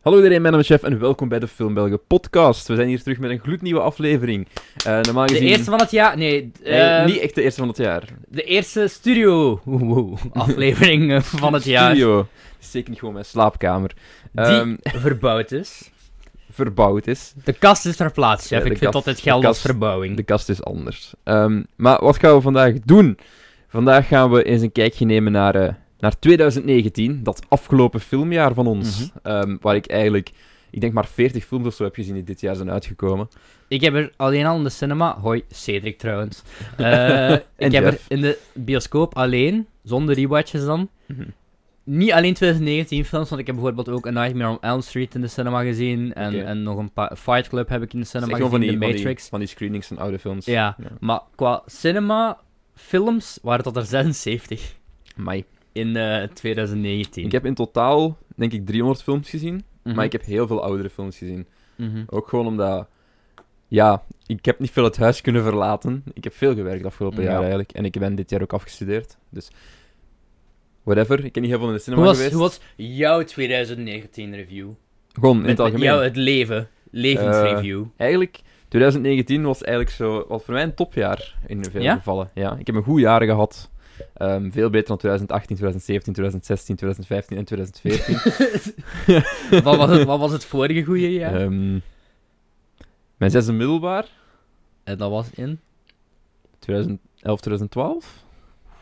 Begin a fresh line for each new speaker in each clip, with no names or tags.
Hallo iedereen, mijn naam is Chef en welkom bij de Film Belgen podcast. We zijn hier terug met een gloednieuwe aflevering. Eh, normaal
De
gezien...
eerste van het jaar. Nee, d-
Nee,
ehm,
niet echt de eerste van het jaar.
de eerste studio-aflevering eh, van het jaar.
Studio. Het is Zeker niet gewoon mijn slaapkamer.
Die
Ehm,
verbouwd is.
verbouwd is.
De kast is verplaatst,
Ja,
chef.
de
Ik vind
kast-
altijd
de
geld als
kast-
verbouwing.
De kast is anders. Ehm, maar wat gaan we vandaag doen? Vandaag gaan we eens een kijkje nemen naar, eh, naar 2019, dat afgelopen filmjaar van ons.
Mhm.
Ehm, waar ik eigenlijk, ik denk maar 40 films of zo heb gezien die dit jaar zijn uitgekomen.
Ik heb er alleen al in de cinema... Hoi, Cedric trouwens. Eh, ik heb er
Jeff.
in de bioscoop alleen, zonder rewatches dan,
Mhm.
niet alleen 2019 films, want ik heb bijvoorbeeld ook A Nightmare on Elm Street in de cinema gezien. En,
Oké.
en nog een paar... Fight Club heb ik in de
Dat is
cinema
echt gewoon van die,
gezien, The
van die-
Matrix.
van die screenings van oude films.
Ja,
Ja.
maar qua cinema, films waren dat er 76.
Amai.
in eh, 2019.
Ik heb in totaal, denk ik, 300 films gezien.
Mhm.
Maar ik heb heel veel oudere films gezien.
Mhm.
Ook gewoon omdat... Ja, ik heb niet veel het huis kunnen verlaten. Ik heb veel gewerkt afgelopen
Ja.
jaar eigenlijk. En ik ben dit jaar ook afgestudeerd. Dus... Whatever. Ik heb niet heel veel in de cinema
Hoe was,
geweest.
hoe was jouw 2019 review?
Gewoon, in
Met,
het
met
algemeen.
jouw het leven, levensreview.
Eigenlijk, 2019 was eigenlijk zo... Was voor mij een topjaar in veel
Ja?
gevallen. Ja, ik heb een goed jaar gehad. Ehm, veel beter dan 2018, 2017, 2016, 2015 en 2014. Eh.
wat, was het, wat was het vorige goede jaar?
Ehm, mijn zesde middelbaar,
En Eh, dat was in?
2011, 2012.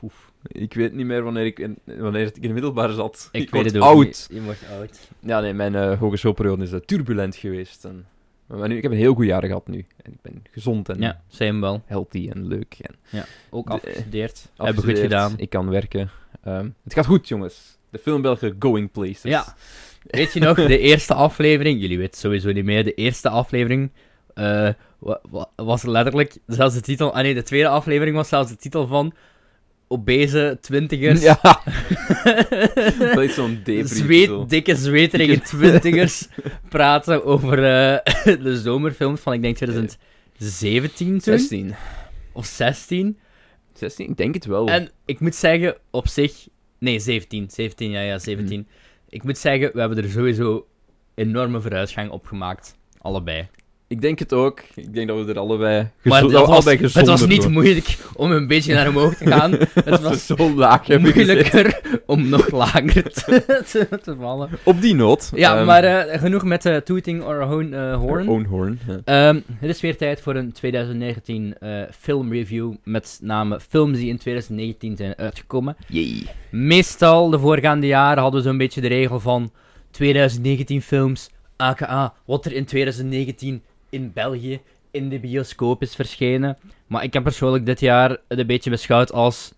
Oef, ik weet niet meer wanneer ik in, wanneer ik in het middelbaar zat.
Ik, weet
word
het ook
oud.
niet. Je wordt oud.
Ja, nee, mijn eh, hogeschoolperiode is eh, turbulent geweest. En, maar nu, ik heb een heel goed jaar gehad nu. En ik ben gezond en
Ja, same wel.
healthy en leuk. En
Ook
De-
afgestudeerd. Hebben goed
afgestudeerd.
gedaan.
Ik kan werken. Ehm, het gaat goed, jongens. De filmbelgen going places.
Ja. Weet je nog, de eerste aflevering, jullie weten sowieso niet meer, de eerste aflevering eh, wa- wa- was letterlijk zelfs de titel, ah nee, de tweede aflevering was zelfs de titel van Obese Twintigers.
Ja. Dat is zo'n debrief. zo.
Zweet, dikke zweterige twintigers praten over eh, de zomerfilms van, ik denk, 2017 toen,
16.
of 16.
16? Ik denk het wel.
En ik moet zeggen, op zich... Nee, 17. 17, ja, ja, 17. Ik moet zeggen, we hebben er sowieso enorme vooruitgang op gemaakt. Allebei.
Ik denk het ook. Ik denk dat we er allebei gezo-
Maar dat
dat we
was-
allebei gezonder
het was niet
worden.
moeilijk om een beetje naar omhoog te gaan. het
Dat we
was
zo Dus laag hebben gezeten.
moeilijker om nog lager te, te- te vallen.
Op die noot.
Ja,
ehm, Oh.
maar eh, genoeg met eh, tooting or horn. eh, horn.
Own horn. ja.
Ehm, het is weer tijd voor een 2019 eh, filmreview met name films die in 2019 zijn uitgekomen. Meestal de voorgaande jaren hadden we zo'n beetje de regel van 2019 films, aka wat er in 2019 in België in de bioscoop is verschenen. Maar ik heb persoonlijk dit jaar het een beetje beschouwd als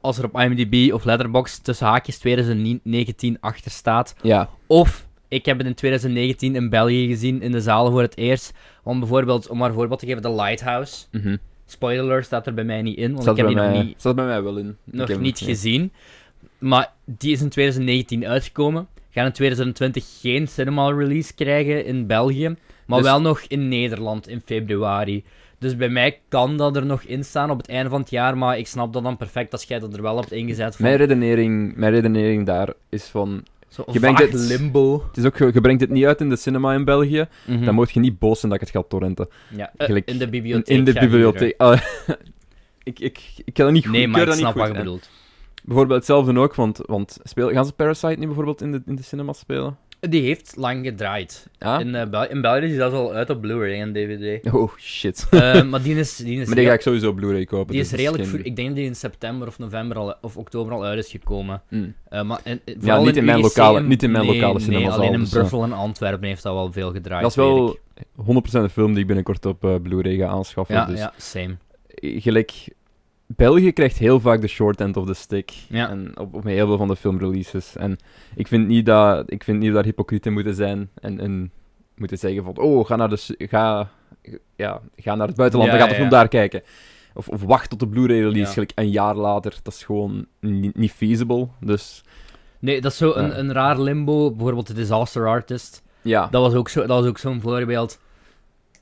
als er op IMDb of Letterboxd tussen haakjes 2019 achter staat.
Ja.
Of ik heb het in 2019 in België gezien in de zalen voor het eerst. Want bijvoorbeeld, om maar een voorbeeld te geven, The Lighthouse.
mhm.
Spoiler alert staat er bij mij niet in, want
Staat
ik
bij
heb die nog
mij-
niet,
Staat bij mij wel in. Ik
nog
heb hem-
niet
ja.
gezien. Maar die is in 2019 uitgekomen. Gaan in 2020 geen cinema release krijgen in België. Maar
Dus-
wel nog in Nederland in februari. Dus bij mij kan dat er nog in staan op het einde van het jaar. Maar ik snap dat dan perfect als jij dat er wel hebt ingezet. Van,
Mijn redenering, mijn redenering daar is van...
zo
je brengt
vaag
het-
limbo. Mhm.
Het is ook, ge- je brengt het niet uit in de cinema in België. Mhm. Dan moet je niet boos zijn dat ik het ga torrenten.
ja, Hm. eh,
gelijk
in de bibliotheek.
In de
gaan huren.
bibliotheek. Ah, ik, ik, ik kan dat niet goed.
Nee,
ik
maar
keur
ik
dat niet
snap wat
goed.
je
En
bedoelt.
Bijvoorbeeld hetzelfde ook, want, want speel, gaan ze Parasite nu bijvoorbeeld in de, in de cinema spelen?
Die heeft lang gedraaid.
Ja?
In, eh, Bel- in België is dat al uit op Blu-ray en DVD.
Oh, shit.
Eh, maar die is, die is,
Maar die ga
rea-
ik sowieso op Blu-ray kopen.
die
dus
is
dat
redelijk...
geen-
vroeg- Ik denk dat die in september of november al, of oktober al uit is gekomen.
Mm.
Eh, maar in, in-
Ja,
vooral
niet in mijn
UGC
lokale- niet in mijn
nee,
lokale
Nee,
cinemazaal,
alleen in
dus, eh.
Brussel en Antwerpen heeft dat wel veel gedraaid.
Dat is
weet
wel
ik.
100% een film die ik binnenkort op eh, Blu-ray ga aanschaffen.
Ja,
dus
ja, same.
eh, gelijk, België krijgt heel vaak de short end of the stick.
Ja.
En op, op heel veel van de filmreleases. En ik vind niet dat, ik vind niet dat we daar hypocriet in moeten zijn. En, en moeten zeggen van, oh, ga naar, de, s- ga, ja, ga naar het buitenland
Ja,
en ga de
ja,
film
ja.
daar kijken. Of, of wacht tot de Blu-ray release,
Ja.
gelijk een jaar later. Dat is gewoon niet, niet feasible. Dus
Nee, dat is zo
Ja.
een, een raar limbo. Bijvoorbeeld The Disaster Artist.
ja,
Dat was ook zo- dat was ook zo'n voorbeeld.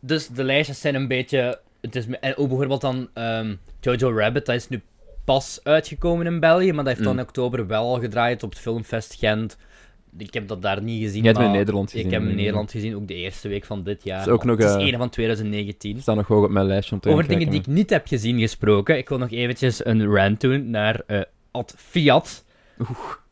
Dus de lijstjes zijn een beetje. Het is, me- en ook bijvoorbeeld dan ehm, Jojo Rabbit, dat is nu pas uitgekomen in België, maar dat heeft dan
Mm.
in oktober wel al gedraaid op het Filmfest Gent. Ik heb dat daar niet gezien.
Jij hebt hem in
maar
Nederland gezien.
Ik heb hem in
ja.
Nederland gezien, ook de eerste week van dit jaar.
Het is ook
maar
nog,
Het
eh,
is één van 2019.
Die staan nog hoog op mijn lijstje om te
Over
gaan
dingen die
kijken,
ik niet heb gezien gesproken. Ik wil nog eventjes een rant doen naar eh Ad Fiat.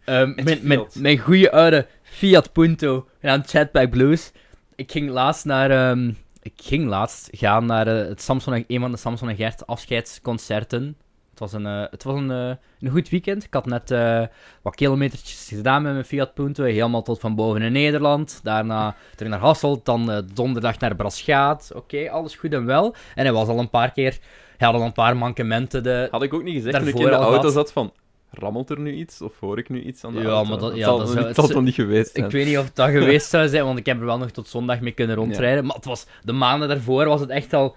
Ehm, mijn, mijn,
Fiat.
mijn goede oude Fiat Punto en aan Chatback Blues. Ik ging laatst naar... ehm, ik ging laatst gaan naar eh, het Samson en, een van de Samson en Gert afscheidsconcerten. Het was een, eh, het was een, eh, een goed weekend. Ik had net eh, wat kilometertjes gedaan met mijn Fiat Punto. Helemaal tot van boven in Nederland. Daarna terug naar Hasselt. Dan eh, donderdag naar Braschaat. Oké, alles goed en wel. En hij was al een paar keer... Hij had al een paar mankementen. De,
maar- Had ik ook niet gezegd toen ik in
Daarvoor
de
al
auto
had.
zat van... Rammelt er nu iets? Of hoor ik nu iets aan de
Ja,
auto?
maar dat- ja,
zal,
dat zou-
het zal
het-
toch niet geweest zijn?
Ik weet niet of het dat geweest zou zijn, want ik heb er wel nog tot zondag mee kunnen rondrijden. Maar het was, de maanden daarvoor was het echt al...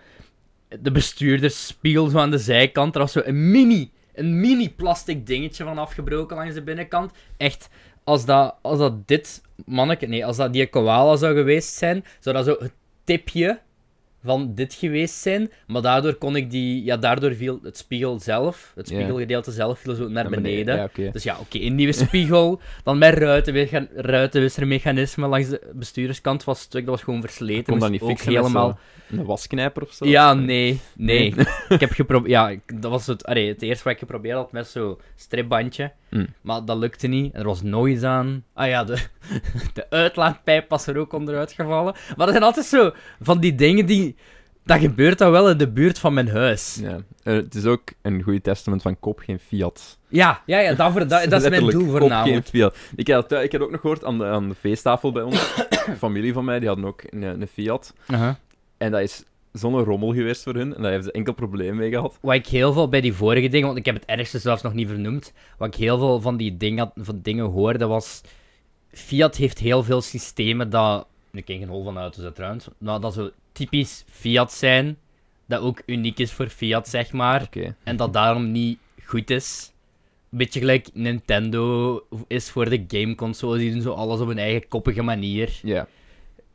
De bestuurders zo aan de zijkant. Er was zo een mini, een mini plastic dingetje van afgebroken langs de binnenkant. Echt, als dat, als dat dit manneke... Nee, als dat die koala zou geweest zijn, zou dat zo het tipje van dit geweest zijn. Maar daardoor kon ik die... Ja, daardoor viel het spiegel zelf, het
Ja.
spiegelgedeelte zelf, viel zo naar
Ja,
beneden.
Ja, oké.
Dus ja, oké, een nieuwe spiegel, dan met ruitenwege- ruitenwissermechanismen langs de bestuurderskant was het stuk, dat was gewoon versleten.
Kon dat
moest
niet
ook
fixen met
helemaal.
zo'n- Een wasknijper of zo?
Ja, nee, nee. ik heb geprobeerd, ja, ik- dat was het, allee, het eerste wat ik geprobeerd had met zo'n stripbandje,
Mm.
maar dat lukte niet, er was nooit aan. Ah ja, de, de uitlaatpijp was er ook onderuit gevallen. Maar dat zijn altijd zo van die dingen die, dat gebeurt dan wel in de buurt van mijn huis.
Ja. Eh, het is ook een goed testament van koop geen Fiat.
Ja, ja, ja, dat, voor- dat, dat is mijn
Letterlijk,
doel
koop
voornamelijk.
geen Fiat. Ik had, het- ik had ook nog gehoord aan de, aan de feesttafel bij ons. Een familie van mij, die hadden ook een, een Fiat.
Aha.
En dat is zo'n rommel geweest voor hun. En daar hebben ze enkel probleem mee gehad.
Wat ik heel veel bij die vorige dingen, want ik heb het ergste zelfs nog niet vernoemd. Wat ik heel veel van die dingen, van dingen hoorde was. Fiat heeft heel veel systemen dat. Ik ken geen hol van auto's uiteraard. Nou, dat zo typisch Fiat zijn. Dat ook uniek is voor Fiat, zeg maar.
Oké.
En dat daarom niet goed is. Een beetje gelijk Nintendo is voor de gameconsoles. Die doen zo alles op hun eigen koppige manier.
Ja.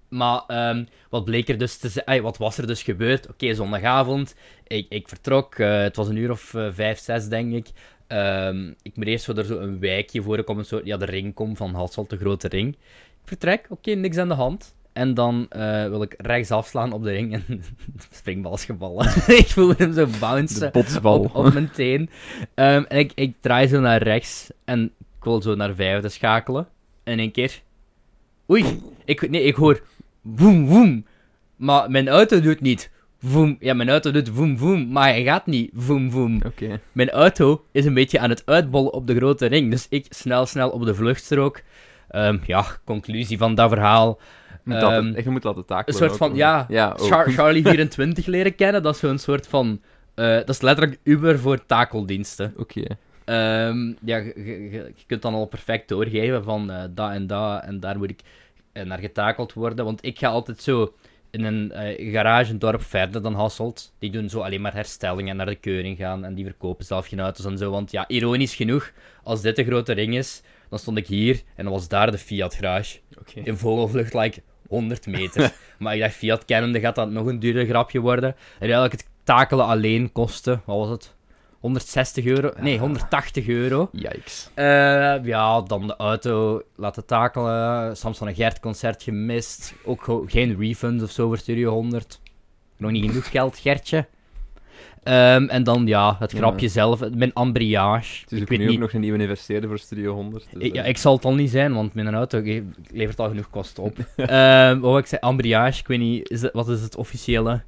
Maar ehm, wat bleek er dus te zijn? ai, Wat was er dus gebeurd? Oké, zondagavond. Ik, ik vertrok. eh, het was een uur of eh, vijf, zes, denk ik. Ehm, ik moet eerst zo er zo een wijkje voor. Ik kom een soort, ja, de ring kom van Hasselt, de grote ring. Ik vertrek. Oké, niks aan de hand. En dan eh, wil ik rechts afslaan op de ring. En de springbal is gevallen. ik voelde hem zo
De
bouncen
botsbal.
op, op mijn teen. Ehm, en ik, ik draai zo naar rechts en ik wil zo naar vijfde schakelen. En in één keer... Oei! Ik, nee, ik hoor woem woem. Maar mijn auto doet niet woem. Ja, mijn auto doet woem woem, maar hij gaat niet woem woem.
Oké.
Mijn auto is een beetje aan het uitbollen op de grote ring. Dus ik snel, snel op de vluchtstrook. Ehm, ja, conclusie van dat verhaal.
Je moet laten-
Ehm,
je moet laten takelen.
Een soort
ook,
van,
hoor.
ja,
ja ook.
Char- Charlie 24 leren kennen. Dat is zo'n soort van... eh, dat is letterlijk Uber voor takeldiensten.
Oké.
Ehm, ja, je- je je- je kunt dan al perfect doorgeven van eh, dat en dat en daar moet ik eh, naar getakeld worden. Want ik ga altijd zo in een eh, garage, een dorp verder dan Hasselt. Die doen zo alleen maar herstellingen en naar de keuring gaan en die verkopen zelf geen auto's en zo. Want ja, ironisch genoeg, als dit de grote ring is, dan stond ik hier en dan was daar de Fiat garage.
Oké.
In vogelvlucht, like 100 meter. maar ik dacht, Fiat kennende gaat dat nog een duurder grapje worden. En eigenlijk het takelen alleen kostte, wat was het? 160 euro? Nee, 180 euro.
Yikes.
Eh, ja, dan de auto laten takelen. Samson en Gert concert gemist. Ook ge- geen refunds of zo voor Studio 100. Nog niet genoeg geld, Gertje. Ehm, en dan ja, het
Ja.
grapje zelf. Mijn ambriage.
Het is
ik
ook Dus
weet
nu ook
niet.
nog een nieuwe investeerder voor Studio 100. dus,
Ik, ja,
eh,
ik zal het al niet zijn, want mijn auto ge- levert al genoeg kosten op. Ehm, wat wou ik zei, ambriage, ik weet niet, is dat- wat is het officiële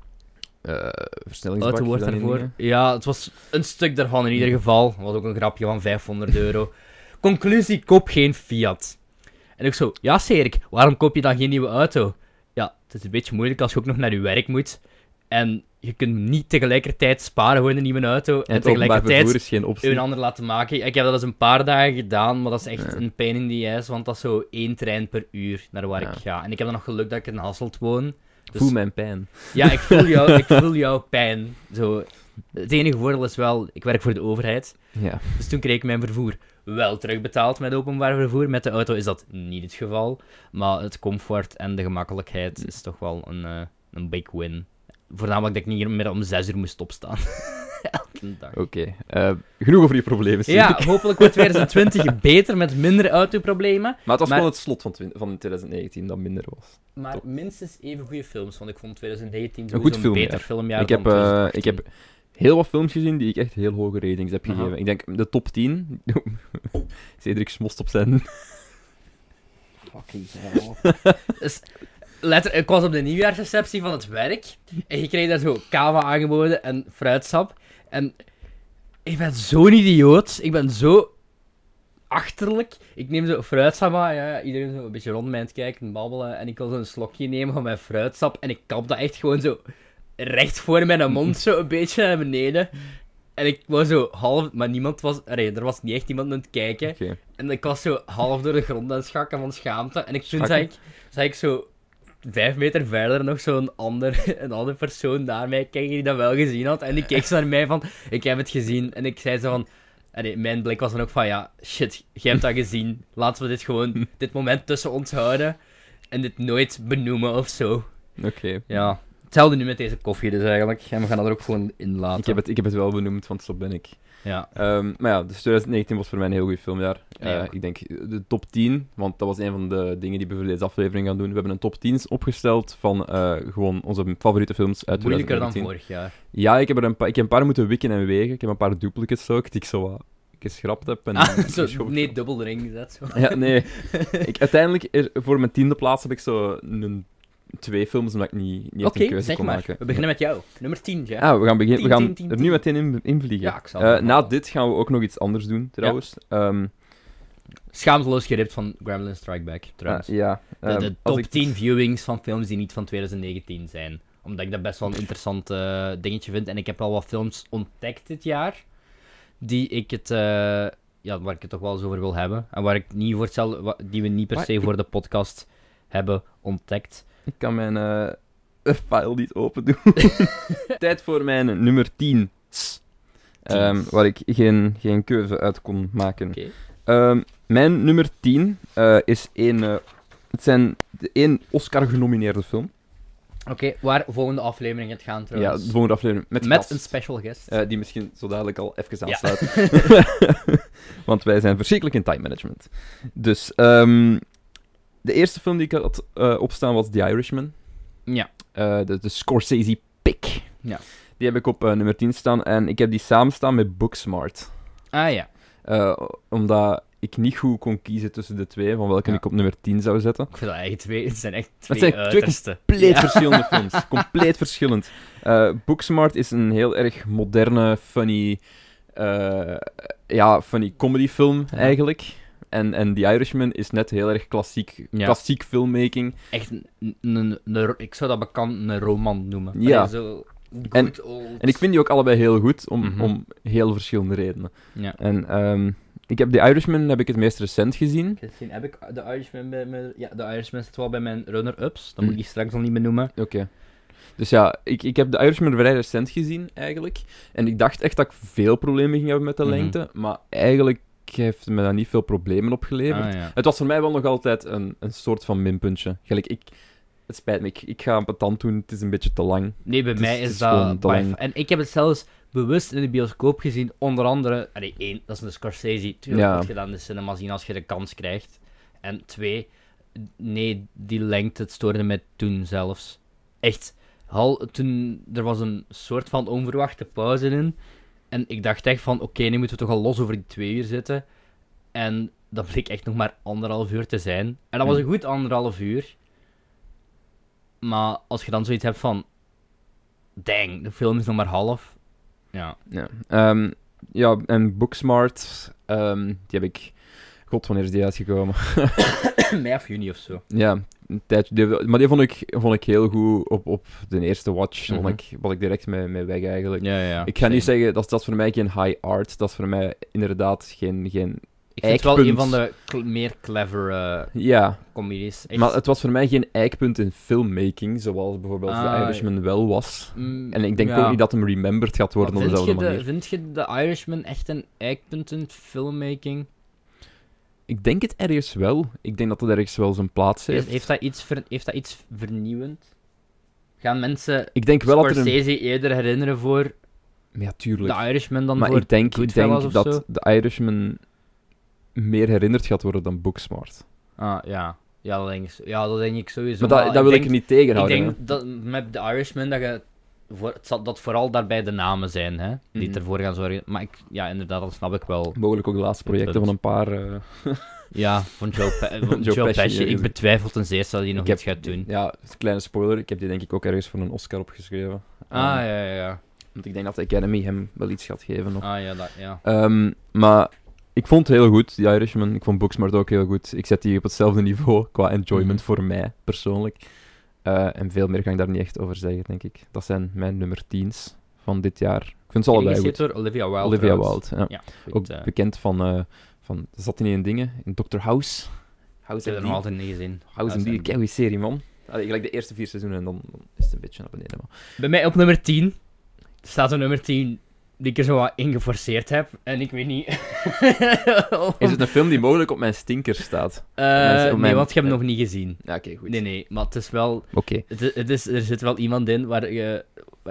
eh, versnellingsbak,
autowoord
is dat niet
daarvoor?
dingen?
Ja, het was een stuk daarvan in ieder geval. was ook een grapje van 500 euro. Conclusie, koop geen Fiat. En ik zo, ja Serik, waarom koop je dan geen nieuwe auto? Ja, het is een beetje moeilijk als je ook nog naar je werk moet. En je kunt niet tegelijkertijd sparen voor een nieuwe auto.
En
En,
het openbaar
tegelijkertijd
vervoer is geen optie.
een ander laten maken. Ik heb dat eens een paar dagen gedaan, maar dat is echt een pijn in die ijs, want dat is zo één trein per uur naar waar
Ja.
ik ga. En ik heb dan nog geluk dat ik in Hasselt woon. Dus-
Voel mijn pijn.
Ja, ik voel, jou, ik voel jouw pijn. Zo. Het enige voordeel is wel, ik werk voor de overheid,
Ja.
dus toen kreeg ik mijn vervoer wel terugbetaald met openbaar vervoer. Met de auto is dat niet het geval, maar het comfort en de gemakkelijkheid is toch wel een, eh, een big win. Voornamelijk dat ik niet meer om zes uur moest opstaan. Elke dag.
Oké. eh, genoeg over die problemen, zie
Ja,
ik.
hopelijk wordt 2020 beter met minder autoproblemen.
Maar het was
Maar-
gewoon het slot van, twin- van 2019 dat minder was.
Maar
Top.
minstens even goede films, want ik vond 2019
Een goed
sowieso een
filmjaar.
beter filmjaar
ik, heb,
dan
eh,
2018.
ik heb heel wat films gezien die ik echt heel hoge ratings heb
Aha.
gegeven. Ik denk de top 10. Cedric smost op zijn.
Fucking hell. dus, letter, ik was op de nieuwjaarsreceptie van het werk. En je kreeg daar zo kava aangeboden en fruitsap. En ik ben zo'n idioot. Ik ben zo achterlijk. Ik neem zo fruitsap aan. Ja, iedereen zo een beetje rond mij aan het kijken en babbelen. En ik wil zo een slokje nemen van mijn fruitsap. En ik kap dat echt gewoon zo recht voor mijn mond zo een beetje naar beneden. En ik was zo half... Maar niemand was... allee, er was niet echt iemand aan het kijken.
Oké.
En ik was zo half door de grond aan het schakken van schaamte. En ik, toen
Schakken?
zag ik, zag ik zo vijf meter verder nog zo'n ander, een andere persoon naar mij kijken die dat wel gezien had. En die keek zo naar mij van, ik heb het gezien. En ik zei zo van, allee, mijn blik was dan ook van, ja, shit, jij hebt dat gezien. Laten we dit gewoon, dit moment tussen ons houden. En dit nooit benoemen of zo.
Oké.
Ja, hetzelfde nu met deze koffie dus eigenlijk. En we gaan dat er ook gewoon in laten.
Ik heb het- Ik heb het wel benoemd, want zo ben ik.
Ja.
Ehm, maar ja, dus 2019 was voor mij een heel goed filmjaar. Eh,
Ja, ook.
ik denk de top 10, want dat was een van de dingen die we voor deze aflevering gaan doen. We hebben een top 10 opgesteld van eh, gewoon onze favoriete films uit
Moeilijker dan
2019.
vorig jaar.
Ja, ik heb er een, pa- ik heb een paar moeten wikken en wegen. Ik heb een paar duplicates ook, die ik zo wat geschrapt heb. En
Ah, zo,
geschoven.
nee, dubbel erin gezet. Zo.
Ja, nee. ik, uiteindelijk, er- voor mijn tiende plaats heb ik zo een, twee films, omdat ik niet, niet echt
Oké,
een keuze
zeg
kon
maar.
maken.
We beginnen met jou. Nummer 10, ja.
Ah, we gaan, begin-
Tien,
we gaan
tien, tien,
er nu
tien.
meteen in, invliegen.
Ja, ik zal
Eh,
het
na
wel.
dit gaan we ook nog iets anders doen, trouwens. Ehm,
Schaamteloos geript van Gremlin Strike Back, trouwens.
ah, ja,
De-
ehm,
de,
als
top
ik-
10 viewings van films die niet van 2019 zijn. Omdat ik dat best wel een interessant eh, dingetje vind. En ik heb al wat films ontdekt dit jaar. Die ik het... eh, ja, waar ik het toch wel eens over wil hebben. En waar ik niet voor hetzelfde- wa- die we niet per
Maar
se
ik-
voor de podcast hebben ontdekt.
Ik kan mijn eh, file niet open doen. Tijd voor mijn nummer 10. Ehm, waar ik geen, geen keuze uit kon maken.
Oké.
Ehm, mijn nummer 10 eh, is één. eh, het zijn de- één Oscar-genomineerde film.
Oké, waar volgende aflevering het gaan
ja,
trouwens.
de volgende aflevering. Met,
met
gast,
een special guest.
eh, die misschien zo dadelijk al even
Ja.
aansluit. Want wij zijn verschrikkelijk in time management. Dus, ehm, de eerste film die ik had eh, opstaan was The Irishman.
ja.
Eh, de, de Scorsese pick.
Ja.
Die heb ik op eh, nummer 10 staan en ik heb die samen staan met Booksmart.
Ah ja.
Eh, omdat ik niet goed kon kiezen tussen de twee, van welke
Ja.
ik op nummer 10 zou zetten.
Ik vind dat eigenlijk twee... Het zijn echt
zijn
twee
twee
uitersten.
Compleet
Ja.
verschillende films. Compleet verschillend. Eh, Booksmart is een heel erg moderne, funny, eh, ja, funny comedy film
Ja.
eigenlijk. En, en The Irishman is net heel erg klassiek,
Ja.
klassiek filmmaking.
echt een, een, een- ik zou dat bekend een roman noemen.
Ja.
Allee, zo good
En-
old.
En ik vind die ook allebei heel goed, om,
Mhm.
om heel verschillende redenen.
Ja.
En ehm, ik heb The Irishman heb ik het meest recent gezien.
Misschien heb ik de Irishman bij mijn... Ja, de Irishman zit wel bij mijn runner-ups. Dat moet
Hm.
ik die straks al niet meer noemen.
Oké. Dus ja, ik, ik heb The Irishman vrij recent gezien, eigenlijk. En ik dacht echt dat ik veel problemen ging hebben met de
Mhm.
lengte. Maar eigenlijk heeft me dat niet veel problemen opgeleverd.
Ah, ja.
Het was voor mij wel nog altijd een, een soort van minpuntje. Gelijk, ik... Het spijt me, ik, ik ga een patant doen, het is een beetje te lang.
Nee, bij
Het is-
mij is,
het is gewoon
dat...
te
by
lang.
far- En ik heb het zelfs bewust in de bioscoop gezien. Onder andere... Allee, één, dat is een Scorsese. Tuurlijk
Ja.
moet je dat in de cinema zien als je de kans krijgt. En twee, nee, die lengte, het stoorde mij toen zelfs. Echt. Hal, toen, er was een soort van onverwachte pauze in. En ik dacht echt van, oké, nu moeten we toch al los over die twee uur zitten. En dat bleek echt nog maar anderhalf uur te zijn. En dat was een goed anderhalf uur. Maar als je dan zoiets hebt van... Dang, de film is nog maar half. Ja.
Ja, Ehm, ja en Booksmart, ehm, die heb ik... God, wanneer is die uitgekomen?
Mei of juni of zo.
Ja, een tijdje. die- maar die vond ik, vond ik heel goed op, op de eerste watch.
Mhm.
Vond ik, wat ik direct mee, mee weg eigenlijk.
Ja, ja.
ik ga niet zeggen, dat, is- dat is voor mij geen high art. Dat is voor mij inderdaad geen... geen
Ik vind het wel een
eikpunt.
van de cl- meer clevere
ja,
comedies. Echt.
maar het was voor mij geen eikpunt in filmmaking, zoals bijvoorbeeld
Ah,
The Irishman wel was.
Mm,
En ik denk
ja.
ook niet dat hem remembered gaat worden
Maar
op
vind
dezelfde
je de-
manier.
Vind je de Irishman echt een eikpunt in het filmmaking?
Ik denk het ergens wel. Ik denk dat het ergens wel zijn plaats heeft.
Heeft, heeft, dat iets ver- heeft dat iets vernieuwend? Gaan mensen
Ik denk wel dat er een...
Scorsese eerder herinneren voor
Ja, tuurlijk.
De Irishman dan
maar
voor...
ik denk, ik
Goodfellas
denk
of
dat
zo?
de Irishman meer herinnerd gaat worden dan Booksmart.
Ah, ja. Ja, dat denk ik, ja, dat denk ik sowieso.
Maar dat, dat wil ik,
denk-
er niet tegenhouden.
Ik
hè.
denk dat met The Irishman dat je... Voor, het zal, dat vooral daarbij de namen zijn, hè? Die
Mhm.
ervoor gaan zorgen. Maar ik, ja, inderdaad, dat snap ik wel.
Mogelijk ook de laatste projecten
Punt.
van een paar... eh,
Ja, van Joe, Pe- eh, van
Joe
Joe,
Pesci,
Pesci.
ja,
Ik betwijfel ten zeerste dat hij nog
Ik
iets gaat doen.
ja, kleine spoiler. Ik heb die denk ik ook ergens voor een Oscar opgeschreven.
Ah,
Eh,
ja, ja, ja.
Want ik denk dat de Academy hem wel iets gaat geven. Op.
Ah, ja, dat, ja.
Ehm, maar ik vond het heel goed, die Irishman. Ik vond Booksmart ook heel goed. Ik zet die op hetzelfde niveau qua enjoyment
Mhm.
voor mij, persoonlijk. Eh, en veel meer kan ik daar niet echt over zeggen, denk ik. Dat zijn mijn nummer 10's van dit jaar. Ik vind ze allebei
Geregisseerd
goed.
door Olivia Wilde.
Olivia
trouwens.
Wilde, ja.
Ja, goed,
Ook
eh,
bekend van, eh van... Zat hij niet in dingen? In Dr. House?
ik heb
House
er
en
nog
die.
altijd niet gezien.
House en die.
House
Kijk, serie, man. Allee, gelijk de eerste vier seizoenen en dan, dan is het een beetje naar beneden. Maar...
Bij mij op nummer 10 staat een nummer 10 die ik er zo wat ingeforceerd heb. En ik weet niet.
Is het een film die mogelijk op mijn stinker staat?
Eh,
Op mijn-
nee, want
eh,
je hebt hem nog niet gezien.
Ja, oké, goed.
Nee, nee, maar het is wel.
Oké.
Het, i- het is, er zit wel iemand in waar je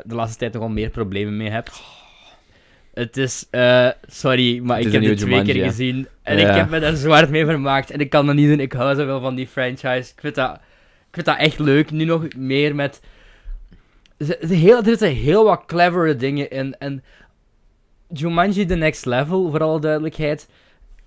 de laatste tijd nogal meer problemen mee hebt. Het is, eh, sorry, maar
Oh. Het
ik
is
heb
een
dit
nieuwe
twee keer
Jumanji,
gezien. En
Ja.
ik heb me daar zwaar mee vermaakt. En ik kan dat niet doen. Ik hou zo wel van die franchise. Ik vind dat, ik vind dat echt leuk. Nu nog meer met. ze- ze heel, er zitten heel wat clevere dingen in. En Jumanji The Next Level, voor alle duidelijkheid.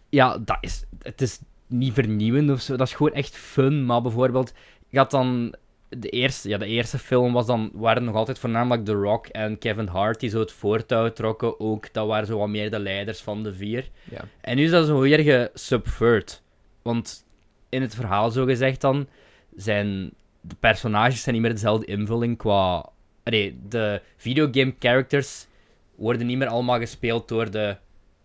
Ja, dat is, het is niet vernieuwend of zo. Dat is gewoon echt fun. Maar bijvoorbeeld, je had dan. De eerste, ja, de eerste film was dan, waren nog altijd voornamelijk The Rock en Kevin Hart die zo het voortouw trokken. Ook, dat waren zo wat meer de leiders van de vier.
Ja.
En nu is dat zo weer gesubvert. Want in het verhaal, zo gezegd dan, zijn de personages zijn niet meer dezelfde invulling qua... Nee, de videogame characters worden niet meer allemaal gespeeld door de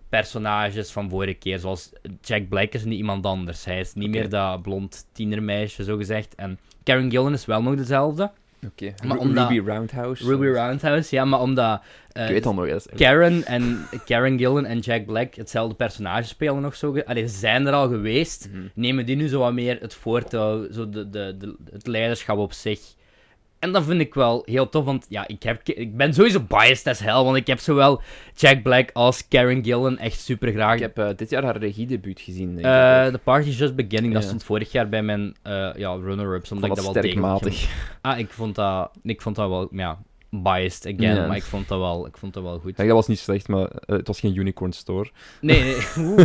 personages van vorige keer. Zoals Jack Black is nu iemand anders. Hij is niet
Oké.
meer dat blond tienermeisje, zo gezegd. En Karen Gillan is wel nog dezelfde.
Oké.
Maar
Ru-
omdat-
Ruby Roundhouse. eh,
Ruby Roundhouse, ja, maar omdat... eh,
Ik weet al nog eens.
Karen en Karen Gillen en Jack Black hetzelfde personage spelen of zo. ge- Allee, ze zijn er al geweest.
Mhm.
Nemen die nu zo wat meer het voortouw, zo de, de, de, het leiderschap op zich. En dat vind ik wel heel tof, want ja, ik, heb, ik ben sowieso biased as hell, want ik heb zowel Jack Black als Karen Gillen echt super graag.
Ik heb eh, dit jaar haar regiedebuut gezien. Denk ik.
Eh, The Party's Just Beginning, dat
Ja.
stond vorig jaar bij mijn eh, ja, runner-ups,
Ik vond
omdat ik
dat
dat wel
sterk
degelijk
matig.
Ah, ik vond dat, ik vond dat wel, ja, biased again,
Ja.
maar ik vond dat wel, ik vond dat wel goed.
Ja, dat was niet slecht, maar eh, het was geen Unicorn Store.
Nee, nee. Oeh.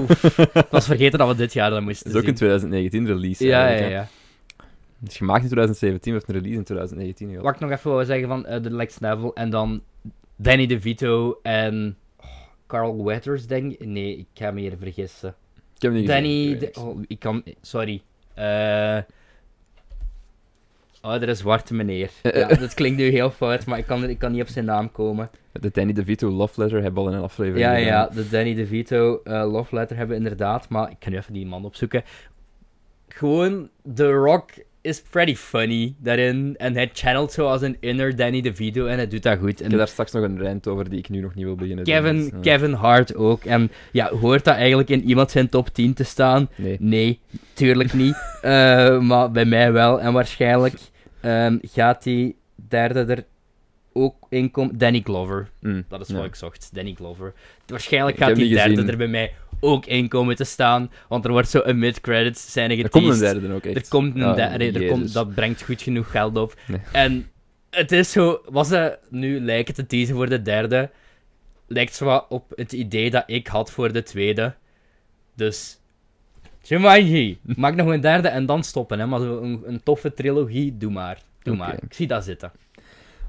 ik was vergeten dat we dit jaar dat moesten
Het is ook
zien.
een 2019 release.
Ja, ja,
eigenlijk, hè.
ja.
Het is gemaakt in 2017, maar heeft een release in 2019 gehad.
Wat ik nog even wou zeggen van eh, de Lex Neville en dan Danny DeVito en oh, Carl Weathers, denk ik. Nee, ik ga me hier vergissen.
Ik heb hem niet
Danny...
gezien.
De... Oh, ik kan... Sorry. Eh Oh, er is zwarte meneer.
Eh,
Ja,
eh.
dat klinkt nu heel fout, maar ik kan, ik kan niet op zijn naam komen.
De Danny DeVito Love Letter hebben we al in een aflevering
Ja,
gedaan.
ja, de Danny DeVito eh love letter hebben we inderdaad, maar ik kan nu even die man opzoeken. Gewoon, The Rock is pretty funny daarin. En hij channelt zo als een inner Danny DeVito en hij doet dat goed.
Ik heb
En
daar straks nog een rant over die ik nu nog niet wil beginnen. doen, dus,
Kevin,
eh,
Kevin Hart ook. En ja, hoort dat eigenlijk in iemand zijn top 10 te staan?
Nee.
Nee, tuurlijk niet. Eh, maar bij mij wel. En waarschijnlijk ehm, gaat die derde er ook in komen. Danny Glover.
Mm,
Dat is
ja.
wat ik zocht, Danny Glover. Waarschijnlijk
Ik
gaat
heb
die
niet
derde
gezien.
er bij mij ook in komen te staan, want er wordt zo een mid-credits scène
Er
geteased.
komt een derde dan ook echt.
Er komt een
Ah,
derde, er
Jezus.
komt, dat brengt goed genoeg geld op.
Nee.
En het is zo, wat ze nu lijken te teasen voor de derde, lijkt zo wat op het idee dat ik had voor de tweede. Dus, Jumanji, maak nog een derde en dan stoppen, hè. Maar zo een, een toffe trilogie, doe maar. Doe
Oké.
maar, ik zie dat zitten.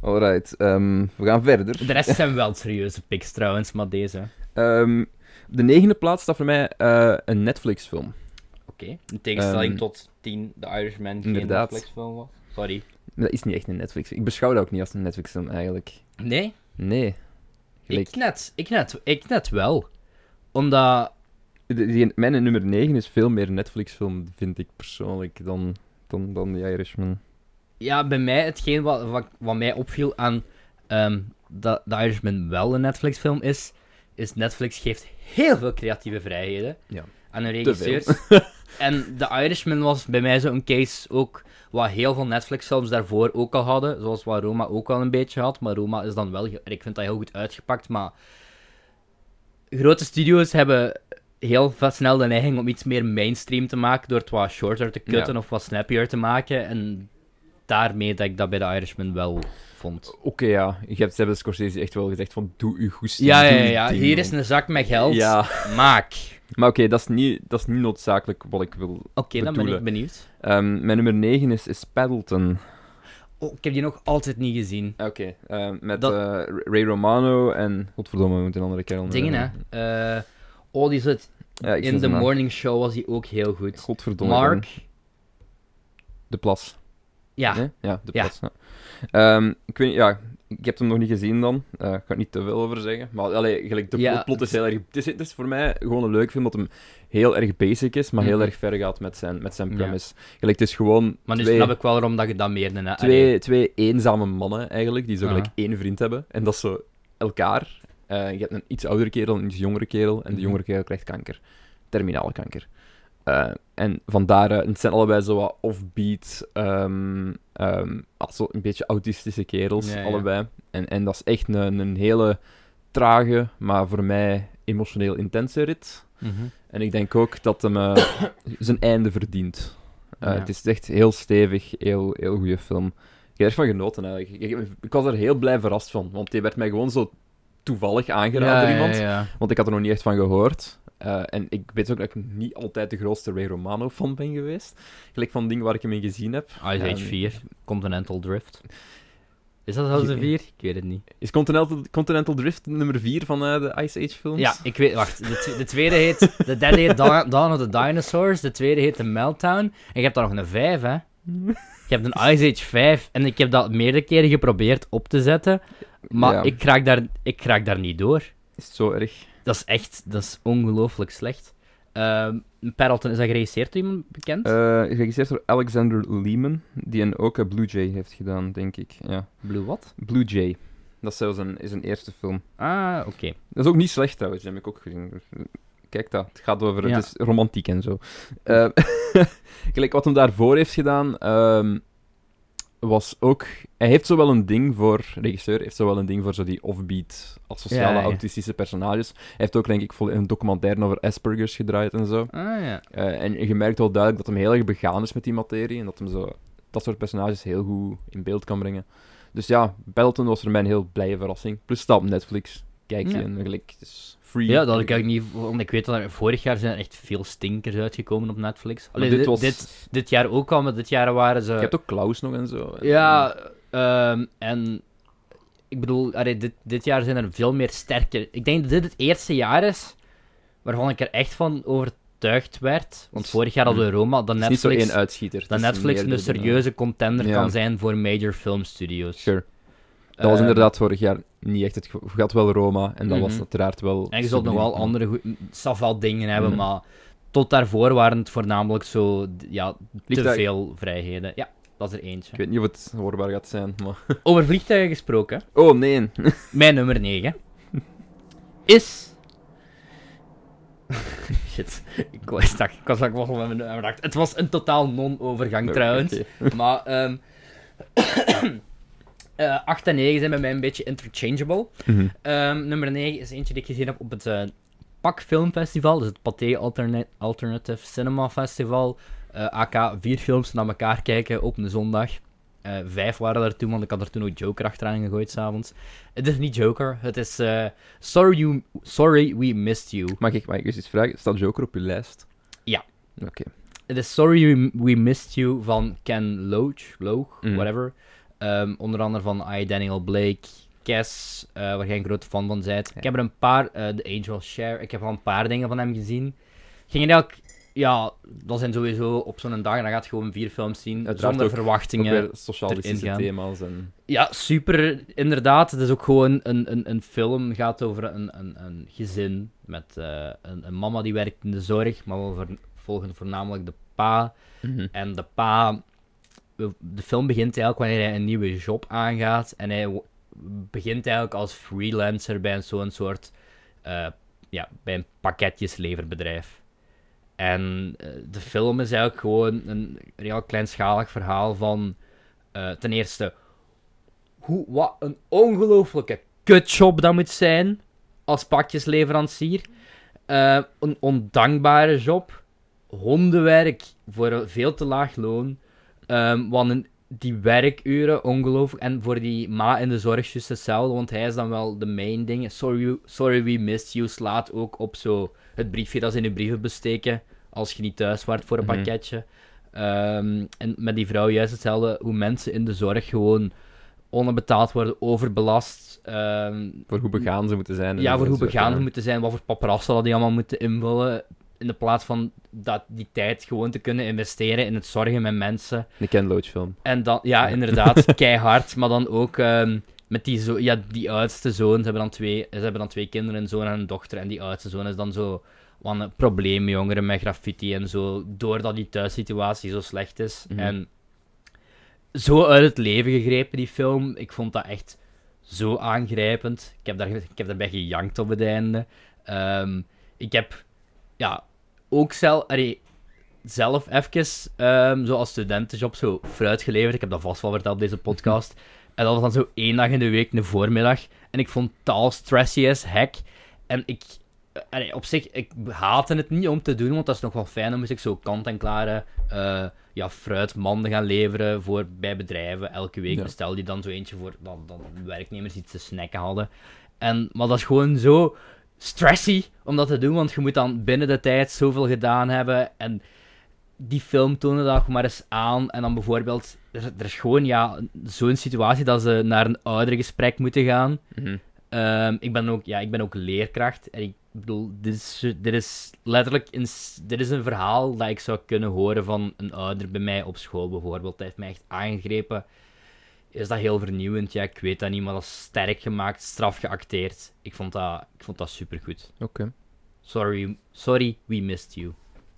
Alright, ehm, we gaan verder.
De rest zijn wel serieuze picks trouwens, maar deze...
Ehm, op de negende plaats staat voor mij eh, een Netflix-film.
Oké. In tegenstelling
Ehm,
tot 10 The Irishman geen
inderdaad.
Netflix-film was. Sorry.
Maar Dat is niet echt een Netflix. Ik beschouw dat ook niet als een Netflix-film eigenlijk.
Nee,
Nee. Gelijk.
ik net, ik net, ik net wel. Omdat,
De- die- mijn nummer 9 is veel meer een Netflix-film, vind ik persoonlijk, dan, dan, dan The Irishman.
ja, bij mij hetgeen wat, wat, wat mij opviel aan ehm, dat The Irishman wel een Netflix-film is, is Netflix geeft heel veel creatieve vrijheden
Ja.
aan hun
Te veel.
regisseurs. en The Irishman was bij mij zo'n case ook Wat heel veel Netflix-films daarvoor ook al hadden. Zoals wat Roma ook al een beetje had. Maar Roma is dan wel... ge- en Ik vind dat heel goed uitgepakt, maar... Grote studios hebben heel va- snel de neiging om iets meer mainstream te maken. Door het wat shorter te cutten
Ja.
of wat snappier te maken. En daarmee dat ik dat bij The Irishman wel vond.
Oké, ja. Je hebt, ze hebben Scorsese echt wel gezegd van, doe uw goesting.
Ja, ja,
doe
ja,
uw
ja.
ding,
Hier is
man.
een zak met geld.
Ja,
Maak.
maar oké, dat is niet dat is niet noodzakelijk wat ik wil.
Oké, dan ben ik
Bedoelen.
benieuwd.
Ehm, mijn nummer 9 is, is Paddleton.
Oh, ik heb die nog altijd niet gezien.
Oké, ehm, met
Dat-
eh, Ray Romano en... Godverdomme, we moeten een andere kerel
Dingen, hè.
noemen.
Eh, oh, die zit
Ja, ik
in
vind
The
zijn naam.
Morning Show was hij ook heel goed.
Godverdomme.
Mark.
De Plas.
Ja.
Nee? Ja, de
Ja.
Plas. Ja. Ehm, ik weet niet, ja, ik heb hem nog niet gezien dan. Eh, ik kan er niet te veel over zeggen. Maar allee, gelijk, de
Ja.
plot- plot is heel erg... Het is, het is voor mij gewoon een leuk film dat hem heel erg basic is, maar heel
Mhm.
erg ver gaat met zijn, met zijn
Ja.
premise. Gelijk, het is gewoon
Maar nu
twee,
snap ik wel waarom dat je dat meer... Een,
twee, twee eenzame mannen eigenlijk, die zo
Aha.
gelijk één vriend hebben. En dat is zo elkaar. Eh, je hebt een iets oudere kerel en een iets jongere kerel. En
Mhm.
de jongere kerel krijgt kanker. Terminale kanker. Eh, en vandaar, eh, het zijn allebei zo wat offbeat, ehm ehm, als zo een beetje autistische kerels,
Ja, ja.
allebei. En, en dat is echt een, een hele trage, maar voor mij emotioneel intense rit. En ik denk ook dat hem eh, zijn einde verdient. Eh,
Ja.
Het is echt heel stevig, heel, heel goede film. Ik heb er echt van genoten eigenlijk. Ik, ik- ik was er heel blij verrast van, want die werd mij gewoon zo toevallig aangeraden door iemand. Want ik had er nog niet echt van gehoord. Eh, en ik weet ook dat ik niet altijd de grootste Ray Romano-fan ben geweest. Gelijk van dingen waar ik hem in gezien heb.
Ice Age
Ehm,
4, Continental Drift. Is dat zelfs een
Ge-
4? Ik weet het niet.
Is Continental, Continental Drift nummer 4 van eh, de Ice Age films?
Ja, ik weet... Wacht, de, tw- de tweede heet... De derde heet Da- Dawn of the Dinosaurs, de tweede heet The Meltdown. En je hebt daar nog een 5, hè. Je hebt een Ice Age 5. En ik heb dat meerdere keren geprobeerd op te zetten. Maar
Ja.
ik, raak daar, ik raak daar niet door.
Is het zo erg?
Dat is echt, dat is ongelooflijk slecht. Ehm Paddleton, is dat geregisseerd door iemand bekend?
Eh geregisseerd door Alexander Lehman, die een ook eh, Blue Jay heeft gedaan, denk ik. Ja.
Blue wat?
Blue Jay. Dat is zelfs een, is een eerste film.
Ah, oké.
Dat is ook niet slecht trouwens, die heb ik ook gezien. Kijk dat, het gaat over,
Ja.
het is romantiek en zo. Eh, Gelijk wat hem daarvoor heeft gedaan, ehm, was ook... Hij heeft zowel een ding voor, regisseur, heeft zowel een ding voor zo die offbeat, asociale,
Ja, ja, ja.
autistische personages. Hij heeft ook denk ik volle- een documentaire over Asperger's gedraaid en zo.
Ah, ja.
Eh, en je merkt wel duidelijk dat hem heel erg begaan is met die materie. En dat hem zo dat soort personages heel goed in beeld kan brengen. Dus ja, Belton was voor mij een heel blije verrassing. Plus staat op Netflix. Kijk je
Ja.
en gelijk, het is free.
Ja, dat had ik eigenlijk niet... Want ik weet dat er vorig jaar zijn er echt veel stinkers uitgekomen op Netflix.
Maar
Allee,
dit
dit,
was...
dit, dit jaar ook al, maar dit jaar waren ze...
Je hebt ook Klaus nog en zo. En-
Ja, ehm, en... Ik bedoel, allee, dit, dit jaar zijn er veel meer sterke... Ik denk dat dit het eerste jaar is waarvan ik er echt van overtuigd werd. Want vorig jaar hadden we Roma, dan
Hmm. Het is niet zo
Netflix...
één uitschieter.
Dat
Het is
Netflix dus een
meerdere dingen.
serieuze contender
Ja.
kan zijn voor major filmstudios.
Sure. Dat was
Eh,
inderdaad vorig jaar niet echt het geval. Je had wel Roma en dat was
Mhm.
uiteraard wel...
En je zult nog
subliem.
wel andere goed, safal dingen hebben,
Mhm.
maar tot daarvoor waren het voornamelijk zo d- ja, te
Ligt daar-
veel vrijheden. Ja, dat is er eentje.
Ik weet niet of het hoorbaar gaat zijn, maar...
Over vliegtuigen gesproken,
Oh, nee.
mijn nummer 9 is. Shit, ik was stak, ik was stak wacht, met mijn nummer acht. Het was een totaal non-overgang trouwens.
Oké.
Maar ehm eh, 8 en 9 zijn bij mij een beetje interchangeable.
Mhm.
Ehm, nummer 9 is eentje die ik gezien heb op het eh, Pak Filmfestival. Dus het Pathé Alternate- Alternative Cinema Festival. Eh, AK, vier films naar elkaar kijken op een zondag. Eh, vijf waren er toen, want ik had er toen ook Joker achteraan gegooid s'avonds. Het is niet Joker, het is eh, sorry, you, sorry We Missed You.
Mag ik, mag ik eens iets vragen? Staat Joker op je lijst?
Ja.
Oké.
Het is Sorry We- We Missed You van Ken Loach, Loach
Mm.
whatever. Ehm, onder andere van I, Daniel Blake, Cass, eh, waar jij een grote fan van bent. Ik heb er een paar, eh, The Angel Share, ik heb al een paar dingen van hem gezien. Ging er elk, ja, dat zijn sowieso op zo'n dag, en dan gaat je gewoon vier films zien,
Uiteraard
zonder
ook- Ook
verwachtingen.
weer socialistische
erin gaan.
thema's en...
Ja, super. Inderdaad, het is ook gewoon een, een, een film. Het gaat over een, een, een gezin met eh, een, een mama die werkt in de zorg, maar we ver- volgen voornamelijk de pa. En de pa... De film begint eigenlijk wanneer hij een nieuwe job aangaat. En hij wo- begint eigenlijk als freelancer bij een- zo'n soort... eh, ja, bij een pakketjesleverbedrijf. En eh, de film is eigenlijk gewoon een heel kleinschalig verhaal van... eh, ten eerste, hoe, wat een ongelooflijke kutjob dat moet zijn als pakjesleverancier. Eh, een ondankbare job. Hondenwerk voor een veel te laag loon. Ehm, want een- die werkuren, ongelooflijk. En voor die ma in de zorg juist hetzelfde, want hij is dan wel de main ding. Sorry, you- sorry we missed you slaat ook op zo het briefje dat ze in de brieven besteken als je niet thuis waart voor een
Mhm.
pakketje. Ehm, en met die vrouw juist hetzelfde, hoe mensen in de zorg gewoon onderbetaald worden, overbelast. ehm,
Voor hoe begaan ze moeten zijn. en
ja,
zo,
voor hoe
zo,
begaan
ja.
ze moeten zijn, wat voor paparazzen dat die allemaal moeten invullen. In de plaats van dat, die tijd gewoon te kunnen investeren in het zorgen met mensen.
De Ken Loach film.
En dan, ja, inderdaad, keihard. Maar dan ook ehm, met die, zo ja, die oudste zoon. Ze hebben, dan twee, ze hebben dan twee kinderen, een zoon en een dochter. En die oudste zoon is dan zo wat een probleemjongere met graffiti en zo. Doordat die thuissituatie zo slecht is.
Mhm.
En zo uit het leven gegrepen, die film. Ik vond dat echt zo aangrijpend. Ik heb, daar, ik heb daarbij gejankt op het einde. Ehm, ik heb ja, ook zelf, allee, zelf even ehm, zo als studentenjob zo fruit geleverd. Ik heb dat vast wel verteld op deze podcast. En dat was dan zo één dag in de week, een voormiddag. En ik vond taal stressy as heck. En ik, eh, allee, op zich, ik haatte het niet om te doen, want dat is nog wel fijn. Dan moest ik zo kant-en-klare eh, ja, fruitmanden gaan leveren voor, bij bedrijven. Elke week
Ja.
bestel die dan zo eentje voor dat, dat werknemers iets te snacken hadden. En, maar dat is gewoon zo stressy om dat te doen, want je moet dan binnen de tijd zoveel gedaan hebben. En die film toonde dat ook maar eens aan. En dan bijvoorbeeld, er, er is gewoon ja, zo'n situatie dat ze naar een oudergesprek moeten gaan.
Mhm.
Ehm, ik, ben ook, ja, ik ben ook leerkracht. En ik bedoel, dit is, dit is letterlijk een, s- dit is een verhaal dat ik zou kunnen horen van een ouder bij mij op school bijvoorbeeld. Dat heeft mij echt aangegrepen. Is dat heel vernieuwend? Ja, ik weet dat niet, maar dat is sterk gemaakt, straf geacteerd. Ik vond dat, ik vond dat supergoed.
Oké.
Sorry, sorry, we missed you.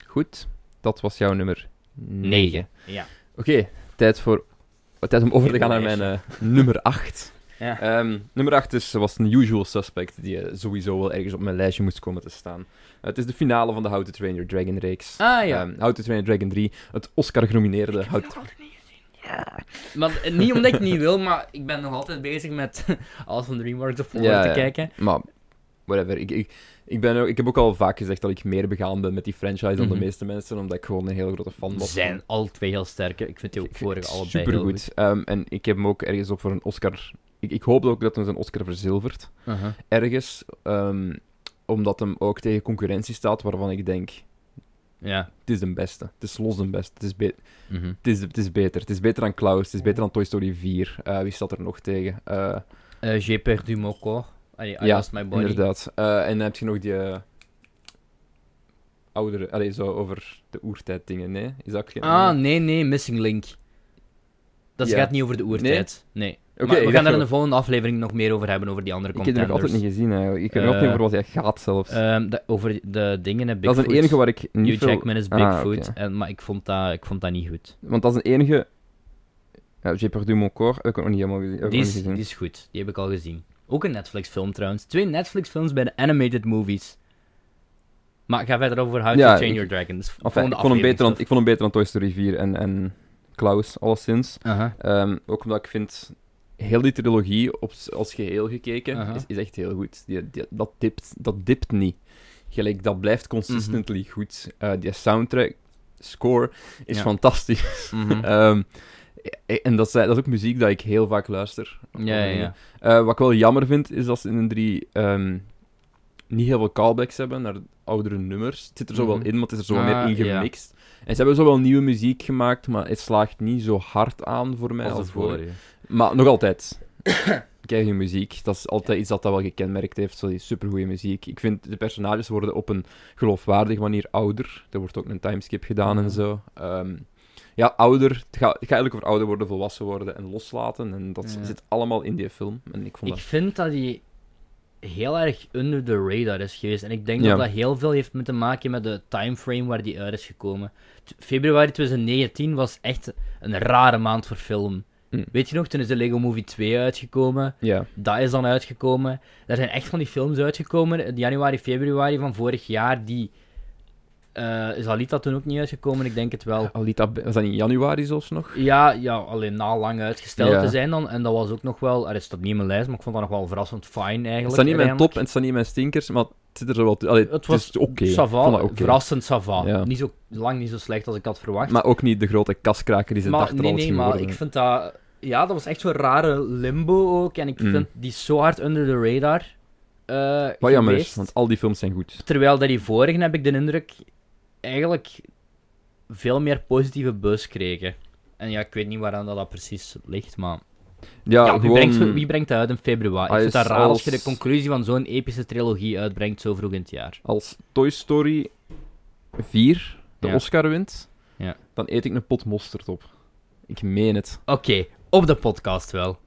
Goed. Dat was jouw nummer 9.
Ja.
Oké, tijd, voor... tijd om over te gaan naar mijn eh, nummer 8.
Ja.
Ehm, nummer 8 is, was een usual suspect die eh, sowieso wel ergens op mijn lijstje moest komen te staan. het is de finale van de How to Train Your Dragon reeks.
Ah ja.
Ehm, How to Train Your Dragon 3, het Oscar-genomineerde How to-
Maar, eh, niet omdat ik niet wil, maar ik ben nog altijd bezig met alles van DreamWorks of
Ja,
te
ja.
kijken.
Maar, whatever. Ik, ik, ik, ben, ook- ik heb ook al vaak gezegd dat ik meer begaan ben met die franchise dan
Mhm.
de meeste mensen, omdat ik gewoon een hele grote fan
Ze
was.
zijn alle twee heel sterk. hè. Ik vind die ook vorige allebei heel
Supergoed.
goed.
Ehm, en ik heb hem ook ergens op voor een Oscar... Ik, ik hoop ook dat hij zijn Oscar verzilvert. Ergens. ehm, omdat hem ook tegen concurrentie staat waarvan ik denk...
Ja.
Het is de beste. Het is los de beste. Het is, be- het is, het is beter. Het is beter dan Klaus. Het is beter dan Toy Story 4. Eh, wie staat er nog tegen? Eh,
Eh, J'ai perdu mon corps. Allee, I
Ja,
lost my body.
Inderdaad. Eh, en dan heb je nog die eh, oudere, allee, zo over de oertijd dingen, nee? Is dat ook geen...
Ah, nee, nee, Missing Link. Dat
Ja.
gaat niet over de oertijd. Nee.
Oké, ik
maar we gaan
dacht
daar in
wel-
de volgende aflevering nog meer over hebben, over die andere
Ik heb die nog altijd
contenders.
niet gezien, eigenlijk. Ik weet nog
Eh,
niet over wat jij gaat, zelfs.
Ehm, dat- over de dingen heb
dat is een enige waar ik niet
Hugh
veel...
Jackman is
Ah,
Bigfoot,
oké.
en, maar ik vond, dat, ik vond dat niet goed.
Want dat is een enige... Ja, J'ai perdu mon corps, heb ik nog niet helemaal gezien. heb ik
Die
nog
is,
niet gezien.
die is goed, die heb ik al gezien. Ook een Netflix-film trouwens. Twee Netflix-films bij de animated movies. Maar ik ga verder over How
Ja,
to Train
ik-
Your Dragon. Dat is
Enfin,
volgende
ik, vond hem
aflevering,
beter dan,
tof.
ik vond hem beter dan Toy Story 4 en, en Klaus, alleszins.
Aha.
Ehm, ook omdat ik vind, heel die trilogie op, s- als geheel gekeken
Aha.
is, is echt heel goed. Die, die- dat, dipt, dat dipt niet. Gelijk, dat blijft consistently goed. Eh, die soundtrack, score, is
Mhm. Ja.
fantastisch.
Mhm.
Ehm, e- en dat, zijn- dat is ook muziek dat ik heel vaak luister.
ja, ja, ja.
Eh, wat ik wel jammer vind, is dat ze in een drie ehm, niet heel veel callbacks hebben naar oudere nummers. Het zit er zo wel
Mhm.
in, maar het is er zo wel
Ah,
meer
ja.
ingemixt. En ze hebben zo wel nieuwe muziek gemaakt, maar het slaagt niet zo hard aan voor mij als,
Als de
voor.
vorige.
Maar nog altijd. Kijk, je muziek, dat is altijd iets dat dat wel gekenmerkt heeft. Zo die supergoeie muziek. Ik vind de personages worden op een geloofwaardige manier ouder. Er wordt ook een timeskip gedaan
Ja.
en zo. Ehm, ja, ouder. Het gaat, het gaat eigenlijk over ouder worden, volwassen worden en loslaten. En dat
Ja.
zit allemaal in die film. En ik vond
Ik
dat...
vind dat hij heel erg under the radar is geweest. En ik denk
Ja.
dat dat heel veel heeft met te maken met de timeframe waar die uit is gekomen. T- Februari 2019 was echt een rare maand voor film.
Mm.
Weet je nog, toen is de Lego Movie 2 uitgekomen.
Ja.
Dat is dan uitgekomen. Er zijn echt van die films uitgekomen in januari, februari van vorig jaar die Eh, is Alita toen ook niet uitgekomen? Ik denk het wel.
Alita, was dat in januari zelfs nog?
Ja, ja alleen na lang uitgesteld
Ja.
te zijn dan. En dat was ook nog wel... Er staat niet in mijn lijst, maar ik vond dat nog wel verrassend fijn eigenlijk.
Het staat niet in mijn top
uiteindelijk.
en het staat niet in mijn stinkers, maar het zit er zo wel tussen. Allee,
Het
Het
was
was oké. Ik
Sava,
vond dat oké.
verrassend Sava.
Ja.
Niet zo lang niet zo slecht als ik had verwacht.
Maar ook niet de grote kaskraker die ze
Maar
dachten
nee,
dat het
nee,
ging
maar
worden.
ik vind dat... Ja, dat was echt zo'n rare limbo ook. En ik
Mm.
vind die zo hard under the radar eh
Wat jammer
geweest.
is, want al die films zijn goed.
Terwijl dat die vorige, heb ik de indruk, eigenlijk veel meer positieve buzz kregen. En ja, ik weet niet waaraan dat, dat precies ligt, maar...
Ja,
Ja, wie,
gewoon...
brengt, wie brengt dat uit in februari? Ik
Hij
vind dat
is
raar als je de
als-
conclusie van zo'n epische trilogie uitbrengt zo vroeg in het jaar.
Als Toy Story 4 de
Ja.
Oscar wint,
Ja.
dan eet ik een pot mosterd op. Ik meen het.
Oké, op de podcast wel.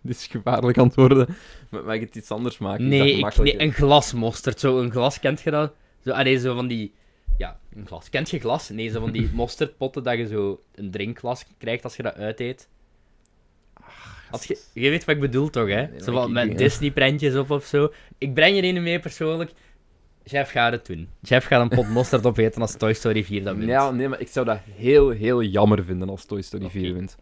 Dit is gevaarlijk antwoorden. Maar mag ik het iets anders maken? Is dat
nee, ik, nee,
gemakkelijker?
een glas mosterd. Zo, een glas, kent je dat? Zo, allee, zo van die... Ja, een glas. Kent je glas? Nee, zo van die mosterdpotten dat je zo een drinkglas krijgt als je dat uiteet. Als je, je weet wat ik bedoel toch, hè?
Nee,
zo
maar
van
ik-
met
ik-
Disney-prentjes op of zo. Ik breng er een mee persoonlijk. Jeff gaat het doen. Jeff gaat een pot mosterd opeten als Toy Story 4 dat wint.
Ja, nee, maar ik zou dat heel, heel jammer vinden als Toy Story
Oké.
4 wint.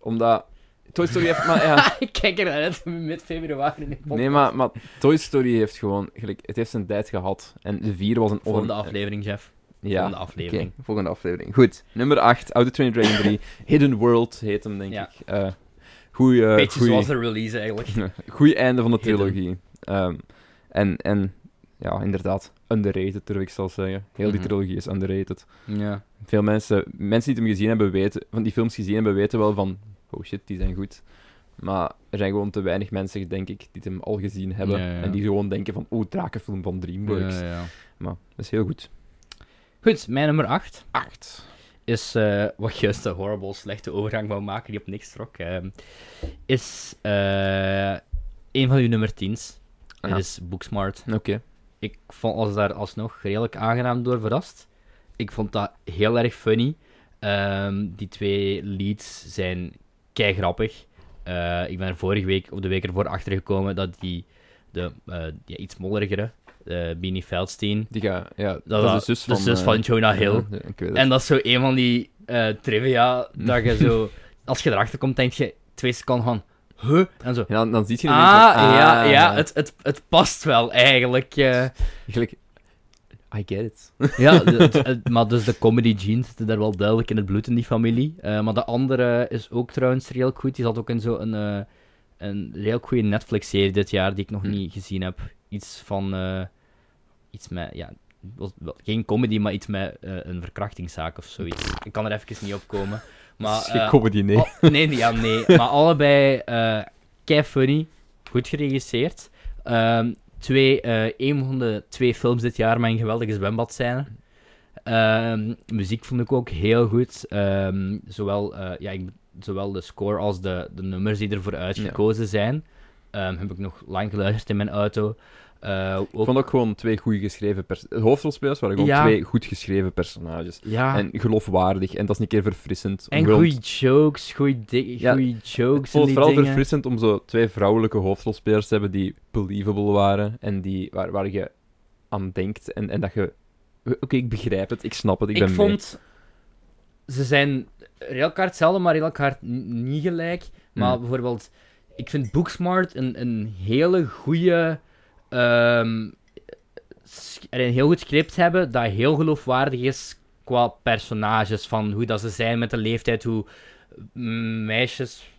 Omdat... Toy Story heeft... Maar, ja,
ik kijk er naar uit mid februari in de podcast.
nee, maar, maar Toy Story heeft gewoon... Gelijk, het heeft zijn tijd gehad. En de 4 was een... on-
Volgende aflevering, Jeff.
Ja.
Volgende aflevering.
Oké, Eh, volgende aflevering. Goed, nummer 8, Auto Train Dragon 3. Hidden World heet hem, denk
Ja.
ik. Eh goeie, eh,
Beetje
goeie,
zoals de release eigenlijk.
goeie einde van de
Hidden.
trilogie. Ehm, en, en ja, inderdaad, underrated, durf ik zelfs zeggen. Heel die
Mhm.
trilogie is underrated.
Ja.
Veel mensen, mensen die het hem gezien hebben, weten, van die films gezien hebben, weten wel van, oh shit, die zijn goed. Maar er zijn gewoon te weinig mensen, denk ik, die het hem al gezien hebben.
Ja, ja.
En die gewoon denken van, oh, drakenfilm van DreamWorks. Maar dat is heel goed.
Goed, mijn nummer 8
8.
is, eh, wat juist een horrible slechte overgang wou maken die op niks trok, ehm, is eh, een van uw nummer 10's.
Ja.
Het is Booksmart.
Oké.
Ik vond als daar alsnog redelijk aangenaam door verrast. Ik vond dat heel erg funny. Ehm, die twee leads zijn kei grappig. Eh, ik ben er vorige week of de week ervoor achtergekomen dat die, de eh, die iets mollerigere, eh Beanie Feldstein,
Die ga, ja, dat,
dat,
is
dat- dus
de zus van... eh,
Jonah Hill.
Ja, ik weet het.
En dat is zo een van die eh, trivia dat je zo, als je erachter komt, denk je twee seconden van, huh? En zo.
En dan, dan ziet je
Ah,
ineens... van,
ja,
ah,
ja het, het, het past wel eigenlijk. eh.
Gelijk, I get it.
Ja, de- de- eh, maar dus de comedy jeans zitten daar wel duidelijk in het bloed in die familie. Eh, maar de andere is ook trouwens heel goed. Die zat ook in zo'n eh een heel goede Netflix-serie dit jaar die ik nog
Hm.
niet gezien heb. Iets van... eh, iets met... Ja, was wel geen comedy, maar iets met eh, een verkrachtingszaak of zoiets. Ik kan er even niet op komen. Maar,
Het is geen
eh,
comedy, nee.
al- nee, nee, ja, nee. Maar allebei eh kei funny. Goed geregisseerd. Ehm, twee, eh een van de twee films dit jaar met een geweldige zwembadscène. Ehm, muziek vond ik ook heel goed. Ehm, zowel, eh, ja, ik, zowel de score als de, de nummers die ervoor uitgekozen zijn. Ehm, heb ik nog lang geluisterd in mijn auto. Eh, ook-
Ik vond ook gewoon twee goed geschreven personages. Hoofdrolspelers waren gewoon
Ja. Ah.
twee goed geschreven personages.
ja, en,
En geloofwaardig. En dat is een keer verfrissend. World-
goede jokes. Goede
Ja, Ik vond
jokes. in
het
die
vooral
dingen.
verfrissend om zo twee vrouwelijke hoofdrolspelers te hebben die believable waren. En die, waar, waar je aan denkt. En, en dat je... Oké, ik begrijp het. Ik snap het. Ik,
Ik,
ben mee.
vond... Ze zijn redelijk hard hetzelfde, maar redelijk hard n- niet gelijk. Maar
Hmm.
bijvoorbeeld... Ik vind Booksmart een, een hele goede... ehm, sch- en een heel goed script hebben dat heel geloofwaardig is qua personages. Van hoe dat ze zijn met de leeftijd, hoe mm, meisjes...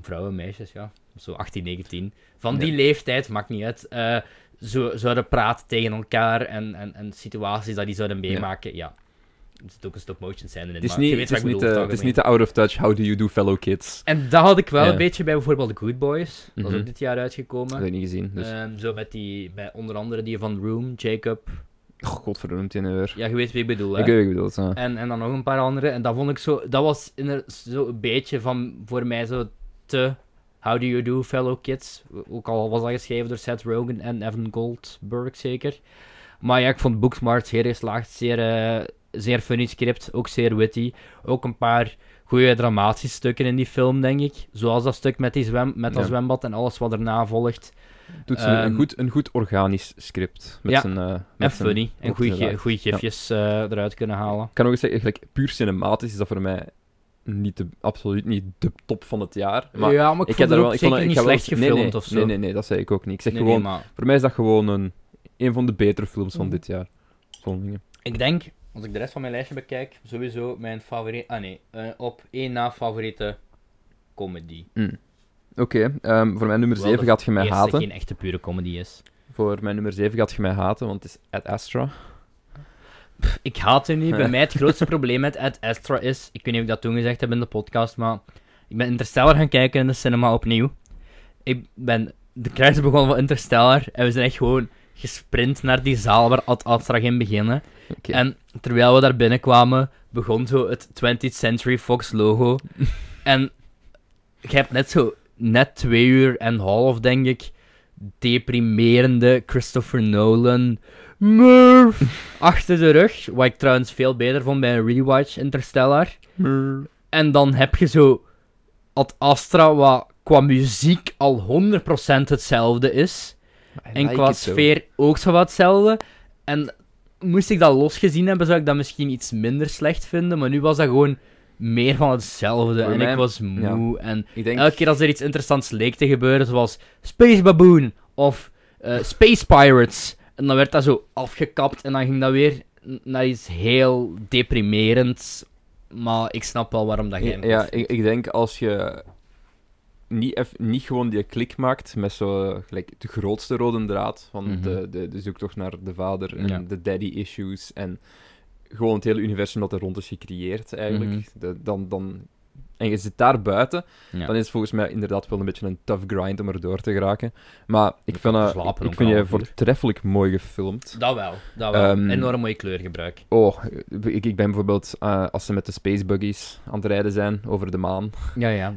Vrouwen, meisjes, ja. Zo 18, 19. Van die
Ja.
leeftijd, maakt niet uit. eh, zo, zouden praten tegen elkaar en, en, en situaties dat die zouden meemaken. Ja. Er zit ook een stop-motion scène in,
Het is
maar
niet,
je weet
het is
wat ik
niet, de,
bedoel,
het is niet
algemeen.
de out of touch, how do you do fellow kids.
En dat had ik wel
Ja.
een beetje bij bijvoorbeeld The Good Boys. Dat is
Mhm.
ook dit jaar uitgekomen.
Dat heb ik niet gezien. Dus.
Ehm, zo met die, bij onder andere die van Room, Jacob.
Oh, godverdoemd in een uur.
Ja, je weet wie ik bedoel, hè?
Ik weet wat je bedoelt, ja.
En, en dan nog een paar andere. En dat vond ik zo... Dat was inderdaad zo een beetje van... Voor mij zo te... How do you do, fellow kids? Ook al was dat geschreven door Seth Rogen en Evan Goldberg, zeker. Maar ja, ik vond Booksmart zeer geslaagd. Zeer eh, zeer funny script, ook zeer witty. Ook een paar goede dramatische stukken in die film, denk ik. Zoals dat stuk met, die zwem, met dat
Ja.
zwembad en alles wat erna volgt.
eh, Doet ze een,
Ehm,
goed, een goed organisch script. Met
ja,
zijn, eh, met zijn
En funny. En
goed
goede
gedaan. Ja.
gifjes eh, eruit kunnen halen.
Ik kan nog eens zeggen, gelijk, puur cinematisch is dat voor mij niet de, absoluut niet de top van het jaar. Maar
ja, maar ik, heb
daar wel,
er wel,
ik vond
zeker
het- ik
niet
ga wel
slecht
eens-
gefilmd
nee, nee,
of zo.
Nee, nee, nee, dat zei ik ook niet. Ik zeg
Nee, nee,
gewoon,
maar
voor mij is dat gewoon een, een van de betere films van dit jaar. Zo'n dingen.
ik denk, als ik de rest van mijn lijstje bekijk, sowieso mijn favoriet... Ah nee, eh, op één na favoriete comedy.
Oké, ehm, voor mijn nummer
Wel,
7
dat
gaat je mij
Eerst
haten.
dat geen echte pure comedy is.
Voor mijn nummer 7 gaat je mij haten, want het is Ad Astra.
Ik haat hem niet. Bij mij het grootste probleem met Ed Astra is... Ik weet niet of ik dat toen gezegd heb in de podcast, maar... Ik ben Interstellar gaan kijken in de cinema opnieuw. Ik ben... De credits begonnen van Interstellar. En we zijn echt gewoon gesprint naar die zaal waar Ad Astra ging beginnen.
Oké.
En terwijl we daar binnenkwamen, begon zo het 20th Century Fox logo. en je hebt net zo... Net twee uur en een half, denk ik... Deprimerende Christopher Nolan... Murph! achter de rug. Wat ik trouwens veel beter vond bij een rewatch Interstellar.
Hmm,
En dan heb je zo Ad Astra, wat qua muziek al 100% hetzelfde is. en qua sfeer ook zo wat hetzelfde. En moest ik dat losgezien hebben, zou ik dat misschien iets minder slecht vinden. Maar nu was dat gewoon meer van hetzelfde.
Voor
en
mij-
ik was moe. En
Ik denk,
elke keer als er iets interessants leek te gebeuren, zoals Space Baboon of eh, Space Pirates, en dan werd dat zo afgekapt en dan ging dat weer n- naar iets heel deprimerends. Maar ik snap wel waarom dat jij hem
ja,
goed
ik, ik denk als je niet, eff- niet gewoon die klik maakt met zo eh, gelijk de grootste rode draad van
Mhm.
de, de, de zoektocht naar de vader en
Ja.
de daddy issues en gewoon het hele universum dat er rond is gecreëerd eigenlijk,
Mhm.
de- dan, dan, en je zit daar buiten,
Ja.
dan is het volgens mij inderdaad wel een beetje een tough grind om erdoor te geraken. Maar ik
kan
vind, eh,
slapen
ik,
ook
ik vind
een
je
half uur.
voortreffelijk mooi gefilmd.
vindt. Dat wel, dat wel.
Ehm,
Enorm mooie kleurgebruik.
Oh, ik, ik ben bijvoorbeeld, eh, als ze met de space buggies aan het rijden zijn over de maan,
Ja, ja.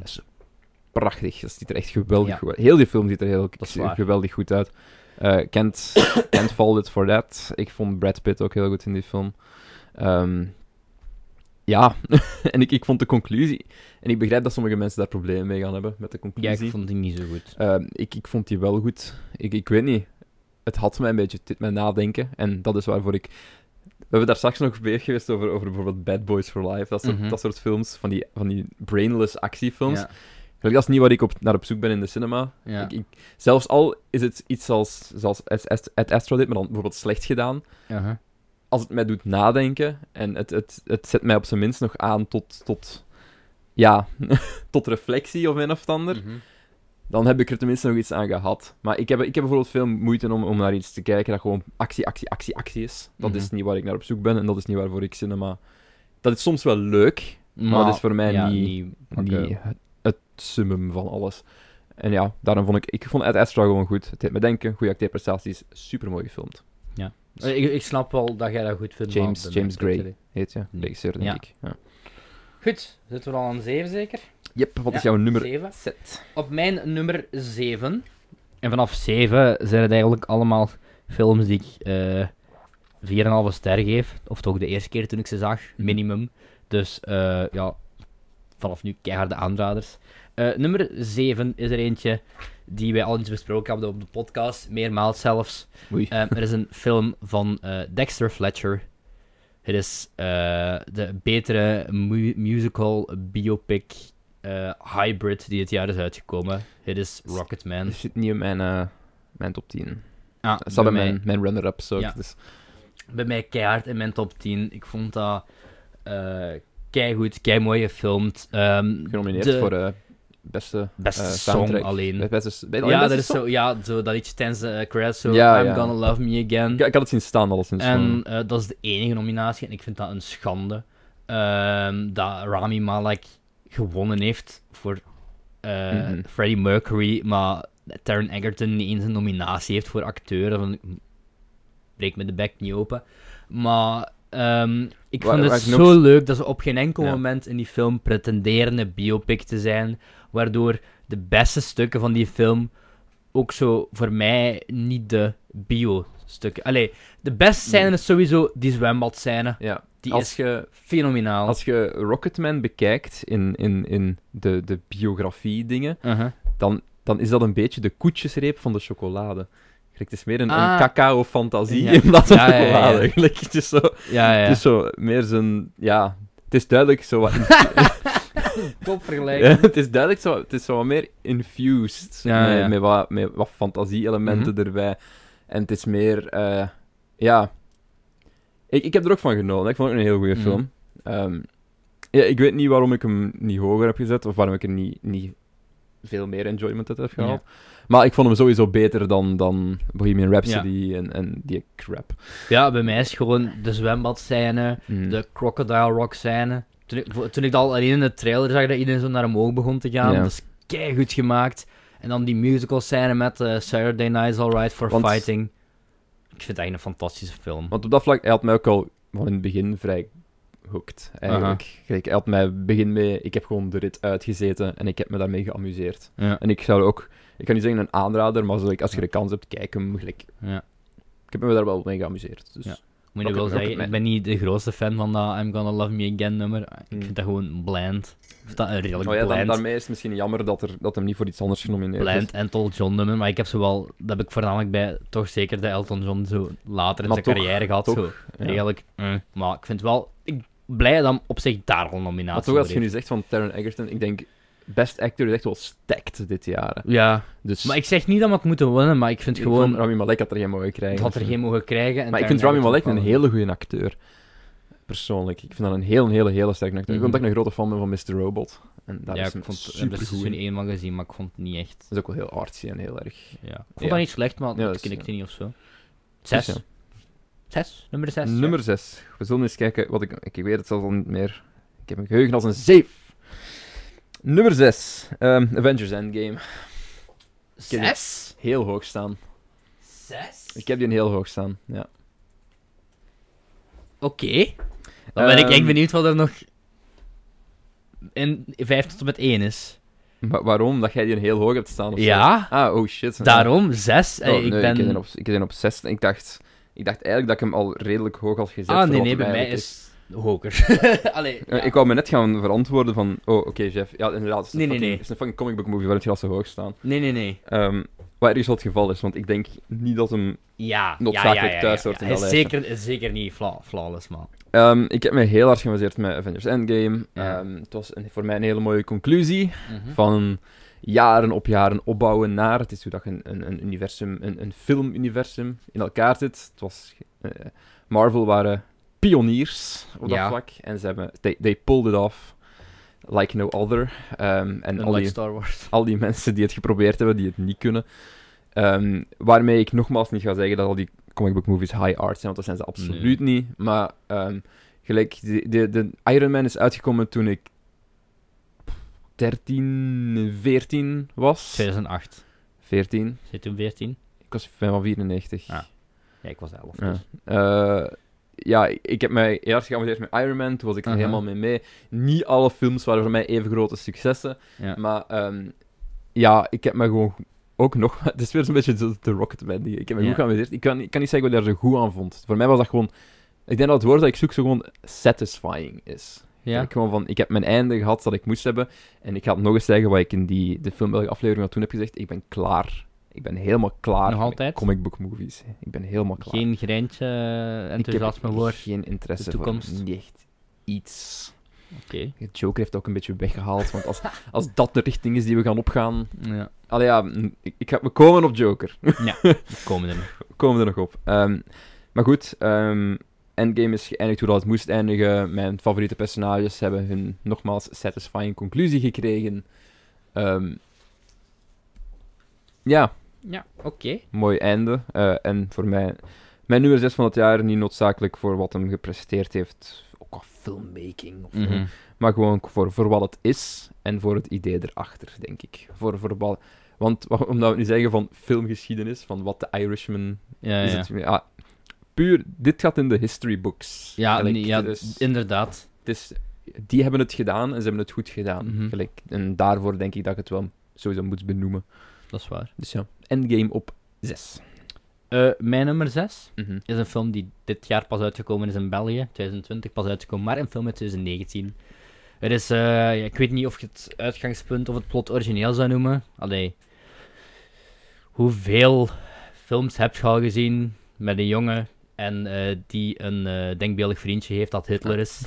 prachtig. Dat ziet er echt geweldig
Ja.
goed uit. Heel die film ziet er heel
Dat is waar.
geweldig goed uit. Eh Kent, Kent Fall It For That. Ik vond Brad Pitt ook heel goed in die film. Ehm, ja, en ik, ik vond de conclusie... En ik begrijp dat sommige mensen daar problemen mee gaan hebben, met de
Ja,
conclusie.
ik vond die niet zo goed.
Ehm, ik, ik vond die wel goed. Ik, ik weet niet. Het had mij een beetje dit met nadenken. En dat is waarvoor ik. We hebben daar straks nog bezig geweest over, over bijvoorbeeld Bad Boys for Life. Dat soort,
Mhm.
dat soort films, van die, van die brainless actiefilms.
Ja,
Gelukkig, dat is niet waar ik op, naar op zoek ben in de cinema.
ja.
Ik, ik- zelfs al is het iets als, zoals Ed Ed- Ed Astro dit, maar dan bijvoorbeeld slecht gedaan.
Aha.
Als het mij doet nadenken en het, het, het zet mij op zijn minst nog aan tot, tot, ja, tot reflectie of een of ander,
Mhm.
dan heb ik er tenminste nog iets aan gehad. Maar ik heb, ik heb bijvoorbeeld veel moeite om, om naar iets te kijken dat gewoon actie, actie, actie, actie is. Dat is
Mhm.
niet waar ik naar op zoek ben en dat is niet waarvoor ik cinema. Dat is soms wel leuk,
Maar,
dat is voor mij
ja,
niet-
oké.
die, het, het summum van alles. En ja, daarom vond ik... Ik vond Ed Astra gewoon goed. Het deed me denken. Goede acteerprestaties. Supermooi gefilmd.
Eh, Ik, ik snap wel dat jij dat goed vindt. eh, maar
James-
bij mij
James
klopt
Gray.
dat niet.
Heet ja.
Nee.
Regisseur, denk
Ja.
ik. Ja.
Goed, zitten we al aan zeven zeker?
Yep, wat is
Ja,
jouw nummer?
Zeven.
Set.
Op mijn nummer 7. En vanaf 7 zijn het eigenlijk allemaal films die ik eh 4,5 ster geef. Of toch de eerste keer toen ik ze zag,
Mhm.
minimum. Dus eh, ja, vanaf nu keiharde aanraders. Eh, nummer 7 is er eentje die wij al eens besproken hebben op de podcast, meermaals zelfs.
Oei.
Eh, er is een film van eh, Dexter Fletcher. Het is eh, de betere mu- musical biopic eh, hybrid die dit jaar is uitgekomen. Het is Rocketman.
Het zit niet in mijn, eh, mijn top 10.
Ah,
Het staat bij
mij-
mijn, mijn runner-ups ook.
Ja.
Dus.
bij mij keihard in mijn top 10. Ik vond dat eh keigoed, kei mooi gefilmd. Ehm,
Genomineerd
de
voor eh, beste...
beste
eh,
song
soundtrack.
alleen.
Beste, beste, alleen
ja,
beste
dat is
song?
zo, ja, zo dat liedje tijdens de eh, credits, zo
Ja,
I'm
ja.
Gonna Love Me Again.
Ik, ik had het zien staan alleszins.
En
En...
eh, dat is de enige nominatie en ik vind dat een schande ehm, dat Rami Malek gewonnen heeft voor eh,
Mhm.
Freddie Mercury, maar Taron Egerton niet eens een nominatie heeft voor acteur. Van, breek me de bek niet open. Maar ehm, ik
Waar-
vond
waar
het
ik
zo
nog-
leuk dat ze op geen enkel
Ja.
moment in die film pretenderen een biopic te zijn, waardoor de beste stukken van die film ook zo voor mij niet de bio-stukken. Allee, de best scène
Nee.
is sowieso die zwembadscène.
Ja.
Die
als
is
je
fenomenaal.
als je Rocketman bekijkt in, in, in de, de biografie dingen,
Uh-huh.
dan is dat een beetje de koetjesreep van de chocolade. Gelijk, Het is meer een,
Ah.
een cacao-fantasie
Ja.
in plaats van
Ja, ja, ja,
chocolade.
ja.
eigenlijk. Het is zo,
Ja, ja.
het is zo meer zijn... Ja, het is duidelijk zo wat...
top
Ja, het is duidelijk zo, het is zo wat meer infused
Ja,
met,
ja. Mhm.
met wat, met wat fantasie-elementen erbij. En het is meer, eh, ja. Ik, ik heb er ook van genoten. Ik vond het ook een heel goede
Mhm.
film. Ehm, ja, ik weet niet waarom ik hem niet hoger heb gezet of waarom ik er niet, niet veel meer enjoyment uit heb gehaald. Maar ik vond hem sowieso beter dan, dan Bohemian Rhapsody en, en die crap.
Ja, bij mij is gewoon de zwembadscène,
Hmm.
de crocodile rock scène. Toen ik, vo- toen ik dat al alleen in de trailer zag dat iedereen zo naar omhoog begon te gaan,
Ja.
dat is goed gemaakt. En dan die musical scène met eh, Saturday Night's Alright for
Want-
Fighting. Ik vind het eigenlijk een fantastische film.
Want op dat vlak, hij had mij ook al van in het begin vrij hooked, eigenlijk. Kijk, hij had mij begin mee, ik heb gewoon de rit uitgezeten en ik heb me daarmee geamuseerd.
Ja,
En ik zou ook, ik kan niet zeggen een aanrader, maar zo, like, als je de kans hebt, kijk hem. gelijk.
ja.
ik heb me daar wel mee geamuseerd. Dus.
Ja. Moet je
Rocket-
wel zeggen,
Rocketman.
ik ben niet de grootste fan van dat I'm Gonna Love Me Again nummer. Ik
Hmm.
vind dat gewoon bland. Ik vind dat een redelijk
Oh ja, dan-
bland,
daarmee is het misschien jammer dat, er, dat hem niet voor iets anders genomineerd
bland
is.
Elton John nummer. Maar ik heb zowel, dat heb ik voornamelijk bij toch zeker de Elton John zo later in
Maar
zijn
toch-
carrière gehad.
toch,
zo.
Ja.
Eigenlijk, eh, maar ik vind wel, ik blij dat hem op zich daar al een
Maar
nominatie
toch, als je
voor
nu
heeft.
zegt van Taron Egerton, ik denk, best actor is echt wel stacked dit jaar.
Ja,
Dus
maar ik zeg niet dat we het moeten winnen, maar ik vind
ik
gewoon,
vond Rami Malek had er geen mogen krijgen.
het had er geen mogen krijgen. en
Maar ik
daar
vind
naar
Rami Malek een
uitgevallen.
hele goede acteur. Persoonlijk. Ik vind dat een heel, een hele, hele sterke acteur.
Mhm.
Ik ben ook een grote fan ben van Mr. Robot. En daar
Ja,
is
ik
hem
vond ik heb
super
er
goed
seizoen
in.
1 van gezien, maar ik vond het niet echt...
Dat is ook wel heel artsy en heel erg...
Ja. Ik vond
Ja.
dat niet slecht, maar
Ja,
dat
dat is-
knikte niet of zo. Zes.
Dus ja.
Zes? Nummer zes.
Nummer 6. We zullen eens kijken wat ik... Ik weet het zelfs al niet meer. Ik heb een geheugen als een zeef. Nummer 6. Avengers Endgame.
zes.
Ken je-
Zes?
Heel hoog staan. Ik heb die een heel hoog staan. Ja.
Oké. Dan ben ik echt
Ehm.
benieuwd wat er nog in vijf tot en met één is.
Maar waarom? Dat jij die een heel hoog hebt staan? Of zo?
Ja,
Ah, oh shit.
daarom zes. Eh,
Oh,
ik
nee,
ben...
ik heb die op, ik heb die op 6. Ik dacht, ik dacht eigenlijk dat ik hem al redelijk hoog had gezet.
ah,
voor
nee,
wat
nee,
hem
bij mij
eigenlijk
is hoger. Allee,
Eh,
ja.
Ik wou me net gaan verantwoorden van... Oh, oké, Jeff. Ja, inderdaad. Het is een,
Nee, nee,
fucking,
nee.
het is een fucking comic book movie waar het gras zo hoog staan.
Nee, nee, nee.
Ehm wat ergens wel het geval is, want ik denk niet dat hem...
Ja,
Noodzakelijk
ja, ja, ja,
thuis
ja,
hoort in
Hij
dat
is
lijstje.
zeker, is zeker niet fla flawless, man.
Ehm, ik heb me heel hard geamuseerd met Avengers Endgame.
Ja.
Ehm, het was een- voor mij een hele mooie conclusie
Mhm.
van jaren op jaren opbouwen naar... Het is hoe dat je een, een, een universum, een, een filmuniversum in elkaar zit. Het was... eh, Marvel waren pioniers op dat
Ja.
vlak. En ze hebben... They, they pulled it off like no other. Ehm, en al
Unlike
die,
Star Wars.
al die mensen die het geprobeerd hebben, die het niet kunnen. Ehm, waarmee ik nogmaals niet ga zeggen dat al die comic book movies high art zijn, want dat zijn ze absoluut niet. Maar ehm, gelijk, de, de, de Iron Man is uitgekomen toen ik 13, 14 was.
2008.
14.
Zit toen 14?
Ik was fan van 94.
Ah. Ja, ik was 11.
Ja.
dus.
Eh, ja, ik- ik heb mij heel erg geamuseerd met Iron Man. Toen was ik er
Mhm.
helemaal mee mee. Niet alle films waren voor mij even grote successen.
Ja.
Maar ehm, ja, ik heb me gewoon ook nog... Het is weer zo'n beetje de, de Rocketman. die- Ik heb me
Ja.
goed geamuseerd. Ik kan, ik kan niet zeggen wat ik daar zo goed aan vond. Voor mij was dat gewoon... Ik denk dat het woord dat ik zoek zo gewoon satisfying is.
Ja.
Ik gewoon van, ik heb mijn einde gehad dat ik moest hebben. En ik ga het nog eens zeggen wat ik in die, de film welke aflevering dat toen heb gezegd. Ik ben klaar. Ik ben helemaal klaar
Nog
met
altijd?
comic book movies. Ik ben helemaal klaar.
Geen greintje eh, enthousiasme
ik heb
voor. Oké.
geen interesse
de toekomst.
voor niet echt iets. De Joker heeft ook een beetje weggehaald, want als, als dat de richting is die we gaan opgaan...
Ja.
Allee, ja, mm, ik, ik ga, we komen op Joker.
we Komen er nog.
We komen er nog op. Ehm, maar goed, ehm, Endgame is geëindigd hoe dat het moest eindigen. Mijn favoriete personages hebben hun nogmaals satisfying conclusie gekregen. Ehm, ja,
Ja, oké.
mooi einde. Eh, en voor mij, mijn nummer 6 van het jaar, niet noodzakelijk voor wat hem gepresteerd heeft, ook qua filmmaking, of,
Mhm.
maar gewoon voor, voor wat het is en voor het idee erachter, denk ik. Voor, voor wat, want wa- omdat we nu zeggen van filmgeschiedenis, van wat de Irishman
Ja,
is.
ja.
Het, ja, puur, dit gaat in de history books.
Ja,
Gelijk,
nee, ja
het is-
inderdaad.
het is- die hebben het gedaan en ze hebben het goed gedaan.
Mhm.
Gelijk, en daarvoor denk ik dat ik het wel sowieso moet benoemen.
Dat is waar.
Dus ja, Endgame op 6.
Eh, Eh, mijn nummer 6
Mhm.
is een film die dit jaar pas uitgekomen is in België. 2020 pas uitgekomen, maar een film uit 2019. Het is, eh, ja, ik weet niet of je het uitgangspunt of het plot origineel zou noemen. Allee, hoeveel films heb je al gezien met een jongen en eh, die een eh, denkbeeldig vriendje heeft dat Hitler is?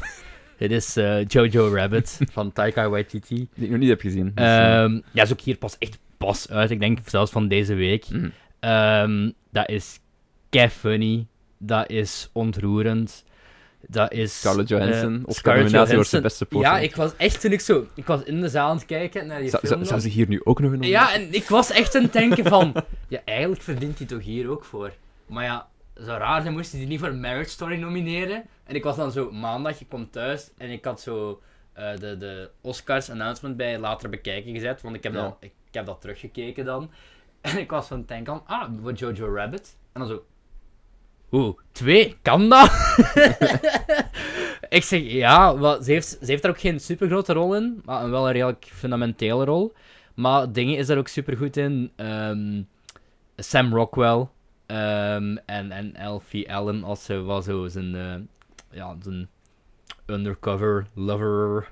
Het is eh, Jojo Rabbit van Taika Waititi.
Die ik nog niet heb gezien. Dus, eh,
Ehm, ja, is ook hier pas echt pas uit. Ik denk zelfs van deze week.
mhm.
Ehm, dat is kei funny. Dat is ontroerend. Dat is...
Scarlett
eh,
Johansson. of
Scarlett
nominatie wordt de
Johansson.
beste support.
Ja, ik was echt toen ik zo... Ik was in de zaal aan het kijken naar die
Zou,
film.
zou, zou
nog.
ze hier nu ook nog een
Ja, en ik was echt aan het denken van... Ja, eigenlijk verdient hij toch hier ook voor. Maar ja, zo raar zijn moesten die niet voor Marriage Story nomineren. En ik was dan zo maandag, ik kwam thuis en ik had zo eh, de, de Oscars announcement bij later bekijken gezet. Want ik heb,
Ja.
dan, ik heb dat teruggekeken dan. En ik was van het denken van, ah, voor Jojo Rabbit. En dan zo... Oeh, twee? Kan dat? ik zeg ja, wel, ze, heeft, ze heeft daar ook geen super grote rol in, maar wel een redelijk fundamentele rol. Maar dingen is daar ook super goed in. Ehm, Sam Rockwell ehm, en, en Alfie Allen als ze was zo zijn, eh, ja, zijn undercover lover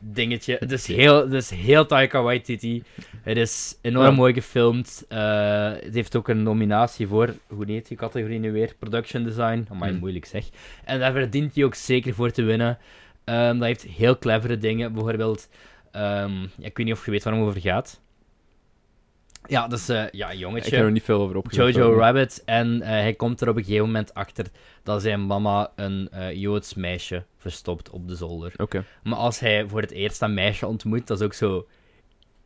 dingetje. Het is heel, het is heel Taika Waititi. Het is enorm
Ja.
mooi gefilmd. Eh, het heeft ook een nominatie voor, hoe heet die categorie nu weer? Production Design. Amai,
Hm.
moeilijk zeg. En daar verdient hij ook zeker voor te winnen. Ehm dat heeft heel clevere dingen. Bijvoorbeeld, ehm, ja, ik weet niet of je weet waar het over gaat. Ja, dus eh ja, een
Ik heb
jongetje.
er niet veel over opgezocht.
Jojo
ook niet.
Rabbit. En eh, hij komt er op een gegeven moment achter dat zijn mama een eh, Joods meisje verstopt op de zolder.
Oké.
Maar als hij voor het eerst dat meisje ontmoet, dat is ook zo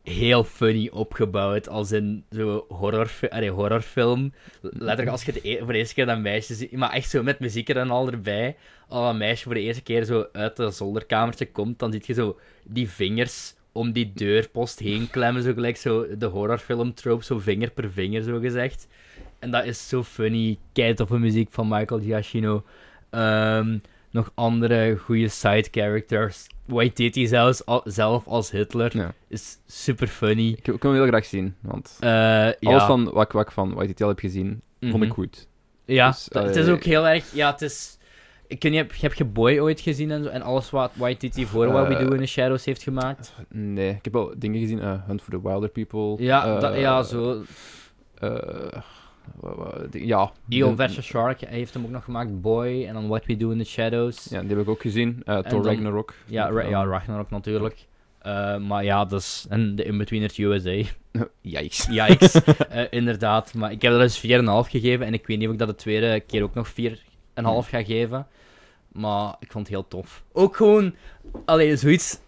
heel funny opgebouwd. Als in zo'n horrorfi allee, horrorfilm. Letterlijk als je het e- voor de eerste keer dat meisje ziet. Maar echt zo met muziek er en al erbij. Als dat meisje voor de eerste keer zo uit dat zolderkamertje komt, dan ziet je zo die vingers om die deurpost heen klemmen. Zo gelijk zo de horrorfilm trope, zo vinger per vinger zo gezegd. En dat is zo funny. Kijk op de muziek van Michael Giacchino. Ehm, nog andere goede side characters. Waititi zelfs, al- zelf als Hitler
Ja.
is super funny.
Ik, ik wil hem heel graag zien. Want
Eh, ja.
alles van Wak Wak van White al heb gezien, vond ik
Mhm.
goed.
Ja,
Dus,
t- het is
eh,
ook heel erg. Ja, het is. Ik weet niet, heb, heb je Boy ooit gezien en, zo, en alles wat Waititi voor What We
Eh,
Do in the Shadows heeft gemaakt?
Nee, ik heb wel dingen gezien. eh, Hunt for the Wilder People.
Ja,
eh,
dat- ja zo.
eh, wa- wa- die- ja.
Eagle
De-
vs. Shark hij heeft hem ook nog gemaakt. Boy en dan What We Do in the Shadows.
Ja, die heb ik ook gezien. eh
En
Thor
dan-
Ragnarok.
Ja, Ra ja Ragnarok natuurlijk. Eh, maar ja, dus. En de Inbetweeners USA.
Yikes.
Ja, ik, eh, inderdaad. Maar ik heb er dus 4,5 gegeven. En ik weet niet of ik dat de tweede keer ook nog 4,5 ga geven. Maar ik vond het heel tof. Ook gewoon, allee, zoiets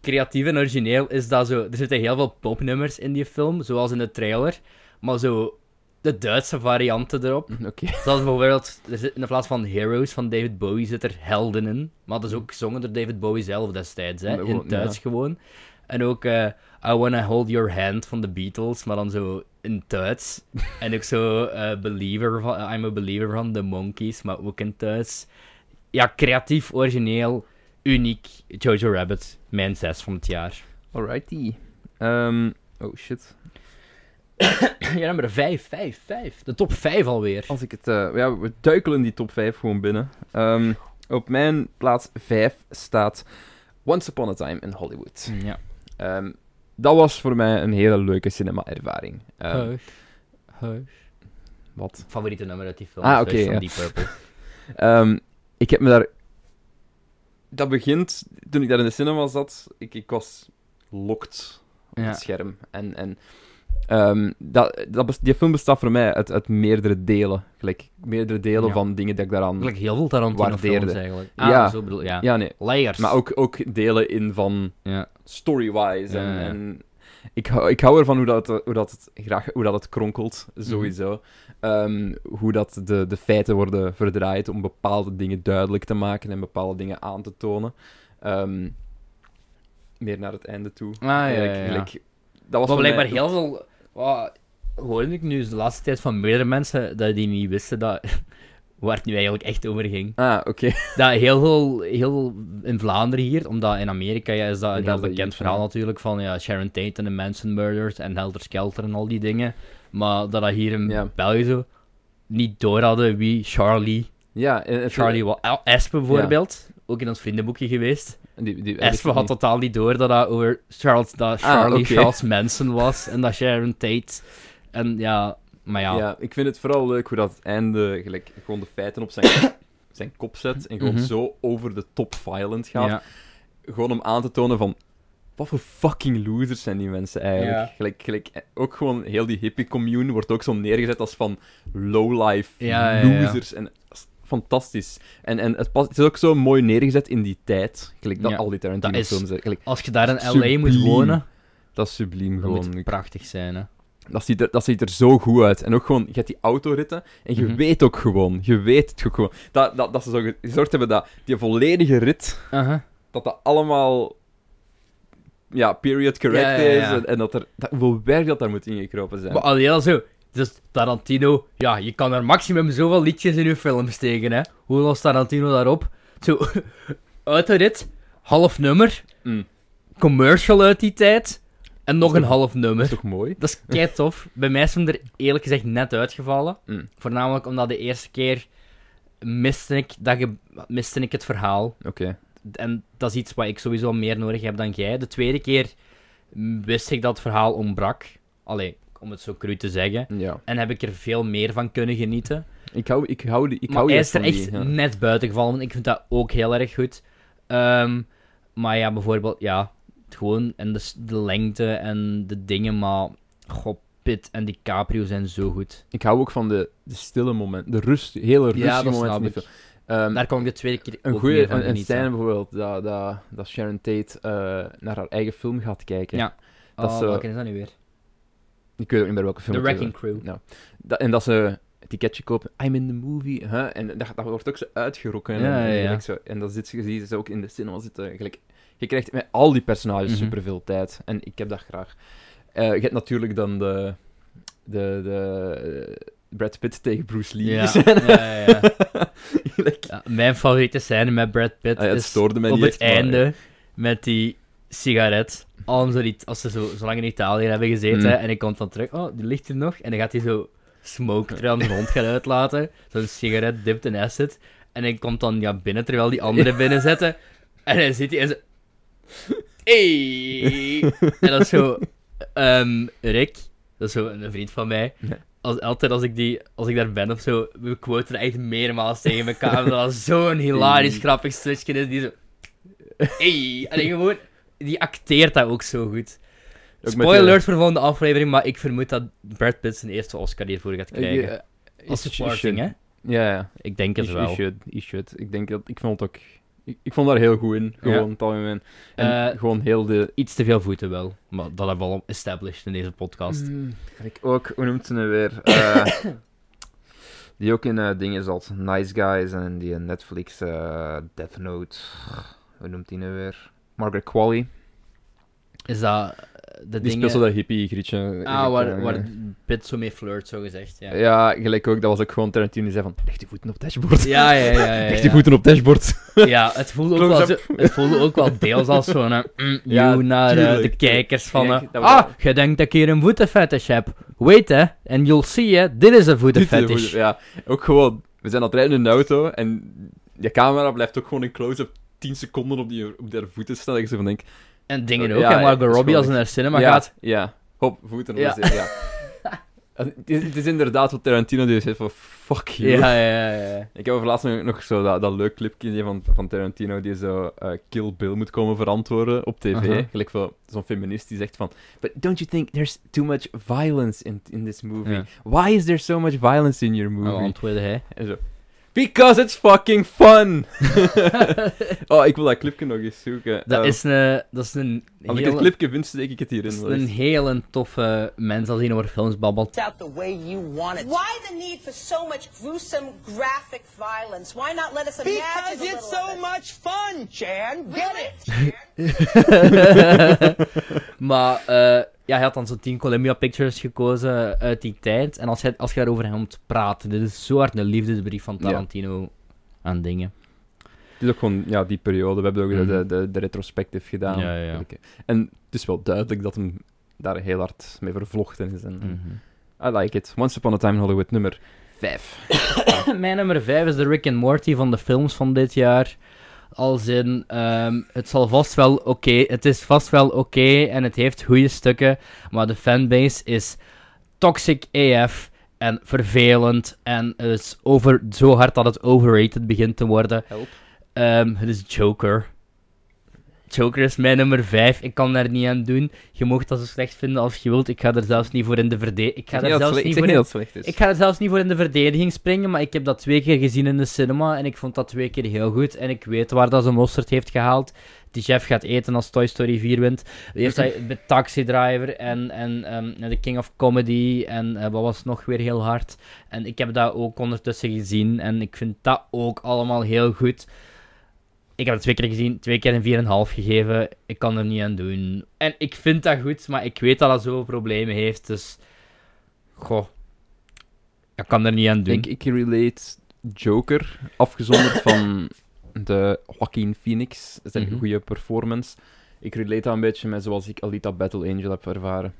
creatief en origineel is dat zo. Er zitten heel veel popnummers in die film, zoals in de trailer. Maar zo de Duitse varianten erop.
Oké.
Zoals bijvoorbeeld, er zit in de plaats van Heroes van David Bowie zit er Helden in. Maar dat is ook gezongen door David Bowie zelf destijds, hè,
Ja,
in
gewoon,
het Duits gewoon. En ook eh, I Wanna Hold Your Hand van de Beatles, maar dan zo in het Duits. en ook zo eh, Believer van, I'm a Believer van The Monkeys, maar ook in het Duits. Ja, creatief, origineel, uniek. Jojo Rabbit, mijn zes van het jaar.
Alrighty. Ehm, oh shit.
ja, nummer vijf, vijf, vijf. De top vijf alweer.
Als ik het. eh, ja, we duikelen die top 5 gewoon binnen. Ehm, op mijn plaats 5 staat Once Upon a Time in Hollywood.
Ja.
Ehm, dat was voor mij een hele leuke cinema-ervaring. Ehm, Wat?
favoriete nummer uit die film.
Ah,
is
oké,
Hush
ja.
van Deep Purple.
Ehm, ik heb me daar... Dat begint toen ik daar in de cinema zat. Ik, ik was locked op
Ja.
het scherm. En, en ehm, dat, dat, bes- die film bestaat voor mij uit, uit meerdere delen. Gelijk, meerdere delen
Ja.
van dingen dat ik daaraan...
Eigenlijk heel veel Tarantino films
Waardeerde.
eigenlijk. Ah,
Ja.
zo bedoel ja.
Ja, nee.
Layers.
Maar ook, ook delen in van
Ja.
story-wise. En,
Ja, ja.
en ik, hou, ik hou ervan hoe dat, het- hoe dat het graag hoe dat het kronkelt, sowieso.
Mhm.
Ehm, hoe dat de, de feiten worden verdraaid om bepaalde dingen duidelijk te maken en bepaalde dingen aan te tonen. Ehm, meer naar het einde toe.
Ah, ja,
Eigenlijk-
ja, ja.
eigenlijk- dat was
Maar
voor mij-
blijkbaar heel veel... Wat hoorde ik nu de laatste tijd van meerdere mensen dat die niet wisten dat... Waar het nu eigenlijk echt over ging.
Ah, oké.
Dat heel veel, heel in Vlaanderen hier, omdat in Amerika ja, is dat een
Dat
heel
dat
bekend
iets,
verhaal
ja.
natuurlijk van ja, Sharon Tate en de Manson Murders en Helter Skelter en al die dingen. Maar dat dat hier in
Ja.
België zo... niet door hadden wie Charlie,
Ja, en het-
Charlie wa- El- Espe bijvoorbeeld, ook in ons vriendenboekje geweest.
eh, Die, die,
Espe had totaal niet door dat dat over Charles, dat
Ah,
Charlie
oké.
Charles Manson was en dat Sharon Tate. En ja, maar
Ja.
ja.
ik vind het vooral leuk hoe dat het einde gelijk, gewoon de feiten op zijn, zijn kop zet en gewoon
Mhm.
zo over de top violent gaat.
Ja.
Gewoon om aan te tonen van wat voor fucking losers zijn die mensen eigenlijk.
Ja.
Gelijk, gelijk, eh, ook gewoon heel die hippie commune wordt ook zo neergezet als van lowlife
Ja, ja, ja.
losers. En dat is fantastisch. En, en het, past, het is ook zo mooi neergezet in die tijd. Gelijk dat
Ja.
al die Tarantino
Dat is-
films. hè. Gelijk,
Als je daar in LA
Subliem.
moet wonen,
dat is subliem
dan
gewoon.
moet het prachtig zijn. Hè.
Dat ziet, er, dat ziet er zo goed uit. En ook gewoon, je hebt die autoritten en je
Mhm.
weet ook gewoon, je weet het ook gewoon. Dat, dat, dat ze zo ge- gezorgd hebben dat die volledige rit,
Aha.
dat dat allemaal ja, period correct
Ja, ja, ja.
is. En, en dat er, dat, hoeveel werk dat daar moet ingekropen zijn.
Maar alleen al zo. Dus Tarantino, ja, je kan er maximum zoveel liedjes in je film steken, hè. Hoe lost Tarantino daarop? Zo, uit de rit, half nummer,
Mm.
commercial uit die tijd, en nog
Dat is
een
toch-
half
Dat
nummer.
is toch mooi?
Dat is kei tof. Bij mij is hem er eerlijk gezegd net uitgevallen.
Mm.
Voornamelijk omdat de eerste keer miste ik, dat ge- miste ik het verhaal.
Oké.
En dat is iets wat ik sowieso meer nodig heb dan jij. De tweede keer wist ik dat het verhaal ontbrak. Allee, om het zo cru te zeggen.
Ja.
En heb ik er veel meer van kunnen genieten.
Ik hou, ik hou, die- ik
maar
hou
hij
juist
is er
van
echt
die, ja.
net buiten gevallen. Want ik vind dat ook heel erg goed. Ehm, maar ja, bijvoorbeeld, ja. het Gewoon, en de, s- de lengte en de dingen. Maar, god, Pitt en DiCaprio zijn zo goed.
Ik hou ook van de, de stille momenten, de rust, hele rustige momenten. in die film. Ehm,
Daar kon ik de tweede keer
Een
ook meer
goede
van
een, een
genieten.
scène bijvoorbeeld, dat, dat, dat Sharon Tate eh, naar haar eigen film gaat kijken.
Ja.
dat
oh,
is zo-
welke is dat nu weer?
Ik weet ook niet meer welke film
The
het is.
Wrecking Crew.
Dat- Nou, en dat ze het ticketje koopt, I'm in the movie, hè? en dat, dat wordt ook zo uitgerokken.
Ja,
en,
ja, ja.
gelijk Zo, en dat zit, je ziet ze ook in de cinema zitten. Gelijk, je krijgt met al die personages
Mhm.
superveel tijd, en ik heb dat graag. Eh, je hebt natuurlijk dan de, de, de eh, Brad Pitt tegen Bruce Lee.
Ja, ja, ja, ja.
Gelijk-
Ja, mijn favoriete scène met Brad Pitt
Ah ja, het
is
stoorde mij
op
niet
het
echt, maar- eh,
einde met die sigaret. Al zo die- als ze zo, zo lang in Italië hebben gezeten
Mm.
en ik komt dan terug, oh, die ligt hier nog. En dan gaat hij zo smoke terwijl hij de hond gaat uitlaten. Zo'n sigaret dipt in acid. En hij komt dan ja, binnen terwijl die anderen binnen zitten. En dan zit hij en zo... Hey! en dat is zo... ehm, Rick, dat is zo een vriend van mij.
Ja.
Als, altijd als ik, die, als ik daar ben of zo, we quoten echt meermaals tegen elkaar. omdat dat zo'n hilarisch
Hey.
grappig stukje is. Die zo... Hey! En die gewoon... Die acteert dat ook zo goed.
met
Spoiler
de-
alert voor de volgende aflevering, maar ik vermoed dat Brad Pitt zijn eerste Oscar hiervoor gaat
eh,
krijgen.
eh,
Als
you
supporting,
should.
hè?
Ja, ja.
Ik denk het
You-
wel.
You should, you should. Ik denk dat, ik vond het ook, ik, ik vond daar heel goed in, gewoon,
Ja.
op het algemeen. En
Eh,
gewoon heel de...
Iets te veel voeten wel, maar dat hebben we al established in deze podcast.
Mm, gelijk ook, hoe noemt ze hem weer? Eh, die ook in eh, dingen zat, Nice Guys en die in Netflix eh, Death Note. Hoe noemt die nou weer? Margaret Qualley.
Is dat eh, de
Die
dingen...
speelt zo dat hippie grietje.
Ah,
gelijk,
waar,
eh,
waar Pitt zo mee flirt, zo gezegd. Ja,
Ja, gelijk ook. Dat was ook gewoon Tarantino die zei van, leg die voeten op dashboard.
ja, ja. ja, ja,
Leg
ja.
die voeten op dashboard.
Ja, het voelde, ook wel,
Close-up.
zo- het voelde ook wel deels als zo'n eh, mm,
Ja,
you naar eh, de
tuurlijk.
kijkers van... eh,
Ja, dat
ah,
wel.
je denkt dat ik hier een voetenfetish heb. Weet hè, en you'll see hè, dit is een
Dit is
voetenfetish.
een goeie- Ja, ook gewoon, we zijn aan het rijden in de auto en je camera blijft ook gewoon in close-up 10 seconden op, die, op haar voeten staan. Dat je zo van denk,
En dingen
Ja,
ook,
ja,
en
dat
Margot
is
Robbie als ze
gewoon
naar cinema
ja,
gaat.
Ja, hop, voeten op
Ja.
ja. ja. Het is, het is inderdaad wat Tarantino die zegt van, fuck you.
Ja, ja, ja. ja.
Ik heb over laatst nog, nog zo dat, dat leuk clipje gezien van, van Tarantino die zo eh, Kill Bill moet komen verantwoorden op tv.
Aha.
Gelijk van zo'n feminist die zegt van, but don't you think there's too much violence in, in this movie?
Ja.
Why is there so much violence in your movie?
Oh, antwoordde hij.
En zo. Because it's fucking fun! oh, ik wil dat clipje nog eens zoeken.
Dat
Eh,
is een... Dat is Ehm, een
als ik
hele-
het clipje vind, steek ik het
dat is
hierin. wel
een
eens.
hele toffe mens als hij over films babbelt.
out the way you want it.
Why the need for so much gruesome, graphic violence? Why not let us imagine
Because
a little
it's so
of it?
much fun, Jan. Get it?
Maar eh, ja, hij had dan zo'n 10 Columbia Pictures gekozen uit die tijd. En als, hij, als je daarover hem moet praten, dit is zo hard een liefdesbrief van
Ja.
Tarantino aan dingen.
Het is ook gewoon ja, die periode. We hebben ook
Mhm.
de, de, de retrospective gedaan.
Ja, ja, ja.
Oké. En het is wel duidelijk dat hem
Mhm.
daar heel hard mee vervlochten is. En, I like it. Once Upon a Time in Hollywood nummer vijf.
Mijn nummer 5 is de Rick and Morty van de films van dit jaar. Als in, ehm, het zal vast wel oké, het is vast wel oké en het heeft goede stukken, maar de fanbase is toxic AF en vervelend en het is over, zo hard dat het overrated begint te worden.
Help.
Ehm, het is Joker. Joker is mijn nummer 5. Ik kan daar niet aan doen. Je mag dat zo slecht vinden als je wilt. Ik ga er zelfs niet voor in de verdediging. Ik ga
Ik
er
zeg
zelfs
niet
niet voor in
dat het slecht is.
ik ga er zelfs niet voor in de verdediging springen, maar ik heb dat twee keer gezien in de cinema en ik vond dat twee keer heel goed. En ik weet waar dat zijn mosterd heeft gehaald. Die chef gaat eten als Toy Story 4 wint. Eerst hij met Taxi Driver en, en ehm, en The King of Comedy en eh, wat was nog weer heel hard. En ik heb dat ook ondertussen gezien en ik vind dat ook allemaal heel goed. Ik heb het twee keer gezien, twee keer een 4,5 gegeven. Ik kan er niet aan doen. En ik vind dat goed, maar ik weet dat dat zoveel problemen heeft, dus... Goh. Ik kan er niet aan doen.
Ik, ik relate Joker, afgezonderd van de Joaquin Phoenix, zijn
Mhm.
goede performance. Ik relate dat een beetje met zoals ik Alita Battle Angel heb ervaren.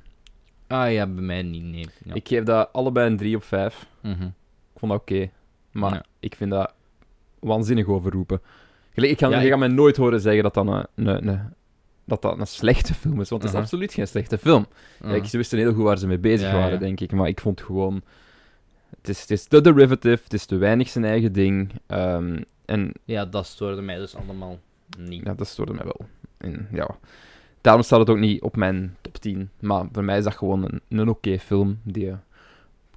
Ah ja, bij mij niet, nee. Ja.
Ik geef dat allebei een 3 op 5.
Mhm.
Ik vond dat oké. Maar
Ja.
ik vind dat waanzinnig overroepen. Gelijk, Ik ga,
Ja,
je
ik-
gaat mij nooit horen zeggen dat dat een, een, een- dat dat een slechte film is, want het is
Aha.
absoluut geen slechte film.
Ah.
Kijk, ze wisten heel goed waar ze mee bezig
Uh-huh. Ja, ja.
waren, denk ik. Maar ik vond gewoon... Het is, het is te derivative, het is te weinig zijn eigen ding. ehm, en
Ja, dat stoorde mij dus allemaal niet.
ja, dat stoorde mij wel. En, ja. Daarom staat het ook niet op mijn top 10. Maar voor mij is dat gewoon een, een oké film die je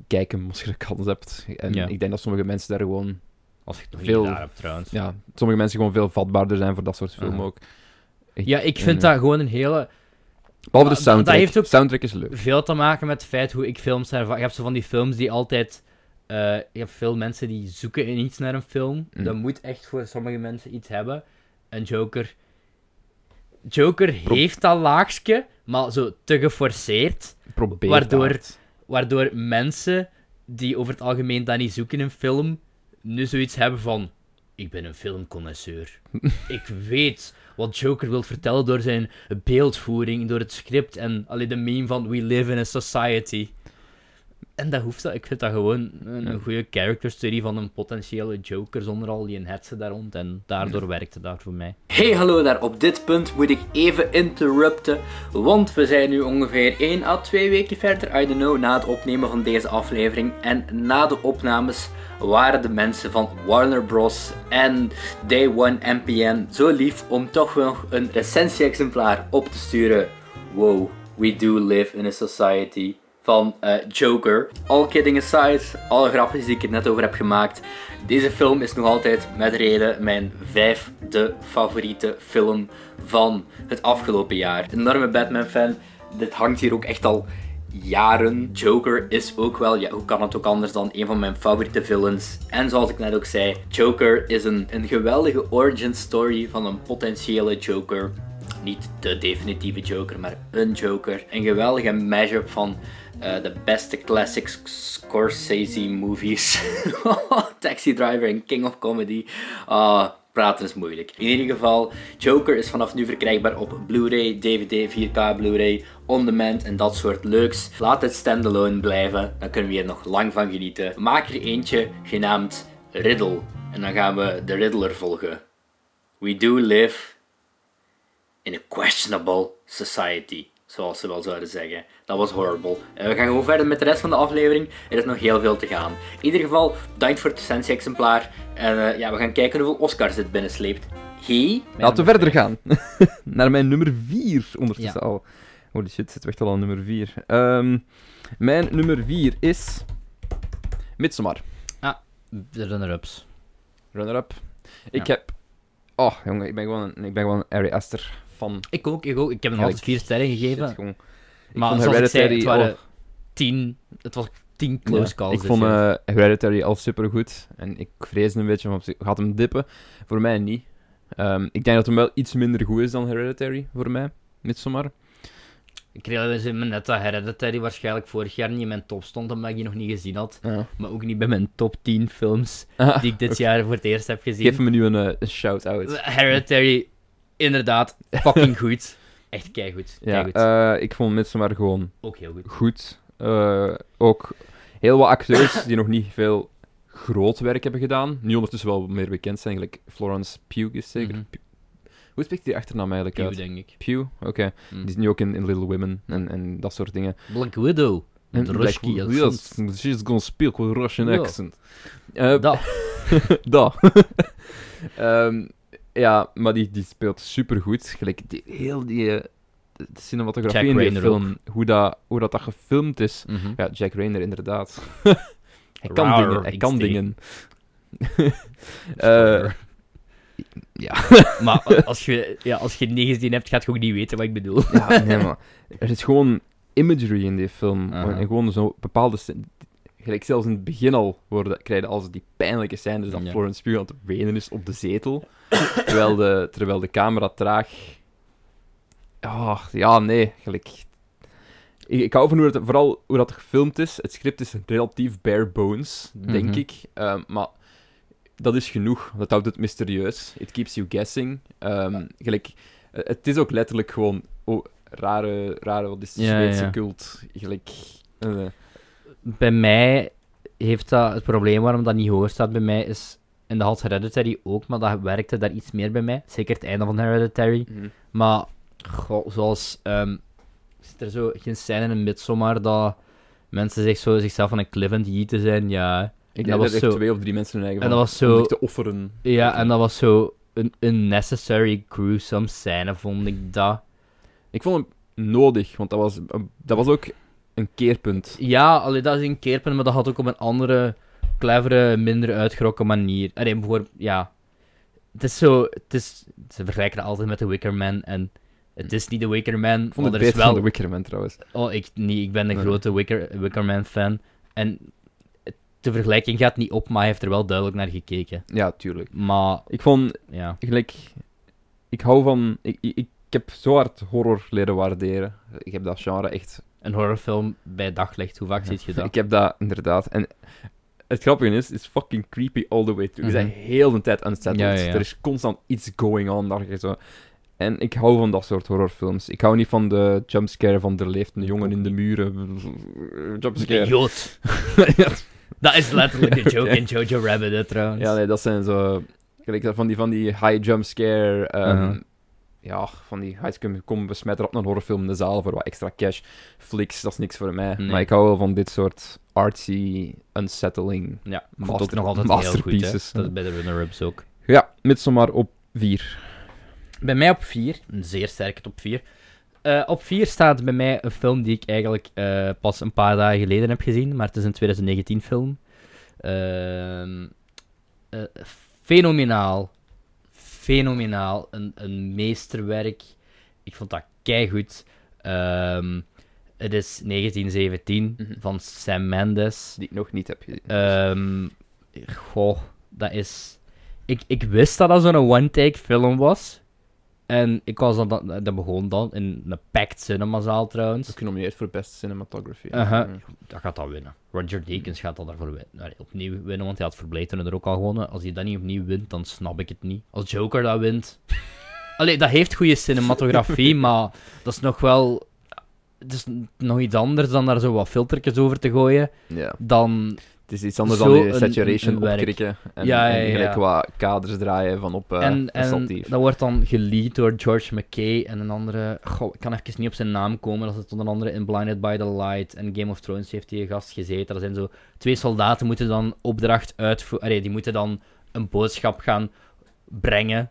kijken als je de kans hebt. En
Ja.
ik denk dat sommige mensen daar gewoon
Als ik het nog
Veel-
niet gedaan heb, trouwens.
ja, sommige mensen gewoon veel vatbaarder zijn voor dat soort film
Aha.
ook.
Ja, ik
En,
vind dat gewoon een hele...
Behalve
maar
de
dat- dat
soundtrack.
heeft ook-
Soundtrack is leuk.
Veel te maken met het feit hoe ik films ervaar. Je hebt zo van die films die altijd... eh, je hebt veel mensen die zoeken in iets naar een film.
Mm.
Dat moet echt voor sommige mensen iets hebben. En Joker... Joker
Pro-
heeft dat laagstje, maar zo te geforceerd.
Probeer
Waardoor-
dat.
Waardoor mensen die over het algemeen dat niet zoeken in film, nu zoiets hebben van... Ik ben een filmconnoisseur. ik weet wat Joker wil vertellen door zijn beeldvoering, door het script en alleen de meme van We live in a society. En dat hoeft dat. Ik vind dat gewoon een,
Ja.
een goede character study van een potentiële Joker zonder al die hetze daar rond. En daardoor werkte dat voor mij. Hey, hallo daar. Op dit punt moet ik even interrupten. Want we zijn nu ongeveer 1 à 2 weken verder, I don't know, na het opnemen van deze aflevering. En na de opnames waren de mensen van Warner Bros. en Day One MPN zo lief om toch wel nog een recensie-exemplaar op te sturen. Wow, we do live in a society. Van eh, Joker. All kidding aside, alle grapjes die ik er net over heb gemaakt. Deze film is nog altijd met reden mijn vijfde favoriete film van het afgelopen jaar. Enorme Batman-fan. Dit hangt hier ook echt al jaren. Joker is ook wel, ja, hoe kan het ook anders dan een van mijn favoriete villains. En zoals ik net ook zei, Joker is een, een geweldige origin story van een potentiële Joker. Niet de definitieve Joker, maar een Joker. Een geweldige mashup van eh, de beste classics Scorsese movies. Taxi Driver en King of Comedy. Ah, praten is moeilijk. In ieder geval, Joker is vanaf nu verkrijgbaar op Blu-ray, DVD, 4K Blu-ray, on-demand en dat soort leuks. Laat het standalone blijven, dan kunnen we hier nog lang van genieten. Maak er eentje genaamd Riddle. En dan gaan we de Riddler volgen. We do live in a questionable society. Zoals ze wel zouden zeggen. Dat was horrible. En we gaan gewoon verder met de rest van de aflevering. Er is nog heel veel te gaan. In ieder geval, bedankt voor het recensie-exemplaar. En eh, ja, we gaan kijken hoeveel Oscars dit binnensleept. Hé?
Laten we verder gaan. Naar mijn nummer 4 ondertussen
Ja.
al. Holy shit, zit we echt al aan nummer 4. mijn nummer 4 is... Midsommar.
De runner-ups.
Runner-up. Ik
Ja.
heb... Oh, jongen, ik ben gewoon een, ik ben gewoon een Ari Aster fan.
Ik ook, ik ook. Ik heb nog
altijd vier
sterren
Shit, gewoon. Ik
Maar
vond
zoals ik zei,
Hereditary
het waren
al-
tien, het was tien
Ja, Ik vond eh Hereditary al supergoed. En ik vrees een beetje, van gaat hem dippen? Voor mij niet. Ehm, ik denk dat hem wel iets minder goed is dan Hereditary, voor mij. Midsommar.
Ik realiseer me net dat Hereditary waarschijnlijk vorig jaar niet in mijn top stond, omdat ik die nog niet gezien had.
Ja.
Maar ook niet bij mijn top 10 films
Ah,
die ik dit jaar voor het eerst heb gezien.
Geef hem nu een, eh, een shout-out.
Hereditary, inderdaad, fucking goed. Echt keigoed,
Ja,
keigoed.
eh, ik vond Midsommar gewoon
ook heel goed.
goed. Eh, ook heel wat acteurs die nog niet veel groot werk hebben gedaan. Nu ondertussen wel meer bekend zijn, gelijk Florence Pugh is zeker.
Mhm.
Pugh. Hoe spreekt die achternaam eigenlijk
Pew,
uit?
denk ik.
Pugh, oké.
Mm.
Die is nu ook in, in Little Women en, en dat soort dingen.
Black Widow.
En
Met
Black
Ruski
Widow,
accent.
yes, she's gonna speak with Russian
Ja.
accent. Eh,
Dat.
Da. Ehm, ja, maar die, die speelt supergoed. Gelijk die, heel die eh, de de cinematografie
Jack
in die
Rayner
film. Hoe dat, hoe dat, dat gefilmd is. Mhm.
Mhm.
Ja, Jack Rayner inderdaad. hij kan
Rar,
dingen. Hij kan
instinct.
dingen. Eh,
Spoiler.
ja.
maar eh, als je, ja, als je niet gezien hebt, gaat je ook niet weten wat ik bedoel.
ja, nee, maar er is gewoon imagery in die film.
Aha.
En gewoon zo'n bepaalde... scène- Gelijk zelfs in het begin al worden, krijgen als die pijnlijke scènes dat
Ja.
Florence Pugh aan het wenen is op de zetel. terwijl, de, terwijl de camera traag... Ah, ja, nee, gelijk... Ik, ik hou van hoe dat, vooral hoe dat gefilmd is. Het script is relatief bare bones, denk
Mhm.
ik. Ehm, maar dat is genoeg. Dat houdt het mysterieus. It keeps you guessing. Ehm, gelijk, eh, het is ook letterlijk gewoon oh, rare, rare, wat is de
Ja,
Zweedse
ja.
cult? Gelijk, eh,
Bij mij heeft dat het probleem waarom dat niet hoog staat bij mij is. In de Hals Hereditary ook, maar dat werkte daar iets meer bij mij. Zeker het einde van Hereditary.
Mhm.
Maar goh, zoals ehm, zit er zo geen scène in Midsommar dat mensen zich zo zichzelf van een cliff aan het jieten zijn. Ja,
ik
dat
denk
was
dat er
zo-
echt twee of drie mensen hun eigen
En
van-
dat was zo-
om zich te offeren.
ja en dat was zo een unnecessary gruesome scène, vond ik dat.
Ik vond hem nodig, want dat was, eh, dat was ook een keerpunt.
Ja, allee, dat is een keerpunt, maar dat had ook op een andere, clevere, minder uitgerokken manier. Allee, bijvoorbeeld, ja. Het is zo, het is, ze vergelijken het altijd met The Wicker Man en het is niet The Wicker Man,
Ik vond
maar
het
er is
beter
wel...
van de Wicker Man trouwens.
Oh, ik, niet, ik ben een
Nee.
grote Wicker, Wicker Man fan en de vergelijking gaat niet op, maar hij heeft er wel duidelijk naar gekeken.
Ja, tuurlijk.
Maar,
Ik vond,
ja.
gelijk, ik hou van, ik, ik, ik heb zo hard horror leren waarderen. Ik heb dat genre echt
Een horrorfilm bij daglicht, hoe vaak ziet je dat?
Ik heb dat inderdaad. En het grappige is, is fucking creepy all the way through. Je
Mhm.
bent heel de tijd unsettled.
Ja, ja, ja.
Dus Er is constant iets going on. Daar, zo. En ik hou van dat soort horrorfilms. Ik hou niet van de jumpscare van er leeft een jongen in de muren.
Een
Jumpscare.
jood. Dat is letterlijk een joke in Jojo Rabbit, hè, trouwens.
ja, nee, dat zijn zo... Gelijk dat van die, van die high jumpscare... ehm
Mhm.
Ja, van die high kom, kom we smijten er op een horrorfilm in de zaal voor wat extra cash. Flicks, dat is niks voor mij.
Nee.
Maar ik hou wel van dit soort artsy, unsettling
Ja, ik
Master-
vond het nog altijd heel goed. Hè.
masterpieces.
Dat is bij de runner-ups ook.
Ja, midsommar op 4.
Bij mij op 4, een zeer sterke top 4. Eh, op 4 staat bij mij een film die ik eigenlijk eh, pas een paar dagen geleden heb gezien, maar het is een 2019 film. Ehm, eh, fenomenaal. Fenomenaal. Een, een meesterwerk. Ik vond dat keigoed. Ehm het is 1917
Mhm.
van Sam Mendes.
Die ik nog niet heb gezien.
Ehm, goh, dat is. Ik, ik wist dat dat zo'n one-take film was. En ik was dan, dat, dat begon dan in een packed cinemazaal trouwens.
Eh, genomineerd voor best cinematography.
Aha. Dat gaat dat winnen. Roger Deakins gaat dat daarvoor win- nou, opnieuw winnen, want hij had voor Blade Runner er ook al gewonnen. Als hij dat niet opnieuw wint, dan snap ik het niet. Als Joker dat wint. Allee, dat heeft goede cinematografie, maar dat is nog wel. Het is nog iets anders dan daar zo wat filtertjes over te gooien.
Ja.
Dan
Het is iets anders
Zo
dan die
een-
saturation
een werk.
opkrikken. En,
Ja, ja,
en gelijk
ja.
wat kaders draaien van op eh
en,
een
en
statief.
dat wordt dan gelead door George McKay en een andere. Goh, ik kan even niet op zijn naam komen. Dat is onder andere in Blinded by the Light en Game of Thrones heeft die gast gezeten. Dat zijn zo twee soldaten moeten dan opdracht uitvoeren. die moeten dan een boodschap gaan brengen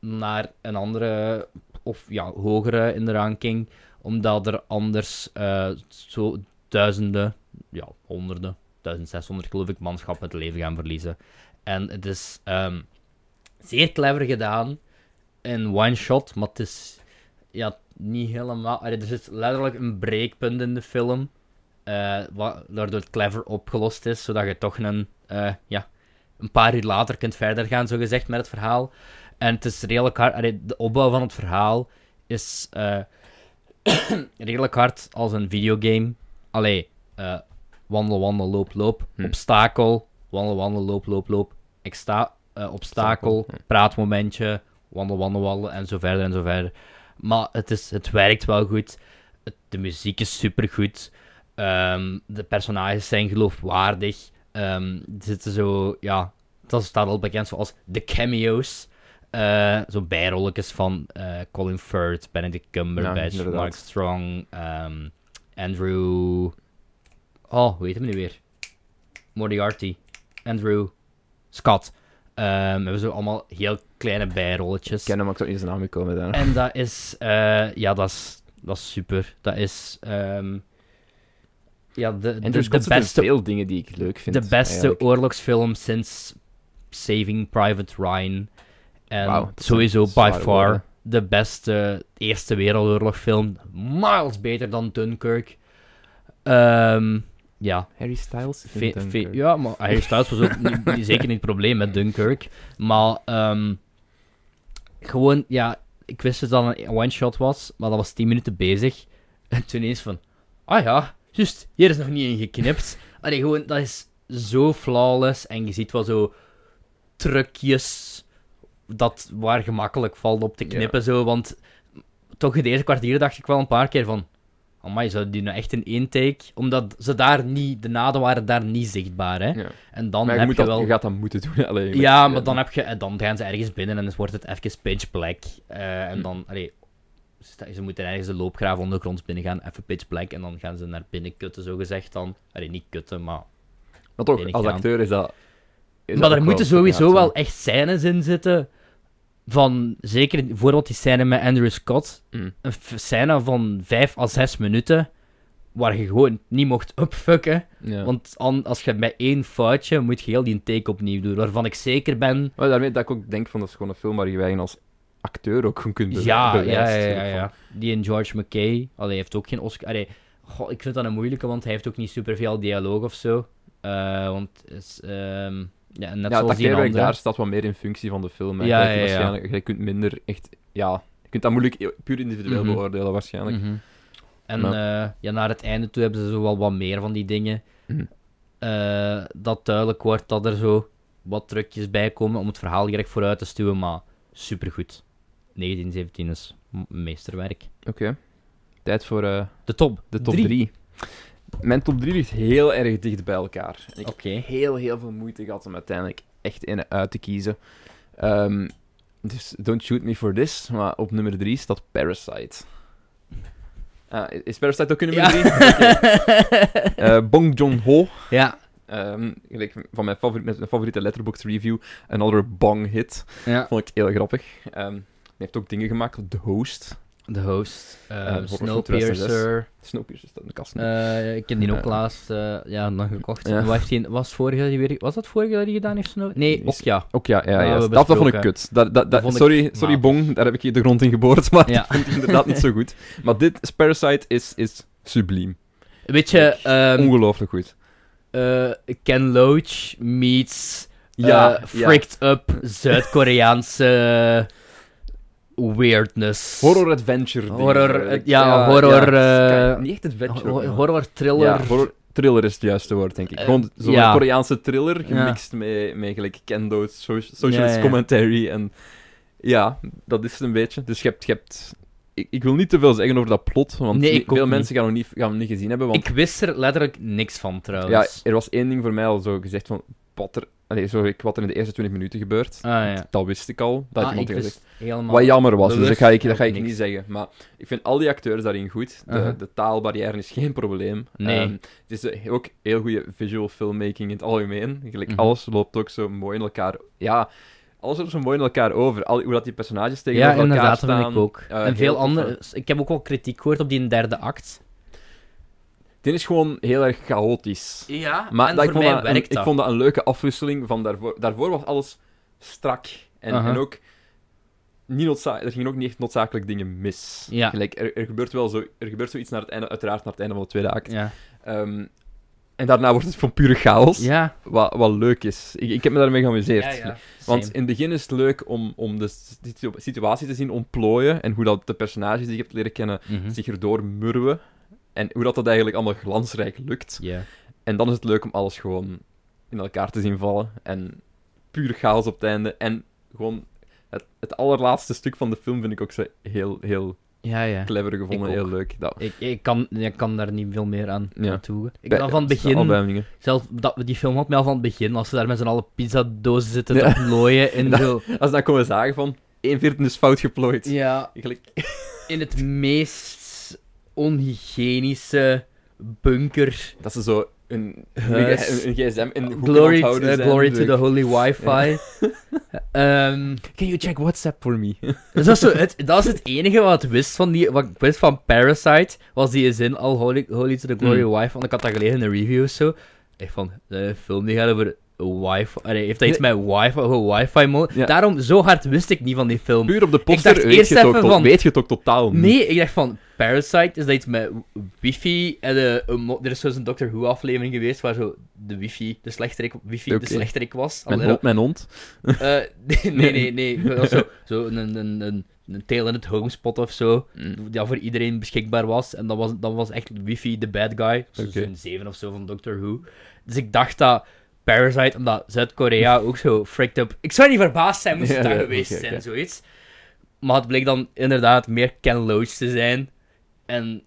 naar een andere of ja, hogere in de ranking, omdat er anders eh, zo duizenden, ja, honderden, 1600 geloof ik, manschappen het leven gaan verliezen. En het is ehm, zeer clever gedaan in one shot, maar het is ja, niet helemaal. allee, Er zit letterlijk een breekpunt in de film, eh, wa- waardoor het clever opgelost is, zodat je toch een, eh, ja, een paar uur later kunt verder gaan, zogezegd, met het verhaal. En het is redelijk hard. allee, de opbouw van het verhaal is eh, redelijk hard als een videogame. Allee, eh, wandel, wandel, loop, loop.
Hm.
Obstakel. Wandel, wandel, loop, loop, loop. Ik sta, eh, obstakel.
Obstakel,
Praatmomentje. Wandel, wandel, wandel. En zo verder en zo verder. Maar het, is, het werkt wel goed. Het- de muziek is supergoed. Ehm de personages zijn geloofwaardig. Ehm, er zitten zo, ja, dat staat al bekend zoals de cameo's. Eh, zo bijrolletjes van eh, Colin Firth, Benedict Cumberbatch,
inderdaad.
Mark Strong, ehm, Andrew... Oh, hoe heet hem nu weer? Moriarty, Andrew, Scott. Ehm, we hebben zo allemaal heel kleine bijrolletjes.
Ik ken hem, maar ik zou niet zijn naam gekomen daar.
En dat is, eh, ja, dat is, dat is super. Dat is, ehm, ja, de, de,
En dus
de beste,
veel dingen die ik leuk vind.
de beste
eigenlijk.
oorlogsfilm sinds Saving Private Ryan. En
Wauw, dat zijn
sowieso by
zware
far
woorden.
de beste Eerste Wereldoorlogfilm. Miles beter dan Dunkirk. Ehm, ja,
Harry Styles?
Ve- ve- ja, maar Harry Styles was ook niet- niet- zeker niet het probleem met Dunkirk. Maar ehm, gewoon, ja, ik wist dus dat het een one-shot was, maar dat was 10 minuten bezig. En toen eens van, ah ja, juist, hier is nog niet in geknipt. Allee, gewoon, dat is zo flawless. En je ziet wel zo trucjes dat waar gemakkelijk valt op te knippen. Zo, want toch in deze kwartier dacht ik wel een paar keer van... Amai, zou die nou echt in één take... Omdat ze daar niet... De naden waren daar niet zichtbaar, hè.
Ja.
En dan
Maar je,
heb je
moet dat,
wel...
je gaat dat moeten doen. Alleen,
Ja, maar dan, heb je, en dan gaan ze ergens binnen en dus wordt het even pitch black. eh, en
Hm.
dan, allee, ze, sta- ze moeten ergens de loopgraaf ondergronds binnen gaan, even pitch black. En dan gaan ze naar binnen kutten, zogezegd dan. Allee, niet kutten, maar...
Maar toch,
Enig
als
gedaan.
acteur is dat... is
maar
dat
er
ook
moeten
wel-
sowieso
ja,
wel echt scènes in zitten. Van, zeker bijvoorbeeld die scène met Andrew Scott.
Mm.
Een f- scène van 5 à 6 minuten. Waar je gewoon niet mocht upfucken.
Ja.
Want an- als je met één foutje moet je heel die take opnieuw doen. Waarvan ik zeker ben.
Maar daarmee dat ik ook denk van, dat is gewoon een film waar je je eigen als acteur ook gewoon kunt be-
ja,
bewijzen.
ja, ja,
Zo
ja,
van,
ja. Die en George McKay. Allee, heeft ook geen Oscar. Allee, goh, ik vind dat een moeilijke, want hij heeft ook niet superveel dialoog of zo. Eh, want is, ehm,
Ja,
ja, net
het
zoals die
acteerwerk
andere.
daar staat wat meer in functie van de film. hè.
Ja,
Dat je
ja, ja.
waarschijnlijk- Je kunt minder echt... Ja, je kunt dat moeilijk e- puur individueel
Mhm.
beoordelen waarschijnlijk.
Mhm. En
Maar-
eh, ja, naar het einde toe hebben ze zo wel wat meer van die dingen.
Mhm.
Eh, dat duidelijk wordt dat er zo wat trucjes bij komen om het verhaal direct vooruit te stuwen, maar supergoed. 1917 is m- meesterwerk.
Oké. Tijd voor eh,
De top.
de top
Mhm. drie.
3. Mijn top 3 ligt heel erg dicht bij elkaar. En ik
Oké.
heb heel, heel veel moeite gehad om uiteindelijk echt in en uit te kiezen. Ehm, dus don't shoot me for this. Maar op nummer 3 staat Parasite. Ah, is Parasite ook in nummer 3? Bong Joon-ho.
Ja.
Ehm, gelijk van mijn, favori- met mijn favoriete letterbox review, Another Bong Hit.
ja.
Vond ik heel grappig. Ehm, hij heeft ook dingen gemaakt, The Host.
De host.
Eh,
eh,
voor- voor
Snowpiercer.
Snowpiercer staat in de kast nu.
Eh, ik heb die ook
Ja.
laatst eh, ja, nog gekocht.
Ja.
Wat heeft die- was, het vorige dat die weer, was dat het vorige dat hij gedaan heeft? Snow? Nee,
Is-
ook ja.
ook ja, ja,
nou, we
ja.
hebben
Dat, dat vond ik
besproken.
kut. Dat, dat,
Dat
dat,
vond ik
sorry, sorry
matig.
Bong, daar heb ik je de grond in geboord, maar
Ja.
dat vond ik inderdaad niet zo goed. Maar dit, Parasite, is, is subliem.
Weet je, ehm,
Ongelooflijk goed.
eh, Ken Loach meets eh,
Ja, ja.
fricked up Zuid-Koreaanse weirdness.
Horror-adventure. dingen,
Horror,
eigenlijk.
eh, ja, horror,
ja,
eh,
niet echt adventure.
Ho-
ook, maar-
horror thriller.
Ja, horror- thriller is het juiste woord, denk ik.
Eh,
Gewoon zo'n
ja.
Koreaanse thriller,
Ja.
gemixt met, met gelijk kendo, so- socialist
Ja, ja.
commentary. En ja, dat is het een beetje. Dus je hebt... Je hebt ik, ik wil niet te veel zeggen over dat plot, want
Nee,
ni-
ik ook
veel
niet.
mensen gaan hem niet, gaan hem niet gezien hebben. Want
Ik wist er letterlijk niks van
ja,
trouwens.
er was één ding voor mij al zo gezegd van... Wat er, allee, zo, ik- wat er in de eerste 20 minuten gebeurt,
Ah, ja.
dat wist ik al. Dat had
Ah,
iemand
ik
gezegd.
wist helemaal...
Wat jammer was, dus dat
bewust
ga ik, dat
ook
ga ik
niks.
niet zeggen. Maar ik vind al die acteurs daarin goed. De,
Uh-huh.
de taalbarrière is geen probleem.
Nee.
Ehm, het is eh, ook heel goede visual filmmaking in het algemeen. Gelijk,
Mhm.
Alles loopt ook zo mooi in elkaar. Ja, alles loopt zo mooi in elkaar over. Al, hoe dat die personages tegenover
Ja,
elkaar
inderdaad,
staan.
dat vind ik ook.
Eh, heel
en veel
tof, hè.
andere... Ik heb ook wel kritiek gehoord op die derde act.
Dit is gewoon heel erg chaotisch.
Ja,
Maar dat, ik, vond dat een,
werkt
ik vond dat een leuke afwisseling van daarvoor. Daarvoor was alles strak. En,
Aha.
en ook... Niet noodza- er gingen ook niet echt noodzakelijk dingen mis.
Ja.
Gelijk, er, er gebeurt wel zo, er gebeurt zoiets naar het einde, uiteraard naar het einde van de tweede act.
Ja.
Ehm, en daarna wordt het van pure chaos.
Ja.
Wat, wat leuk is. Ik, ik heb me daarmee geamuseerd. Want
Same.
in het begin is het leuk om, om de situ- situatie te zien ontplooien. En hoe dat de personages die je hebt leren kennen
Mhm.
zich erdoor murwen. En hoe dat, dat eigenlijk allemaal glansrijk lukt.
Ja.
En dan is het leuk om alles gewoon in elkaar te zien vallen. En puur chaos op het einde. En gewoon het, het allerlaatste stuk van de film vind ik ook zo heel, heel
Ja, ja.
Clever gevonden,
Ik ook.
heel leuk. Dat,
Ik, ik, kan, ik kan daar niet veel meer aan
Ja.
aan toevoegen. Ik ben al van het
dat is al
begin,
bij hem dingen.
zelf dat, we die film had mij al van het begin, als ze daar met z'n allen pizzadozen zitten
Ja.
te plooien en
Dat-
zo.
Als ze dat komen zagen van, 1 veertien is fout geplooid.
Ja,
Eigenlijk-
in het meest onhygiënische bunker.
Dat ze zo een,
Huis.
een, een gsm in de hoek
Glory,
aan het
to,
houden
eh,
zijn.
glory to the holy wifi.
Ja.
Ehm,
Can you check WhatsApp for me?
dus dat, is zo het, dat is het enige wat ik wist van, die, wat ik wist van Parasite, was die zin al holy, holy to the glory
Hmm.
wifi. Want ik had dat gelezen in de reviews zo. Echt van, de film die gaat over wifi. Allee, heeft dat iets met wifi, over wifi mode?
Ja.
Daarom, zo hard wist ik niet van die film.
Puur op de
Ik dacht
poster weet
eerst
je, het ook
even
tot-
van-
weet je het ook totaal niet.
Nee, ik dacht van Parasite is dat iets met wifi en eh, een mo- er is zo'n Doctor Who aflevering geweest waar zo de wifi, de slechterik, wifi
Oké.
de slechterik was.
Mijn
Alhoewel-
hond, mijn hond.
Eh, nee, nee, nee, nee. Dat was zo, zo een, een, een, een, een Tail in het Homespot of zo,
Mm.
die dat voor iedereen beschikbaar was en dat was, dat was echt wifi de bad guy, zo'n
Oké.
zeven of zo van Doctor Who. Dus ik dacht dat Parasite, omdat Zuid-Korea ook zo fricked up... Ik zou niet verbaasd zijn moest het
Ja,
daar
ja,
geweest
oké,
zijn,
oké.
zoiets. Maar het bleek dan inderdaad meer Ken Loach te zijn. En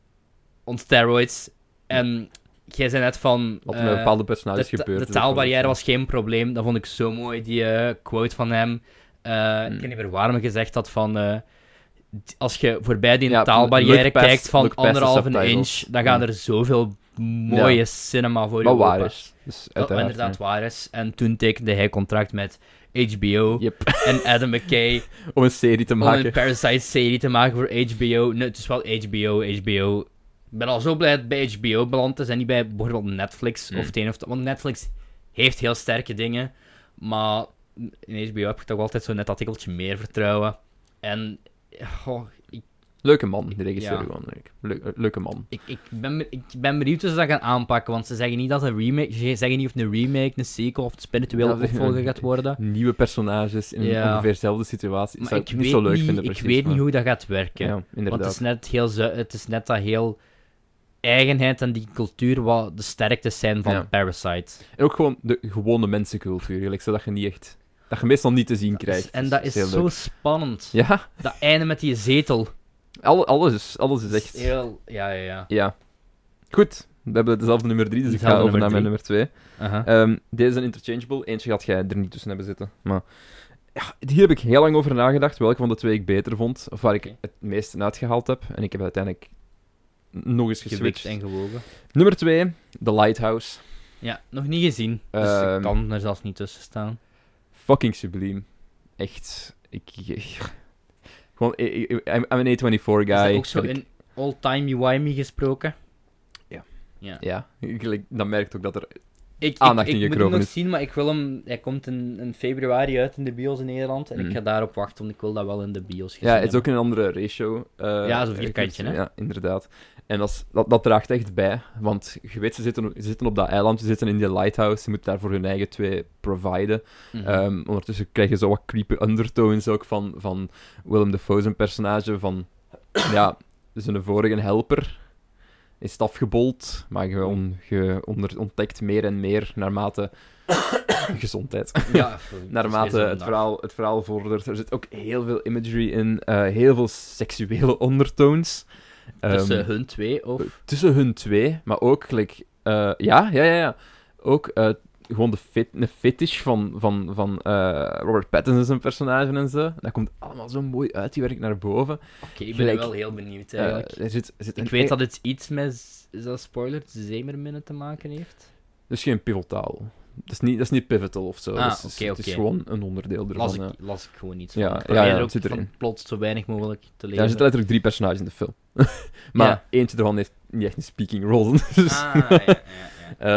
on steroids. En jij zei net van...
Wat
eh,
met bepaalde
de,
personages
ta-
gebeurt. dus is
de
ook wel
taalbarrière
leuk.
was geen probleem. Dat vond ik zo mooi, die eh, quote van hem. Eh, Ik
Hmm.
weet niet meer waarom ik gezegd had van... eh, d- als je voorbij die
Ja,
taalbarrière
look past-
kijkt van
look past de
anderhalve inch,
subtitles.
dan gaan
Mm.
er zoveel mooie cinema voor je
Wat waar
open.
is. Dus
Dat
uiteraard.
Oh, inderdaad
ja.
waar is. En toen tekende hij contract met HBO
Yep.
en Adam McKay
Om een serie te
om een
maken.
Parasite-serie te maken voor HBO. Nee, het is wel HBO, HBO. Ik ben al zo blij dat het bij HBO beland is en niet bij bijvoorbeeld Netflix
Mm.
of het een of het Want Netflix heeft heel sterke dingen, maar in HBO heb ik toch altijd zo net dat tikkeltje meer vertrouwen. En goh, ik,
Leuke man, de regisseur
Ja.
gewoon. Leuk. Leuk- eh, leuke man.
ik, ik, ben, be- ik ben benieuwd hoe ze dat gaan aanpakken, want ze zeggen niet dat een remake, ze zeggen niet of een remake, een sequel of een spirituele
Ja, dat-
opvolger gaat worden.
Nieuwe personages in
Ja.
ongeveer dezelfde situatie.
Maar
Zou
ik
niet
weet,
zo leuk
niet,
vinden,
ik
precies.
weet
maar-
niet hoe dat gaat werken.
Ja, inderdaad.
Want het is net heel zu- het is net dat heel eigenheid en die cultuur wat de sterktes zijn van
Ja.
Parasite. Dus-
En ook gewoon de gewone mensencultuur. Gelijk, zodat je niet echt... Dat je meestal niet te zien krijgt.
en dat is
heel
zo
leuk.
spannend.
Ja,
Dat einde met die zetel.
alle- alles, is- alles is
Dat
echt...
is heel... Ja, ja, ja.
Ja. Goed, we hebben dezelfde nummer 3, dus ik ga
Dezelfde
over naar mijn
nummer
nummer 2.
Aha.
Ehm, deze is een interchangeable. Eentje gaat jij er niet tussen hebben zitten. Maar ja, hier heb ik heel lang over nagedacht. Welke van de twee ik beter vond. Of waar ik
Oké.
het meest uitgehaald heb. En ik heb uiteindelijk nog eens
Gewikt
geswitcht.
en gewogen.
Nummer 2, The Lighthouse.
Ja, nog niet gezien. Dus ik
Ehm.
kan er zelfs niet tussen staan.
Fucking subliem. Echt. Ik. ik- gewoon, ik- ik- I'm, I'm an A24 guy.
is dat ook zo
En ik-
in all-timey-wimey gesproken?
Ja, ik- ik- dan merkt ook dat er.
Ik, ik,
Aandacht dus-
ik
in je
moet hem nog
kroon is.
zien, maar ik wil hem... Hij komt in, in februari uit in de bios in Nederland. En ik
Mm.
ga daarop wachten, want ik wil dat wel in de bios gezien
Ja, het is
hebben.
ook een andere ratio. eh,
Ja, zo'n vierkantje, hè?
Ja, inderdaad. En dat, is- dat, dat draagt echt bij. Want je weet, ze zitten, ze zitten op dat eiland, ze zitten in die lighthouse, ze moeten daarvoor hun eigen twee providen.
Mhm.
Ehm, ondertussen krijg je zo wat creepy undertones ook van, van Willem Dafoe, zijn personage. Van, ja, zijn vorige helper is afgebold, maar je, on, je onder, ontdekt meer en meer naarmate gezondheid.
Ja, sorry, het is
Naarmate
weer zo'n
het
dag.
verhaal, het verhaal vordert. Er zit ook heel veel imagery in, eh, heel veel seksuele ondertones. Ehm, eh,
Tussen hun twee, of...
tussen hun twee, maar ook gelijk. eh, ja, ja, ja, ja. Ook eh, gewoon de fit, een fetish van, van, van eh, Robert Pattinson zijn personage en zo. Dat komt allemaal zo mooi uit, die werkt naar boven.
Oké, ik ben
gelijk-
wel heel benieuwd
Eh,
eigenlijk.
er zit, er zit een
ik weet
e-
dat het iets met, z- is dat spoiler, zeemerminnen te maken heeft.
Dat is geen pivotaal. Dat is niet, dat is niet pivotal of zo.
Ah,
dat is,
oké,
Het is
oké.
gewoon een onderdeel ervan.
Las ik,
ja.
las ik gewoon niet.
Ja,
van. ik
ja,
probeer
ja,
er ook
het zit
van
erin.
plots zo weinig mogelijk te
Ja, er
lezen.
zitten letterlijk drie personages in de film. maar
Ja.
eentje ervan heeft niet echt een speaking role. Dus,
Ah, ja, ja, ja.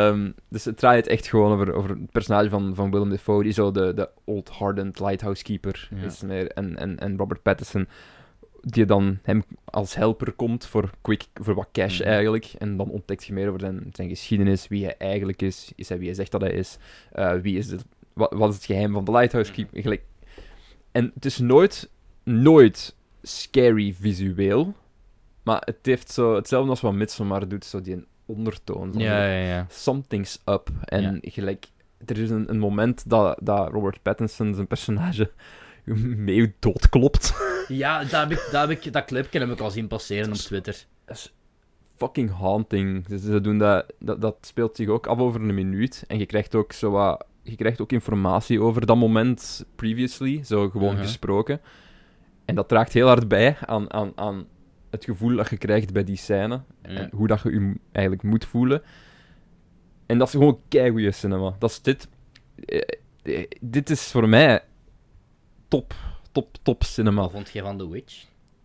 ehm, dus het draait echt gewoon over, over het personage van, van Willem Dafoe, die zo de, de old hardened lighthouse keeper
Ja.
is meer. En, en, en Robert Pattinson, die dan hem als helper komt voor, quick, voor wat cash
Mhm.
eigenlijk. En dan ontdekt je meer over zijn, zijn geschiedenis, wie hij eigenlijk is. Is hij wie hij zegt dat hij is? Eh, wie is de, wat, wat is het geheim van de lighthouse
Mhm.
keeper? Gelijk. En het is nooit, nooit scary visueel. Maar het heeft zo hetzelfde als wat Midsommar doet, zo die ondertoon. Van
ja, ja, ja.
Something's up. En gelijk, er is een, een moment dat, dat Robert Pattinson zijn personage mee doodklopt.
Ja, dat, heb ik, dat, heb ik, dat clipje heb ik al zien passeren op Twitter.
fucking haunting. Ze, ze doen dat, dat, dat speelt zich ook af over een minuut. En je krijgt ook, zo wat, je krijgt ook informatie over dat moment previously, zo gewoon
Mhm.
gesproken. En dat draagt heel hard bij aan, aan, aan het gevoel dat je krijgt bij die scène.
Ja.
En hoe dat je je eigenlijk moet voelen. En dat is gewoon keigoeie cinema. Dat is dit. eh, eh, dit is voor mij top, top, top cinema.
Wat vond jij van The Witch?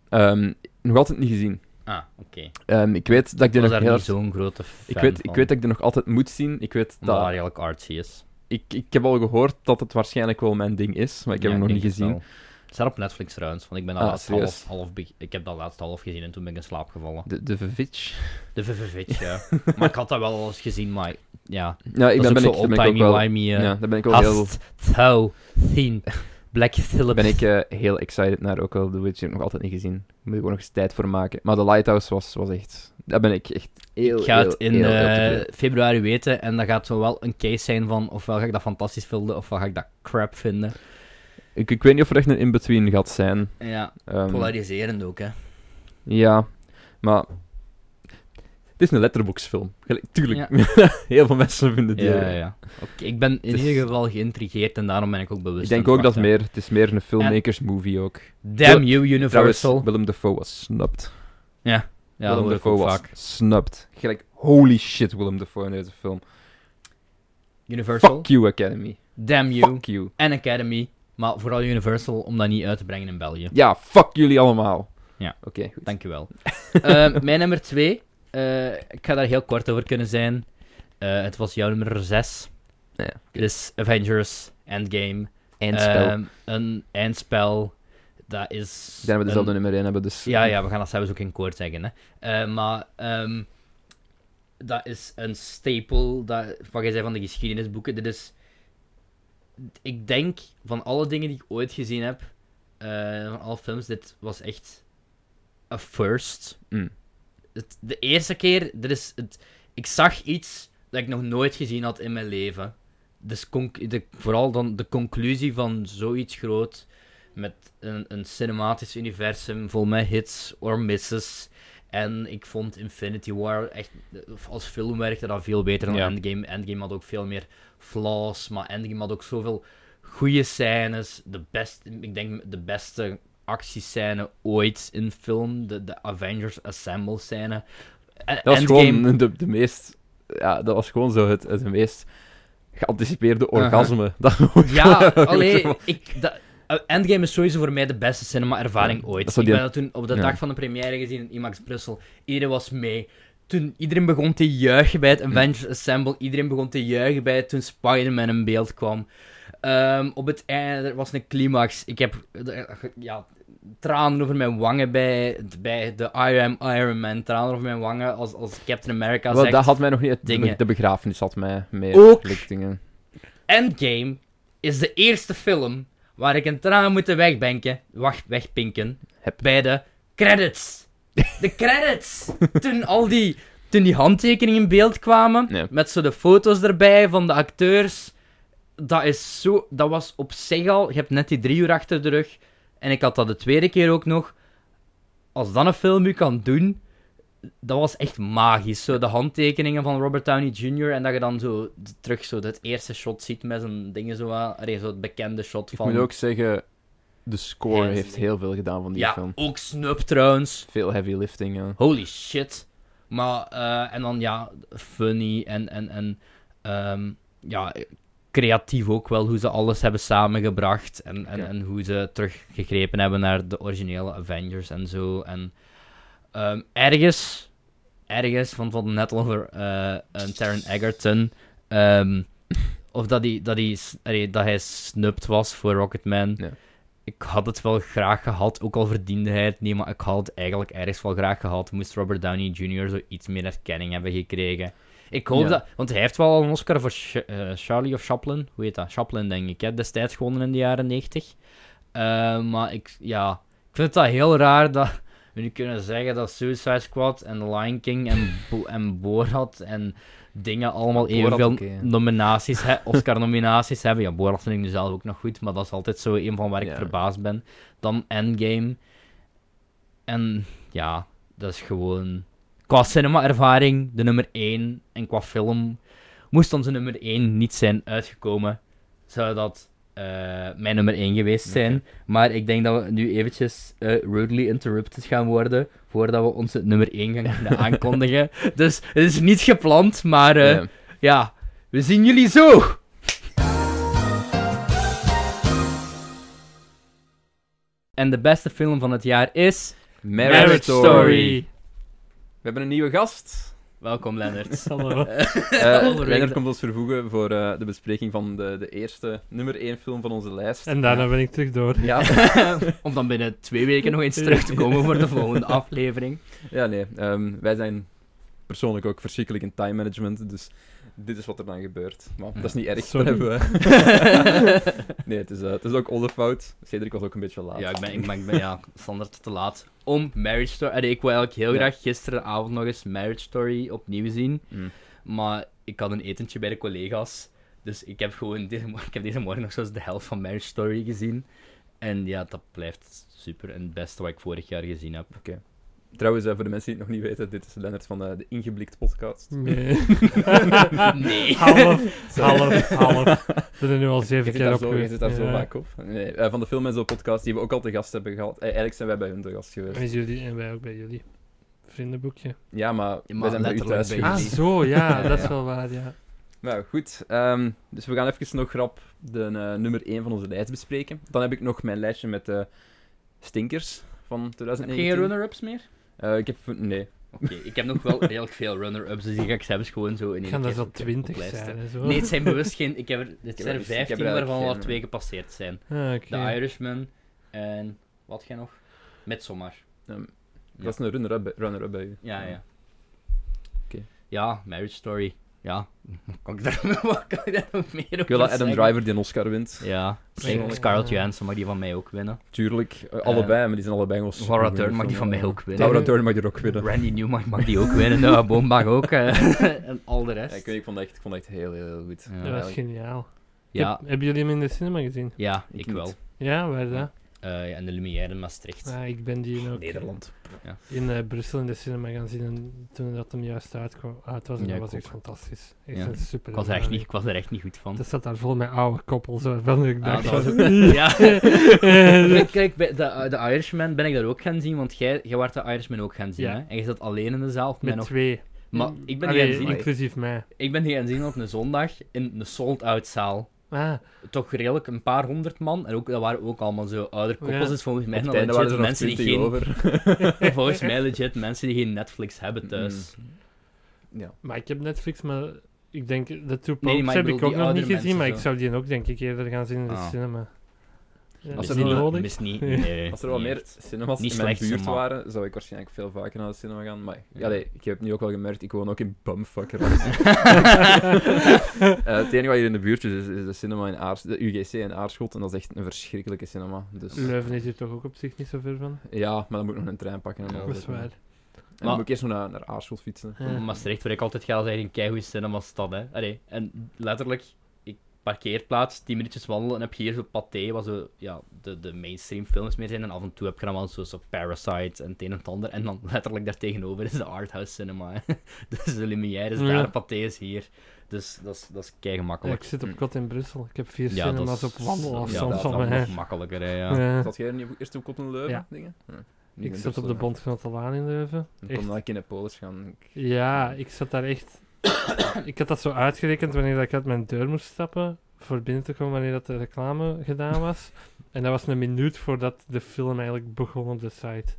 Ehm, nog altijd niet gezien.
Ah, oké.
Ehm, ik weet dat ik
Ik
dit nog
was daar
heel
niet
hard-
zo'n grote fan
ik weet,
van,
ik weet dat ik dit nog altijd moet zien. Ik weet
Omdat hij
dat...
eigenlijk artsy is.
Ik, ik heb al gehoord dat het waarschijnlijk wel mijn ding is, maar ik heb
Ja,
hem nog
denk
niet
het
gezien.
wel. Het staat op Netflix trouwens, want ik ben dat
Ah,
laatst
serieus?
half, half, be- ik heb dat laatst half gezien en toen ben ik in slaap gevallen.
De, de Vivitch.
De VVV'tje, ja. maar ik had dat wel al eens gezien, maar ja.
Ja, ik
dat
ben, ben,
is
ik,
ook zo
daar ben ik ook wel...
old-timey-wimey, eh,
ja, daar ben ik ook heel,
Hast, thou, thin, black syllabus.
ben ik, eh, heel excited naar. Ook wel The Witch heb ik nog altijd niet gezien. Daar moet ik ook nog eens tijd voor maken. Maar The Lighthouse was, was echt... Daar ben ik echt heel,
Ik ga
heel,
het in
heel, heel
eh,
tevreden.
februari weten en dat gaat zo wel een case zijn van ofwel ga ik dat fantastisch vinden ofwel ga ik dat crap vinden.
ik, ik weet niet of er echt een in-between gaat zijn.
Ja,
Ehm,
polariserend ook hè.
ja, maar... Het is een letterboxfilm. Gelijk- Tuurlijk. heel veel mensen vinden die...
Ja, ja, ja. Oké, ik ben in
Het is-
ieder geval geïntrigeerd en daarom ben ik ook bewust.
Ik denk
aan
ook
het
dat
wachten.
meer. Het is meer een filmmakers movie ook.
Damn you, Universal.
Trouwens, Willem Dafoe was snubbed.
ja, ja dat
Willem
hoor ik
Dafoe
ook
was
vaak.
snubbed. Gelijk, holy shit, Willem Dafoe in deze film.
Universal,
Fuck you, Academy.
Damn you
Fuck you.
en Academy. Maar vooral Universal om dat niet uit te brengen in België.
Ja, fuck jullie allemaal.
Ja.
Oké, goed.
Dankjewel. Eh, mijn nummer 2. ik ga daar heel kort over kunnen zijn. Eh, het was jouw nummer 6.
Ja,
Dus Avengers Endgame.
Eindspel.
Ehm, een eindspel. Dat is.
Zijn we dezelfde
een-
nummer 1 hebben, dus...
Ja, ja, we gaan dat zelfs ook in koord zeggen. Hè. Eh, maar ehm, dat is een stapel. Dat, wat jij zei van de geschiedenisboeken. Dit is. Ik denk van alle dingen die ik ooit gezien heb, eh, van alle films, dit was echt a first.
Mm.
Het, de eerste keer, dit is het, ik zag iets dat ik nog nooit gezien had in mijn leven. Dus conc- de, vooral dan de conclusie van zoiets groot met een, een cinematisch universum vol met hits or misses. En ik vond Infinity War echt, of als film werkte dat veel beter dan
Ja.
Endgame. Endgame had ook veel meer flaws, maar Endgame had ook zoveel goede scènes. De best, ik denk de beste actiescène ooit in film. De, de Avengers Assemble scène. En-
Dat was
Endgame-
gewoon de, de meest... Ja, dat was gewoon zo het, het meest geanticipeerde orgasme. Dat
Ja, alleen ik, dat- eh, Endgame is sowieso voor mij de beste cinema-ervaring
Ja,
ooit.
dat
Ik
is wel die-
ben dat toen op de
ja.
dag van de première gezien in IMAX Brussel. Iedereen was mee. Toen iedereen begon te juichen bij het Avengers Assemble. Iedereen begon te juichen bij het toen Spider-Man in beeld kwam. Ehm, op het einde er was een climax. Ik heb eh, ja, tranen over mijn wangen bij, bij de I Am Iron Man. Tranen over mijn wangen als, als Captain America
Wel,
zegt...
dat had mij nog niet... het- De,
dingen.
be- de begrafenis had mij meer
Ook.
verlichtingen.
Endgame is de eerste film waar ik een traan moet wegbenken, wacht, wegpinken,
Heb.
bij de credits. De credits! toen al die, toen die handtekeningen in beeld kwamen,
Ja.
met zo de foto's erbij van de acteurs, dat is zo, dat was op zich al, je hebt net die drie uur achter de rug, en ik had dat de tweede keer ook nog. Als dan een film u kan doen, dat was echt magisch. Zo de handtekeningen van Robert Downey Jr. En dat je dan zo d- terug zo dat eerste shot ziet met zijn dingen zo aan. Allee, zo het bekende shot
Ik
van...
moet ook zeggen, de score
Hands.
heeft heel veel gedaan van die
ja,
film.
ook Snub trouwens.
Veel heavy lifting, ja.
Holy shit. Maar, eh, en dan ja, funny en, en, en ehm, ja, creatief ook wel. Hoe ze alles hebben samengebracht. En, en,
Ja.
en hoe ze teruggegrepen hebben naar de originele Avengers en zo. En ehm, ergens, ergens, want we hadden net al over eh een Taron Egerton. ehm, of dat hij, dat, hij, s- allee, dat hij snupt was voor Rocketman.
Ja.
Ik had het wel graag gehad, ook al verdiende hij het niet, maar ik had het eigenlijk ergens wel graag gehad. Moest Robert Downey Jr. zo iets meer erkenning hebben gekregen. Ik hoop
Ja.
dat, want hij heeft wel al een Oscar voor Sh- eh, Charlie of Chaplin, hoe heet dat? Chaplin, denk ik, hè? destijds gewonnen in de jaren 90. Eh, maar ik, ja, ik vind het heel raar dat we nu kunnen zeggen dat Suicide Squad en The Lion King en, Bo- en Borat en dingen allemaal
Borat,
evenveel
oké, ja.
nominaties, hè, Oscar-nominaties hebben. Ja, Borat vind ik nu zelf ook nog goed, maar dat is altijd zo een van waar ik
Ja.
verbaasd ben. Dan Endgame. En ja, dat is gewoon... Qua cinema-ervaring de nummer 1. En qua film moest onze nummer 1 niet zijn uitgekomen. Zou dat eh, mijn nummer 1 geweest zijn. Maar ik denk dat we nu eventjes eh, rudely interrupted gaan worden. Voordat we onze nummer 1 gaan kunnen aankondigen. Dus het is niet gepland, maar eh,
Ja.
ja, we zien jullie zo! En de beste film van het jaar is...
Marriage, Story. We hebben een nieuwe gast.
Welkom, Lennart.
Eh
Onderweg
Leonard
de-
komt ons vervoegen voor eh, de bespreking van de, de eerste nummer 1 film van onze lijst.
En daarna ben ik terug door.
Ja,
Om dan binnen twee weken nog eens terug te komen voor de volgende aflevering.
ja nee. ehm, wij zijn persoonlijk ook verschrikkelijk in time management, dus dit is wat er dan gebeurt. Maar dat is niet erg.
Sorry.
daar hebben we- nee, het is, eh, het is ook onze fout. Cedric was ook een beetje laat.
ja, ik ben, ik ben, ik ben ja, standaard te laat. Om Marriage Story... Allee, ik wil eigenlijk heel
Ja.
graag gisteravond nog eens Marriage Story opnieuw zien.
Mm.
Maar ik had een etentje bij de collega's. Dus ik heb gewoon deze, mor- ik heb deze morgen nog zoals de helft van Marriage Story gezien. En ja, dat blijft super. En het beste wat ik vorig jaar gezien heb.
Trouwens, eh, voor de mensen die het nog niet weten, dit is Leonard van eh, de Ingeblikt podcast.
Nee.
Nee.
half, half, half. We zijn er nu al
Je
zeven
zit
keer
daar,
op
zo, je
geweest.
zit daar zo
Ja.
vaak op. Nee, eh, van de Film en Zo podcast, die we ook al te gast hebben gehad. Eh, eigenlijk zijn wij bij hun te gast geweest.
En, jullie, en wij ook bij jullie. Vriendenboekje.
Ja, maar,
Ja, maar
wij zijn bij u
letterlijk
thuis
bij
geweest.
Ah,
jullie.
zo, ja,
Ja,
dat is
ja.
wel waar, ja.
Nou, goed. ehm, dus we gaan even nog grap de eh, nummer 1 van onze lijst bespreken. Dan heb ik nog mijn lijstje met de stinkers van
Heb je geen
2019.
runner-ups meer?
Eh, ik heb... Nee.
Oké, ik heb nog wel redelijk veel runner-ups, dus die ga ik zelfs gewoon zo in
Ik ga
één
dat
keer
wel
op-
twintig
oplijsten.
zijn en zo.
Nee, het zijn bewust geen... Ik heb er, het
er-
zijn er
ik heb er
15
eigenlijk
waarvan al
geen,
twee
eh.
gepasseerd zijn.
Ah,
The
oké.
Irishman en... Wat jij nog? Midsommar. Ja.
Dat is een runner-up bij- runner-up bij u.
Ja, ja.
Oké.
Ja, Marriage Story. Ja. Wat kan ik daar, wat kan ik daar nog meer op
Ik wil dat Adam
zeggen?
Driver die een Oscar wint.
Ja.
Persoonlijk,
En Scarlett
ja.
Johansson mag die van mij ook winnen.
Tuurlijk. eh, allebei, maar die zijn allebei gewoon super
Laura Dern mag die van mij ook winnen.
Laura Dern mag er ook winnen.
Randy Newman mag die ook winnen. Noah Boom mag ook. eh, en al de
Ja, ik,
rest.
weet, ik, vond dat echt, ik vond dat echt heel, heel, heel goed.
Ja.
Dat was
Eigenlijk.
geniaal.
Ja,
Heb- hebben jullie hem in de cinema gezien?
ja,
Ik
ik
niet.
wel.
Ja, waar dan?
Eh, ja, en de Lumière in Maastricht.
Ah, ik ben die ook
Nederland.
in eh, Brussel in de cinema gaan zien en toen dat hem juist uitkwam, uit was, en
Ja,
dat
ik
was echt
ook.
fantastisch. Echt
Ja.
een super
Ik was, er echt niet, ik was er echt niet goed van.
Dat zat daar vol met oude koppels, waarvan ik
Ah,
dacht...
dat
van,
was ook- ja. Kijk, Kijk, bij de, eh, de Irishman ben ik daar ook gaan zien, want jij, jij werd de Irishman ook gaan zien.
Ja.
Hè? En je zat alleen in de zaal. of
met
Met nog...
twee.
Maar ik ben die
Allee,
gaan zien.
inclusief mij.
Ik ben die gaan zien op een zondag in een sold-out zaal.
Ah,
Toch redelijk een paar honderd man. En ook, dat waren ook allemaal zo ouder koppels.
Ja.
Dus volgens mij
Op het
dan
einde waren
legit
er nog
mensen die
20
geen,
over.
volgens mij legit mensen die geen Netflix hebben thuis.
Ja.
maar ik heb Netflix, maar ik denk... De Two
maar
Popes
ik bedoel
heb ik
die
ook nog niet
oudere
gezien, maar ik
mensen zo.
zou die ook denk ik eerder gaan zien in de
Ah.
cinema. Ja,
Als
is
er
dat
wel-
nodig?
Mis niet. Nee,
Als er wel
niet
meer
echt.
cinemas
Niet
in mijn
slecht,
buurt
maar-
waren, zou ik waarschijnlijk veel vaker naar de cinema gaan. Maar
Ja.
allee, ik heb nu ook wel gemerkt, ik woon ook in bumfucker. Eh, het enige wat hier in de buurt is, is, is de cinema in Aars, de UGC in Aarschot. En dat is echt een verschrikkelijke cinema. Dus,
Leuven is hier toch ook op zich niet zo ver van?
ja, maar dan moet ik nog een trein pakken. En
Ja,
al
dat
dat.
is waar.
En dan moet ik eerst nog naar, naar Aarschot fietsen.
Ja.
Maastricht, waar ik altijd ga, is eigenlijk een keigoed cinemastad. Hè. Allee, en letterlijk, ik parkeerplaats, 10 minuutjes wandelen en heb je hier zo Pathé, wat zo, ja, de, de mainstream films meer zijn. En af en toe heb je dan wel zo, zo Parasite en het een en het ander. En dan letterlijk daartegenover is de arthouse cinema. hè. Dus de Lumière is
Ja.
daar, Pathé is hier. Dus dat is, dat is kei
Ja, ik
gemakkelijk.
zit op kot in Brussel. Ik heb vier
Hm. Ja, dat
cinema's
is
op wandelafstand
ja,
van
dat is
mij.
nog makkelijker, hè, ja.
Ja.
Zat jij er niet op- eerst op Kotten Leuven?
Ja.
Dingen? Hm. Niet
Ik
in
zat op de
Brussel,
Bondgenotenlaan in Leuven.
ja. Dan
Echt.
kon dat Kinepolis gaan. Ik-
Ja, ik zat daar echt... ik had dat zo uitgerekend wanneer dat ik uit mijn deur moest stappen voor binnen te komen wanneer dat de reclame gedaan was. en dat was een minuut voordat de film eigenlijk begon op de site.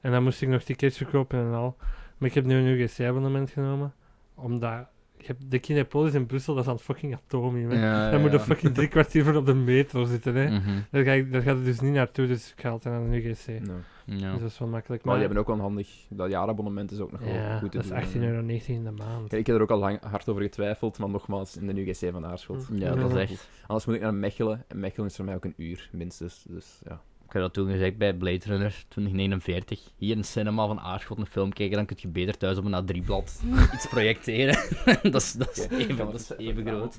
En dan moest ik nog tickets verkopen en al. Maar ik heb nu een UGC-abonnement genomen, omdat... ik heb- De Kinepolis in Brussel, dat is aan het fucking atomium. hè.
Ja,
dan moet je
ja.
fucking drie kwartier voor op de metro zitten,
Mm.
hè.
Mhm,
Daar, ga ik, daar gaat het dus niet naartoe, dus ik ga altijd naar de UGC.
No. Maar
ja.
Dus dat is wel makkelijk.
die hebben ook wel een handig. Dat jaarabonnement is ook nog wel
ja,
goed te
dat is
doen, eh. hè.
18,19 euro in de maand.
Ja, ik heb er ook al lang hard over getwijfeld, maar nogmaals, in de UGC van Aarschot.
ja, dat is echt...
Anders moet ik naar Mechelen, en Mechelen is voor mij ook een uur, minstens. Dus ja.
Ik heb dat toen gezegd bij Blade Runner 2049. Hier in de cinema van Aarschot een film kijken, dan kun je beter thuis op een A3-blad iets projecteren. dat is, dat is even, dat is even groot.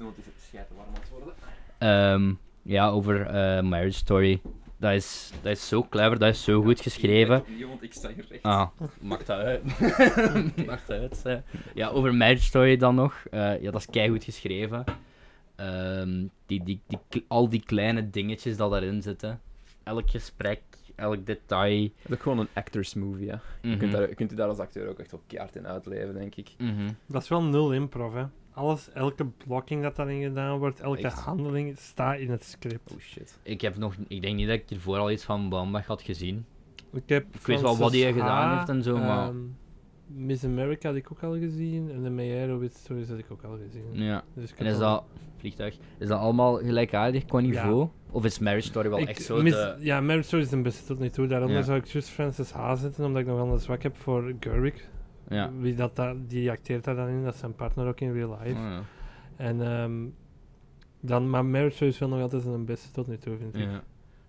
Ehm, ja, over eh, Marriage Story. Dat is, dat is zo clever, dat is zo goed geschreven.
want ik sta hier recht.
Ah, maakt dat uit. maakt dat uit. hè. Ja, over Marriage Story dan nog. Eh, ja, dat is keigoed geschreven. Ehm, die, die, die, al die kleine dingetjes dat daarin zitten. Elk gesprek, elk detail.
Dat is ook gewoon een actors movie, hè. Je kunt, daar, je kunt u daar als acteur ook echt op keihard in uitleven, denk ik.
Mhm.
Dat is wel nul improv, hè. Alles, elke blocking dat daarin gedaan wordt, elke
Echt?
handeling staat in het script.
Oh shit.
Ik heb nog, ik denk niet dat ik hiervoor al iets van Baumbach had gezien.
Ik, heb
Ik weet wel wat
Frances
hij gedaan
Ha,
heeft en zo, maar-
ehm, Miss America had ik ook al gezien. En de Meyer With Stories had ik ook al gezien.
Ja.
Dus ik
En
had
is
al-
dat, vliegtuig, is dat allemaal gelijkaardig qua niveau? Of is Marriage Story wel
Ik-
echt zo
mis-
de...
Ja, Marriage Story is de beste tot nu toe. Daaronder
Ja.
zou ik juist Frances Ha zetten, omdat ik nog wel een zwak heb voor Gerwig.
Ja.
Wie dat, daar- die acteert daar dan in, dat is zijn partner ook in real life.
Oh, ja.
En, ehm, dan, maar Marriage Story is wel nog altijd zijn beste tot nu toe, vind ik.
Ja.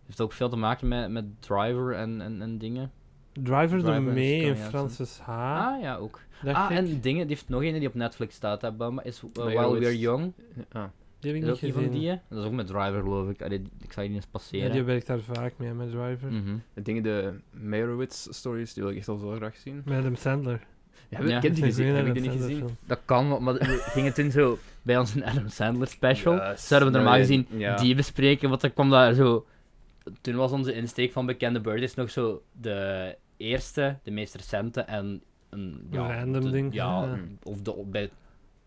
Heeft ook veel te maken met, met driver en, en, en dingen.
Driver,
Driver
doet
is
mee in
Scarlett Johansson.
Frances H.
Ah, ja, ook.
dacht
ah,
ik.
en dingen, die heeft nog een die op Netflix staat, hè, Bamba, is eh,
While
While We're
It's-
Young.
Ah.
Die heb
Is
ik
ook
niet
die van
gezien.
die, hè? Dat is ook met Driver, geloof ik. Allee, ik zag die eens
ja,
passeren.
die werkt daar vaak mee, met Driver.
Mhm.
Ik denk de Meyerowitz-stories, die wil ik echt al zo graag zien.
Met Adam Sandler.
Heb,
Ja.
Ik heb die
Een
gezien,
goeie
heb ik die
Adam
niet
Sandler
gezien?
film.
Dat kan, wel, maar ging het in zo bij ons een Adam Sandler special?
Yes.
Zouden we normaal
Nee,
gezien
ja.
die bespreken, want dan kwam daar zo... Toen was onze insteek van Bekende Birdies nog zo de eerste, de meest recente en... Een, ja,
Random
de-
ding.
Ja,
Ja.
of de, bij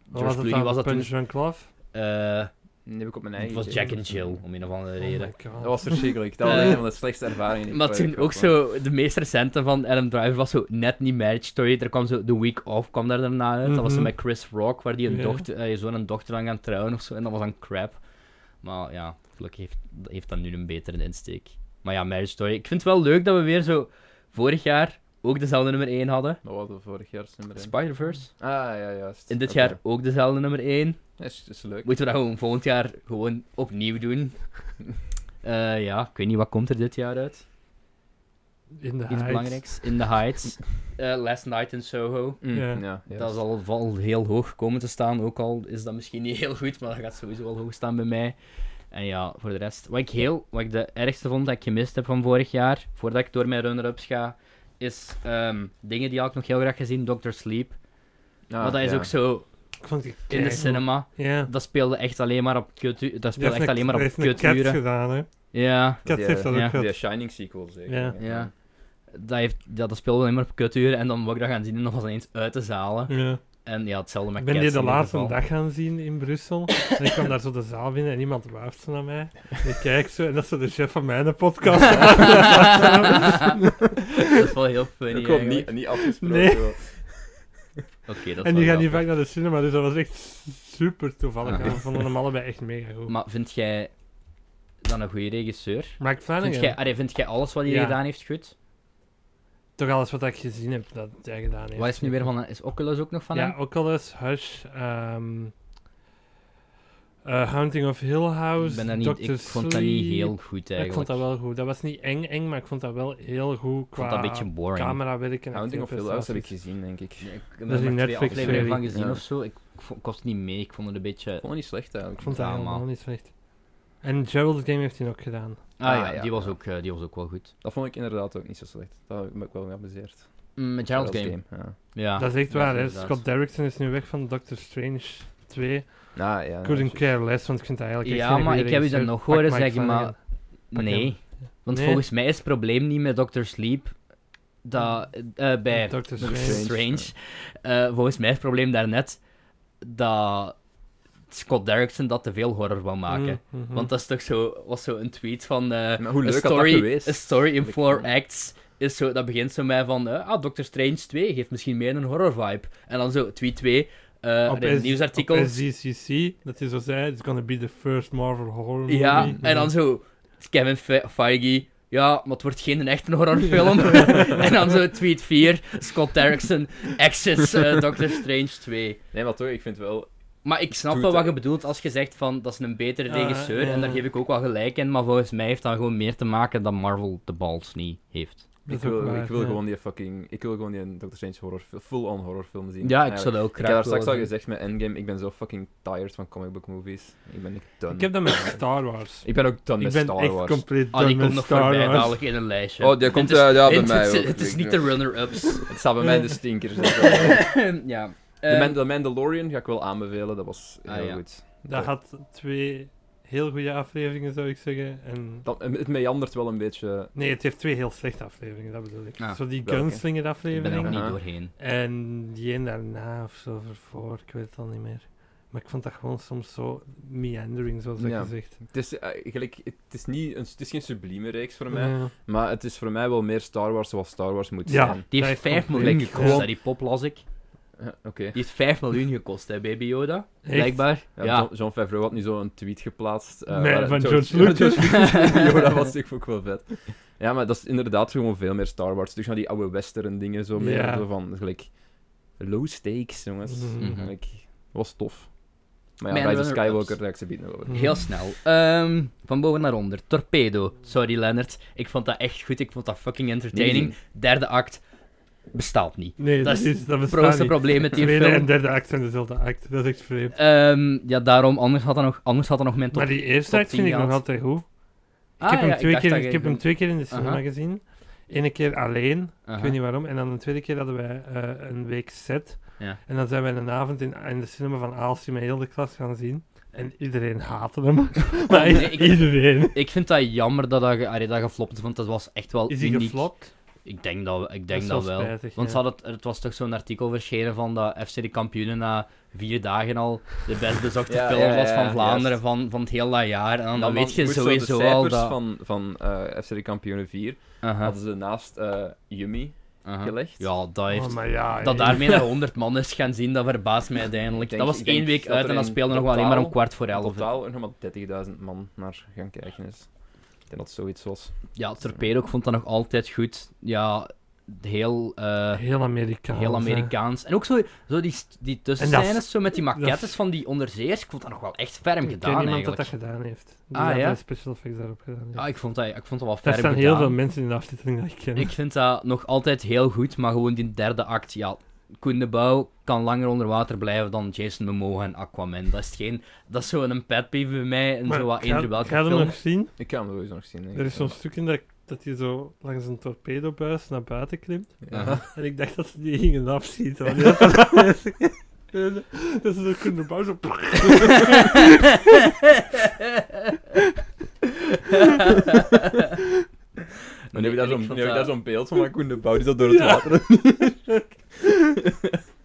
Wat
George
was het
Clooney
dan?
was dat toen...
Punch Drunk Love?
eh,
Die heb ik op mijn
het
eigen
was
gezien.
Jack and Jill, om een of andere
Oh my
reden.
god.
Dat was verschrikkelijk. Dat was
Eh,
een van de slechtste ervaringen. die
Maar
ik
toen
ooit
ook
heb gehad.
zo, de meest recente van Adam Driver was zo net niet Marriage Story. Er kwam zo The Week Off, kwam daar daarna uit. Dat was ze
Mhm.
met Chris Rock, waar die een
Ja.
dochter, eh, zoon en dochter aan gaan trouwen of zo. En dat was dan crap. Maar ja, gelukkig heeft, heeft dat nu een betere insteek. Maar ja, Marriage Story. Ik vind het wel leuk dat we weer zo vorig jaar ook dezelfde nummer 1 hadden.
Dat was de vorig jaar nummer 1.
Spider-Verse.
Ah, ja, juist.
In dit
Oké.
jaar ook dezelfde nummer 1.
Dat is, dat is leuk.
Moeten we dat gewoon volgend jaar gewoon opnieuw doen? Eh, ja, ik weet niet, wat komt er dit jaar uit?
In de
iets
Heights.
belangrijks. In the Heights. Eh, Last Night in Soho.
Mm,
Ja.
ja. Ja,
Dat is al wel heel hoog komen te staan. Ook al is dat misschien niet heel goed, maar dat gaat sowieso wel hoog staan bij mij. En ja, voor de rest. Wat ik, heel, wat ik de ergste vond dat ik gemist heb van vorig jaar, voordat ik door mijn runner-ups ga, is ehm, dingen die had ik nog heel graag gezien. Doctor Sleep.
Ah,
maar dat is
ja.
ook zo
Ik vond die
in de
keigoed.
cinema.
Ja.
Dat speelde echt alleen maar op kutu- Dat
Die heeft
speelde echt
een-
alleen maar op
heeft een Cats
kuturen.
gedaan, hè.
Ja.
Cats
Die,
heeft dat ook
ja.
gehad.
Die Shining sequel zeker.
Ja.
Ja. Dat, heeft, ja, dat speelde alleen maar op kuturen. En dan wou ik dat gaan zien en dan was ineens uit de zalen.
Ja.
En ja, hetzelfde met
Ik ben
Cats
die de
in ieder
laatste
geval.
dag gaan zien in Brussel. En ik kwam daar zo de zaal binnen en iemand wuift zo naar mij. En ik kijk zo en dat is zo de chef van mijn podcast.
dat is wel heel funny.
Ik hoop
eigenlijk.
niet, eh, niet afgesproken.
Nee.
wel.
Oké, dat is wel
en die gaan niet
grappig.
vaak naar de cinema, dus dat was echt super toevallig.
Ah.
En we vonden hem allebei echt mega goed.
Maar vind jij dan een goede regisseur?
Mike
Vind jij,
Flanagan,
allee, vind jij alles wat hij
Ja.
gedaan heeft goed?
toch alles wat ik gezien heb dat jij gedaan heeft.
Wat is nu weer van Is Oculus ook nog van
ja,
hem?
Oculus, Hush, ehm eh, Haunting of Hill House,
Ik, ben daar niet,
Dr.
ik vond dat niet
Sleep.
heel goed
Ja,
eigenlijk.
Ik vond dat wel goed. Dat was niet eng, eng, maar ik vond dat wel heel goed
Ik vond dat
qua
een beetje boring.
camerawerk en
Hounding of Hill House heb ik
acteerprestaties.
gezien, denk ik.
Nee, ik heb er
is die
maar twee
Netflix
afleveringen van
serie.
gezien
Ja.
of zo. Ik, vo- ik was niet mee, ik vond het een beetje...
Ik vond het niet slecht eigenlijk.
Ik vond dat
Ja,
helemaal
man.
niet slecht. En Gerald's Game heeft hij ook gedaan.
Ah, ja,
Ah, ja,
die, was
ja.
ook, eh, die was ook wel goed.
Dat vond ik inderdaad ook niet zo slecht. Daar heb ik me ook wel mee amuseerd.
Mm, met Gerald's Game.
Ja.
Ja.
dat is echt
Ah, dat
waar,
is
hè.
inderdaad.
Scott Derrickson is nu weg van Doctor Strange 2.
Ah, ja.
Couldn't
ja,
care less, want ik vind dat eigenlijk echt
Ja,
geen
maar
goede
ik heb u dat
regisseur.
nog
Pak
horen
Mike
zeggen,
Flanagan.
maar...
Pak
Nee.
hem.
Want
Nee.
volgens mij is het probleem niet met Dr. Sleep dat, eh, bij Dr.
Doctor
Doctor
Strange.
Strange. Eh, volgens mij is het probleem daarnet dat Scott Derrickson dat te veel horror wil maken.
Mm, mhm.
Want dat is toch zo, was zo een tweet van. eh
Maar hoe
a
leuk had dat
story,
geweest?
A story in
Ik-
four acts. Is zo, dat begint zo met van. eh, ah, Doctor Strange 2 geeft misschien meer een horror vibe. En dan zo, tweet 2. eh
Op
een
S-
nieuwsartikel.
Op SDCC, dat is zo zei, it's gonna be the first Marvel horror movie.
Ja,
Mhm.
en dan zo Kevin Fe- Feige. Ja, maar het wordt geen echte horrorfilm. en dan zo tweet 4, Scott Derrickson, Exits, eh, Doctor Strange 2.
Nee, maar toch, ik vind wel...
Maar ik snap
Doet
wel wat
dat.
je bedoelt als je zegt van dat is een betere
Ah,
regisseur.
ja.
En daar geef ik ook wel gelijk in. Maar volgens mij heeft dat gewoon meer te maken dat Marvel de bals niet heeft.
Dat
Ik
is ook
wil,
waar,
ik wil
ja.
gewoon die fucking... Ik wil gewoon die Doctor Strange horrorfilm, full-on horrorfilm zien.
Ja, ik
Eigenlijk.
zal dat ook
Ik
graag
heb daar straks al
willen
gezegd met Endgame, ik ben zo fucking tired van comic book movies. Ik ben echt done.
Ik heb dat met Star Wars.
Ik ben ook done
ik
met
ben
Star
echt
Wars.
compleet
Ah, die
done
komt
met
nog
Star
voorbij,
Wars.
dadelijk in een lijstje.
Oh, die komt,
Het is-
eh, ja, bij
het-
mij
het-
ook.
Het is
Ik
niet de Eh.
denk-
runner-ups.
Het staat bij mij in de stinkers.
ja.
De
Eh,
Man- The Mandalorian ga ik wel aanbevelen, dat was heel
Ah, ja.
goed.
Dat had twee heel goede afleveringen, zou ik zeggen. En...
Dat, eh, het meandert wel een beetje.
Nee, het heeft twee heel slechte afleveringen, dat bedoel ik.
Ah,
Zo die
welke?
Gunslinger
ik ben er nog
aflevering.
Aha.
niet doorheen.
En die een daarna of zo voor, ik weet het al niet meer. Maar ik vond dat gewoon soms zo meandering, zoals dat
Ja.
je zegt.
Het is, eh, gelijk, het is, niet een, het is geen sublieme reeks voor
Mhm.
mij,
Ja.
maar het is voor mij wel meer Star Wars zoals Star Wars moet
Ja.
zijn.
Die
Dat
heeft
heeft
5
compleet
miljoen
gekost.
gekost,
Ja.
hè, die pop las ik.
Eh, Oké.
Die heeft 5 miljoen gekost, hè, baby Yoda.
Echt?
Blijkbaar.
Ja,
ja.
John, John Favreau had nu zo een tweet geplaatst. eh,
Nee,
waar-
van George Lucas.
Lucas. Jo, dat was ik ook wel vet. Ja, maar dat is inderdaad gewoon veel meer Star Wars. Dus naar die oude western dingen zo meer.
Ja.
Zo van, gelijk, low stakes, jongens.
Mhm.
Gelijk, was tof. Maar ja,
Mijn
Rise of
runner-ups.
Skywalker, daar heb ik ze bieden over.
Mhm.
Heel snel. Ehm, van boven naar onder. Torpedo. Sorry, Leonard. Ik vond dat echt goed. Ik vond dat fucking entertaining. Derde act bestaat niet.
Nee,
Dat
dat,
is
is, dat
Het
bestaat
grootste
niet.
probleem met die
Tweede en
film.
derde act zijn dezelfde act, dat is echt vreemd.
Ehm, ja, daarom. Anders had dat nog, anders had dat nog mijn top.
maar die eerste
top
act vind
10
ik nog
gehad.
altijd goed.
Ah,
ik heb,
ja,
hem, twee
dacht
keer,
dat
ik
je-
heb hem twee keer in de cinema
Aha.
gezien. Eén keer alleen,
Aha.
Ik weet niet waarom. En dan de tweede keer hadden wij eh, een week set.
Ja.
En dan zijn we een avond in, in de cinema van Aalsje met heel de klas gaan zien. En iedereen haatte hem. maar
Nee,
echt
ik-
iedereen.
Ik vind dat jammer dat dat, ge- allee, dat geflopt is, want dat was echt wel
Is hij
uniek.
geflopt?
Ik denk dat, ik
Dat
denk
is
dat
wel
wel.
spijtig,
want
ja.
ze had het, het was toch zo'n artikel verschenen van dat FC de kampioenen na vier dagen al de best bezochte
Ja,
film
ja, ja,
was van
ja,
Vlaanderen
juist.
van, van het heel dat jaar. En dan,
Dan
weet je
goed, zo
sowieso
de
al
cijfers
dat...
van, van eh, FC de Kampioenen 4
Aha,
hadden ze naast eh Yumi
aha.
gelegd.
Ja, dat heeft...
Oh, maar ja,
Dat
ja.
daarmee naar 100 man is gaan zien, dat verbaast mij uiteindelijk.
Ik denk-
dat was
ik denk
één week
dat
uit
er
en dan
in
speelde nog wel alleen maar om
totaal-
kwart voor
In
elf.
totaal er nog maar 30.000 man naar gaan kijken is. Ik denk dat het zoiets was.
Ja, Torpedo, ik vond dat nog altijd goed. Ja, heel... eh,
Heel Amerikaans.
Heel
hè.
Amerikaans. En ook zo, zo die, st- die
eh, dat
tussenscènes
is-
zo met die
dat is-
maquettes van die onderzeeërs. Ik vond dat nog wel echt ferm
Ik ken
gedaan
niemand dat
eigenlijk.
dat gedaan heeft. Die
Ah,
had
ja?
de special effects daarop gedaan. Ja.
Ah, ik, vond dat, ik vond dat wel
Daar
ferm
staan
gedaan.
heel veel mensen in de afzetting dat ik ken.
Ik vind dat nog altijd heel goed, maar gewoon die derde act, ja... Koen de Bouw kan langer onder water blijven dan Jason Momoa en Aquaman. Dat is, geen, dat is zo'n pet peeve bij mij en
Maar
zo wat
ga-
eender welke
ga je hem
film.
nog zien?
Ik kan hem sowieso nog zien. denk
Er
ik.
is zo'n stuk in dat, dat hij zo langs een torpedobuis naar buiten klimt.
Ja.
En ik dacht dat ze die gingen afschieten. want dat was de eerste keer. Dat ze zo kunnen bouwen. Zo...
Maar nu heb je daar
Nee,
zo'n-
en
nu
vond
heb je daar
dat-
zo'n beeld van, maar Koen de Bouw die zat door het water.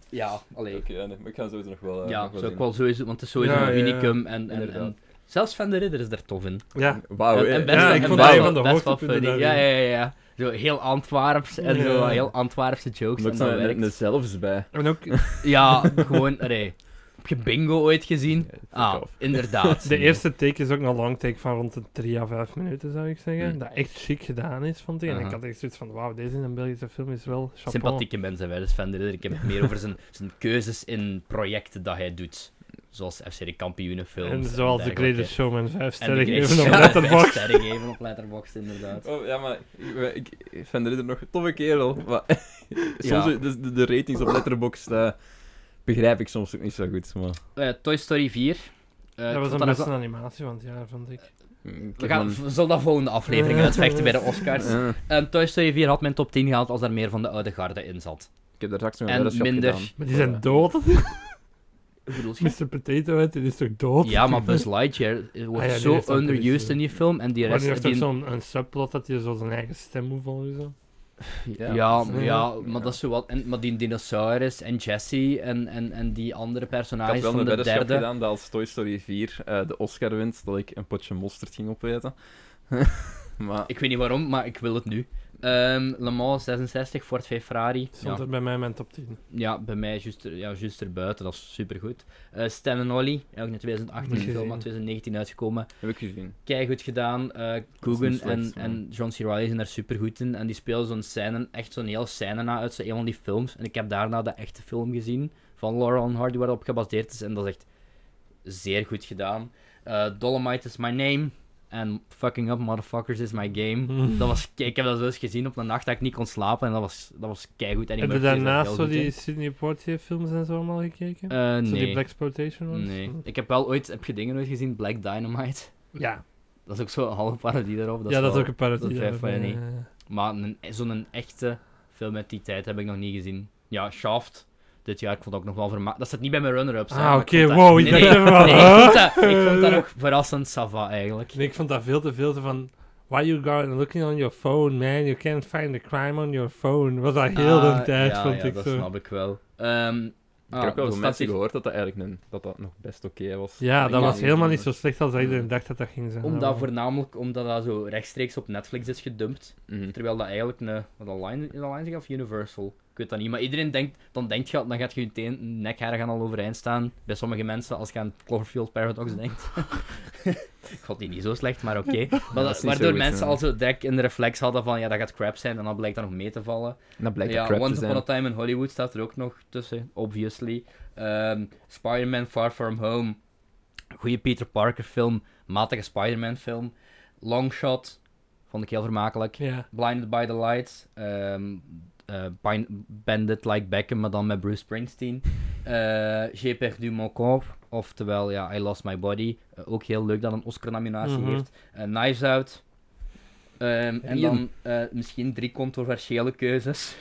Ja, alleen.
Oké, ja, nee, maar ik ga hem sowieso nog wel eh,
Ja,
nog wel
zo
zien.
ook wel sowieso, want het is sowieso
Ja,
een
ja, ja.
unicum. En, en, en
Inderdaad.
zelfs Van de Ridder is er tof in.
Ja,
Wauw,
en,
eh,
en best,
Oh, ja,
wel-
ik
en
vond
best
dat
wel-
een van de
best wel
hoogtepunten
funny. Ja, ja,
daarin.
ja, ja. Zo heel Antwerps en zo
Ja.
heel Antwerpse jokes.
Er
En
ook
dat
zo'n-
werkt.
een- een zelfs bij.
en ook
Ja, gewoon, allee. Heb je Bingo ooit gezien? Ah,
off.
inderdaad.
de eerste take is ook een long take van rond de 3 à 5 minuten, zou ik zeggen.
Mm.
Dat echt chic gedaan is, vond ik. En
Aha.
ik had echt zoiets van, wauw, deze in een Belgische film is wel chapeau.
Sympathieke mensen, wij dus Van de Ridder. Ik heb het meer over zijn, zijn keuzes in projecten dat hij doet. Zoals FC de kampioenenfilms.
En zoals The
dergelijke.
Greatest Showman 5
En
sterren
The
geven op
Greatest Showman, vijf
Letterboxd.
sterren geven op Letterboxd, inderdaad.
Oh, ja, maar ik, ik, ik vind de ridder nog een toffe kerel. Maar soms
Ja.
de, de, de ratings op Letterboxd eh, begrijp ik soms ook niet zo goed. Maar,
Eh, Toy Story 4. Eh, ik
Dat was
vond
een
nog
beste
wel-
animatie van het jaar, vond ik.
Mm, ik
We
heb
gaan
dan-
we zullen dat volgende aflevering uitvechten bij de Oscars.
Eh,
En Toy Story 4 had mijn top 10 gehaald als daar meer van de oude garde in zat.
ik heb daar straks nog
En
een weddenschap
minder.
gedaan.
Maar die
Ja.
zijn dood.
bedoel
Mr. Potato Head, die is toch dood?
Ja, maar Buzz Lightyear eh, wordt
Ah ja, die
zo
heeft dat
underused
precies,
in die film. En die
Maar die
rest...
heeft
die-
toch zo'n een subplot dat hij zo zijn eigen stem moet volgen. Zo.
ja,
Ja.
ja,
Ja.
maar dat is zo wat... En, maar die dinosaurus en Jesse en, en, en die andere
Ik
personages
had wel
van
een
de
weddenschap
derde...
gedaan dat als Toy Story 4 eh, de Oscar wint, dat ik een potje mosterd ging opeten. maar
Ik weet niet waarom, maar ik wil het nu. Ehm, Le Mans 66, Ford Ferrari.
Stond
Ja,
er bij mij in mijn top 10.
ja, bij mij juist er- ja, juist erbuiten, dat is supergoed. Eh Stan en Ollie, ook in 2018
Niet
film, maar
gezien.
2019 uitgekomen.
heb ik gezien.
Kei goed gedaan. Eh
niet
Coogan en,
slecht, maar-
en John C. Reilly zijn daar super goed in. En die spelen zo'n scène, echt zo'n heel scène na uit zo een van die films. En ik heb daarna de echte film gezien van Laurel and Hardy, waarop gebaseerd is. En dat is echt zeer goed gedaan. Eh, Dolomite is My Name. En Fucking Up Motherfuckers is my game. dat was, ik heb dat zo eens gezien op een nacht dat ik niet kon slapen. En dat was, dat was keigoed. En die
Heb je
Murphy is daar
daarnaast
heel
zo
goed in.
die Sydney Poitier films en zo allemaal gekeken?
Eh,
Zo die
nee.
Black Exploitation
nee. Ik heb wel ooit, heb je dingen ooit gezien? Black Dynamite.
Ja.
Dat is ook zo'n halve parodie daarop. Dat
ja,
is
dat is
wel-
ook een parodie.
dat blijft
daarvan,
mij niet.
ja.
Maar een- zo'n echte film uit die tijd heb ik nog niet gezien. Ja, Shaft. Dit jaar, ik vond dat ook nog wel vermaakt. Dat zit niet bij mijn runner-ups. hè,
Ah,
maar ik
oké,
vond dat-
wow, ik
Nee,
dacht
nee,
even van,
nee,
huh?
ik vond dat- ik vond dat ook verrassend sava eigenlijk.
Nee, ik vond dat veel te veel te van... Why you going looking on your phone, man? You can't find the crime on your phone. Was dat heel
Ah,
de tijd,
ja,
vond
ja,
ik
dat
zo.
snap ik wel. Ehm,
ik
ah,
heb ook wel
dat
van
staat
mensen
hier-
gehoord dat dat eigenlijk een- dat dat nog best oké was.
Ja, dat
Ja,
was
ja,
helemaal
ja.
niet zo slecht als iedereen dacht dat dat ging zijn.
Omdat
voor
voornamelijk omdat dat zo rechtstreeks op Netflix is gedumpt.
Mhm.
Terwijl dat eigenlijk een... Wat online, online zeg of Universal? Ik weet dat niet. Maar iedereen denkt... Dan denkt je... Dan gaat je je teen, nekharen gaan al overeind staan. Bij sommige mensen, als je aan Cloverfield Paradox denkt. ik vond die niet zo slecht, maar oké. Maar
dat is
dat-
niet
waardoor
zo goed,
mensen
hè.
al zo direct in de reflex hadden van... Ja, dat gaat crap zijn. En dan blijkt dat nog mee te vallen.
Dat blijkt
ja,
crap te
Once
zijn.
Upon a Time in Hollywood staat er ook nog tussen. Obviously. Ehm, Spider-Man Far From Home. Goeie Peter Parker film. Matige Spider-Man film. Longshot. Vond ik heel vermakelijk.
Ja.
Blinded by the Lights. ehm eh, Bind- Bandit Like Beckham, maar dan met Bruce Springsteen. eh J'ai perdu mon corps. Oftewel, ja, I Lost My Body. Eh, ook heel leuk dat een Oscar-nominatie
Mhm.
heeft. Eh, Knives Out. Ehm, en
Ian.
dan eh, misschien drie controversiële keuzes.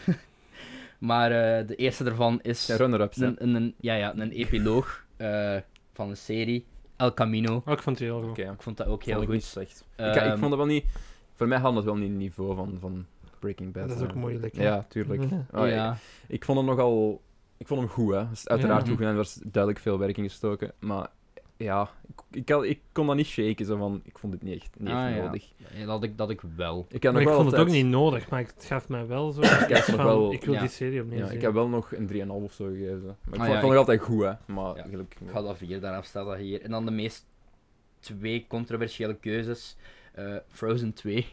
maar eh, de eerste daarvan is
Ja, runner-ups. hè.
een, een, een- ja, ja, een epiloog eh, van een serie. El Camino.
Oh, ik vond het heel goed.
Oké, ja.
Ik vond dat ook heel
Vond ik
goed.
niet slecht. Ik, ik
Ehm,
vond dat wel niet... Voor mij had het wel niet het niveau van, van Breaking Bad.
Dat is ook
hè.
moeilijk, hè?
Ja, tuurlijk.
Ja.
Oh, ik-
ja.
Ik, vond hem nogal... Ik vond hem goed, hè. Dat is uiteraard
Ja.
goed gedaan. Er was duidelijk veel werk in gestoken. Maar ja, ik, ik, had- ik kon dat niet shaken. Zo van, ik vond dit niet echt, niet echt
Ah, ja.
nodig.
Ja, Dat, ik, dat ik wel.
Ik, had
Maar
nog
ik
wel
vond het ook
altijd-
niet nodig, maar het gaf mij wel zo. Ik,
heb nog
van,
wel-
ik wil
ja.
die serie opnieuw
Ja,
zien.
ik heb wel nog een 3,5 of zo gegeven. Maar ik vond,
Ah, ja,
ik vond nog
ik-
altijd goed, hè. Maar
Ja.
gelukkig...
Ik ga dat vier, daaraf staat dat hier. En dan de meest twee controversiële keuzes. Eh, Frozen 2.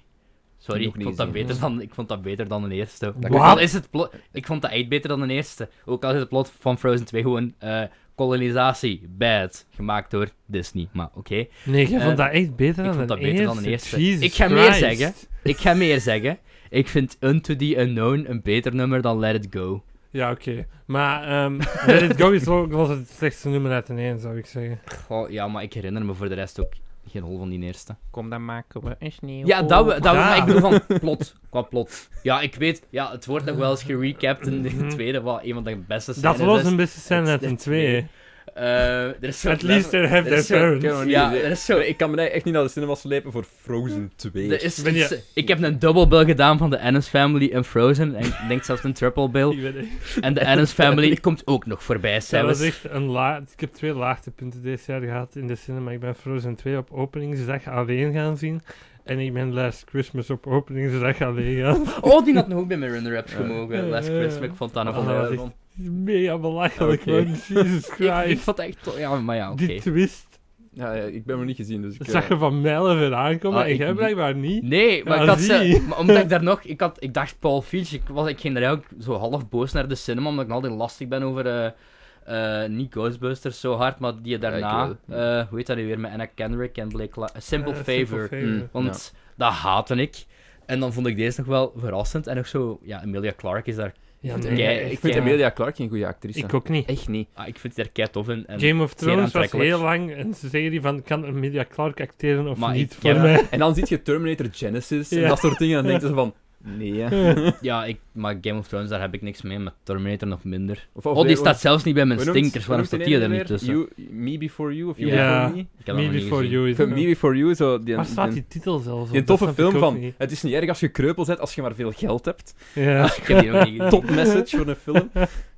Sorry,
Nog
ik
niet
vond, dat
gezien.
beter dan, ik vond dat beter dan de eerste.
Wat?
Ook al is het plot... Ik vond dat echt beter dan de eerste. Ook al is het plot van Frozen 2 gewoon eh, kolonisatie, bad, gemaakt door Disney. Maar oké.
Nee, jij
Eh,
vond dat echt beter
ik
dan
vond
een
dat
eerste.
beter dan de eerste.
Jesus
Ik ga meer
Christ.
zeggen. Ik ga meer zeggen. Ik vind Unto the Unknown een beter nummer dan Let It Go.
Ja, oké. Maar ehm Let It Go is ook was het slechtste nummer uit de één, zou ik zeggen.
Goh, ja, maar ik herinner me voor de rest ook geen hol van die eerste.
Kom, dan maken we een sneeuw.
Ja, dat, we, dat we-
Ja.
maar ik bedoel van plot, qua plot. Ja, ik weet, ja, het wordt nog wel eens gerecapt in de tweede, wat een van de beste
Mhm. Dat
scènes
was
is.
een beste scène uit
is
een
net
twee.
Eh, er is zo'n
At least they have
er
their
is zo-
parents.
Kunnen we niet
Ja,
zeggen.
er is zo...
Ik kan me echt niet naar de cinema slepen voor Frozen 2.
Er is
Ben je-
iets- ik heb een double bill gedaan van de Addams Family en Frozen. En ik denk zelfs een triple bill.
Ik weet echt-
En de Addams Family komt ook nog voorbij,
Dat was
zelfs.
echt een la Ik heb twee laagtepunten deze jaar gehad in de cinema. Ik ben Frozen 2 op openingsdag alleen gaan zien. En ik ben Last Christmas op openingsdag alleen gaan
Oh, die had nog ook bij mijn runner-ups gemogen.
Ja,
Last
ja, ja.
Christmas, ik vond dat nog
Ah,
wel
dat was
heel-
Mega belachelijk,
Oké.
man. Jesus
Ik, ik
Christ.
vond dat echt... to- Ja, maar ja, oké. eh,
Die twist.
Ja, ja, ik ben hem niet gezien, dus ik...
Dat zag je van mijlen ver aankomen.
Ah,
en
ik
jij
niet.
blijkbaar niet.
Nee, maar
Ja,
ik had
Ah, zie.
ze, maar omdat ik daar nog, ik, had, ik dacht Paul Filch, ik, was, ik ging daar ook zo half boos naar de cinema, omdat ik nog altijd lastig ben over, eh, eh, niet Ghostbusters zo hard, maar die
Ja,
daarna,
ik wel.
eh, hoe heet dat nu weer, met Anna Kendrick en Blake La- A Simple
Eh,
Favor,
Mm.
want dat haatte ik. En dan vond ik deze nog wel verrassend, en ook zo, ja, Emilia Clarke is daar,
Ja,
Ik
nee,
vind-
echt,
ik
Ik
maar-
vind Emilia Clarke geen goede actrice.
Ik ook niet.
Echt niet.
ah, ik vind die daar kei tof in. En,
Game of
zeer
Thrones was
aantrekkelijk.
heel lang een serie van kan Emilia Clarke acteren of
Maar
niet
ik-
voor
ja.
mij.
En dan zie je Terminator Genesis en
Ja.
dat soort dingen, en dan denken ze van... Nee, hè.
ja, ik, maar Game of Thrones, daar heb ik niks mee, met Terminator nog minder.
Of, of-
Oh, die
hoe-
staat zelfs niet bij mijn
hoe noemt-
stinkers,
hoe
waarom
noemt
staat
die
die
ene
er niet
weer?
tussen?
You, me Before You, of You
Ja.
Before Me?
Ik heb dat
Me
nog niet
Before
gezien.
You
Ik
is
vind Me Before You, zo... Die,
Waar staat
die,
die titel zelfs op?
die
Dat
toffe
snap ik
film
ook
van...
niet.
Het is niet erg als je kreupel bent, als je maar veel geld hebt.
Ja.
Ik heb die nog niet gezien.
Top message voor een film.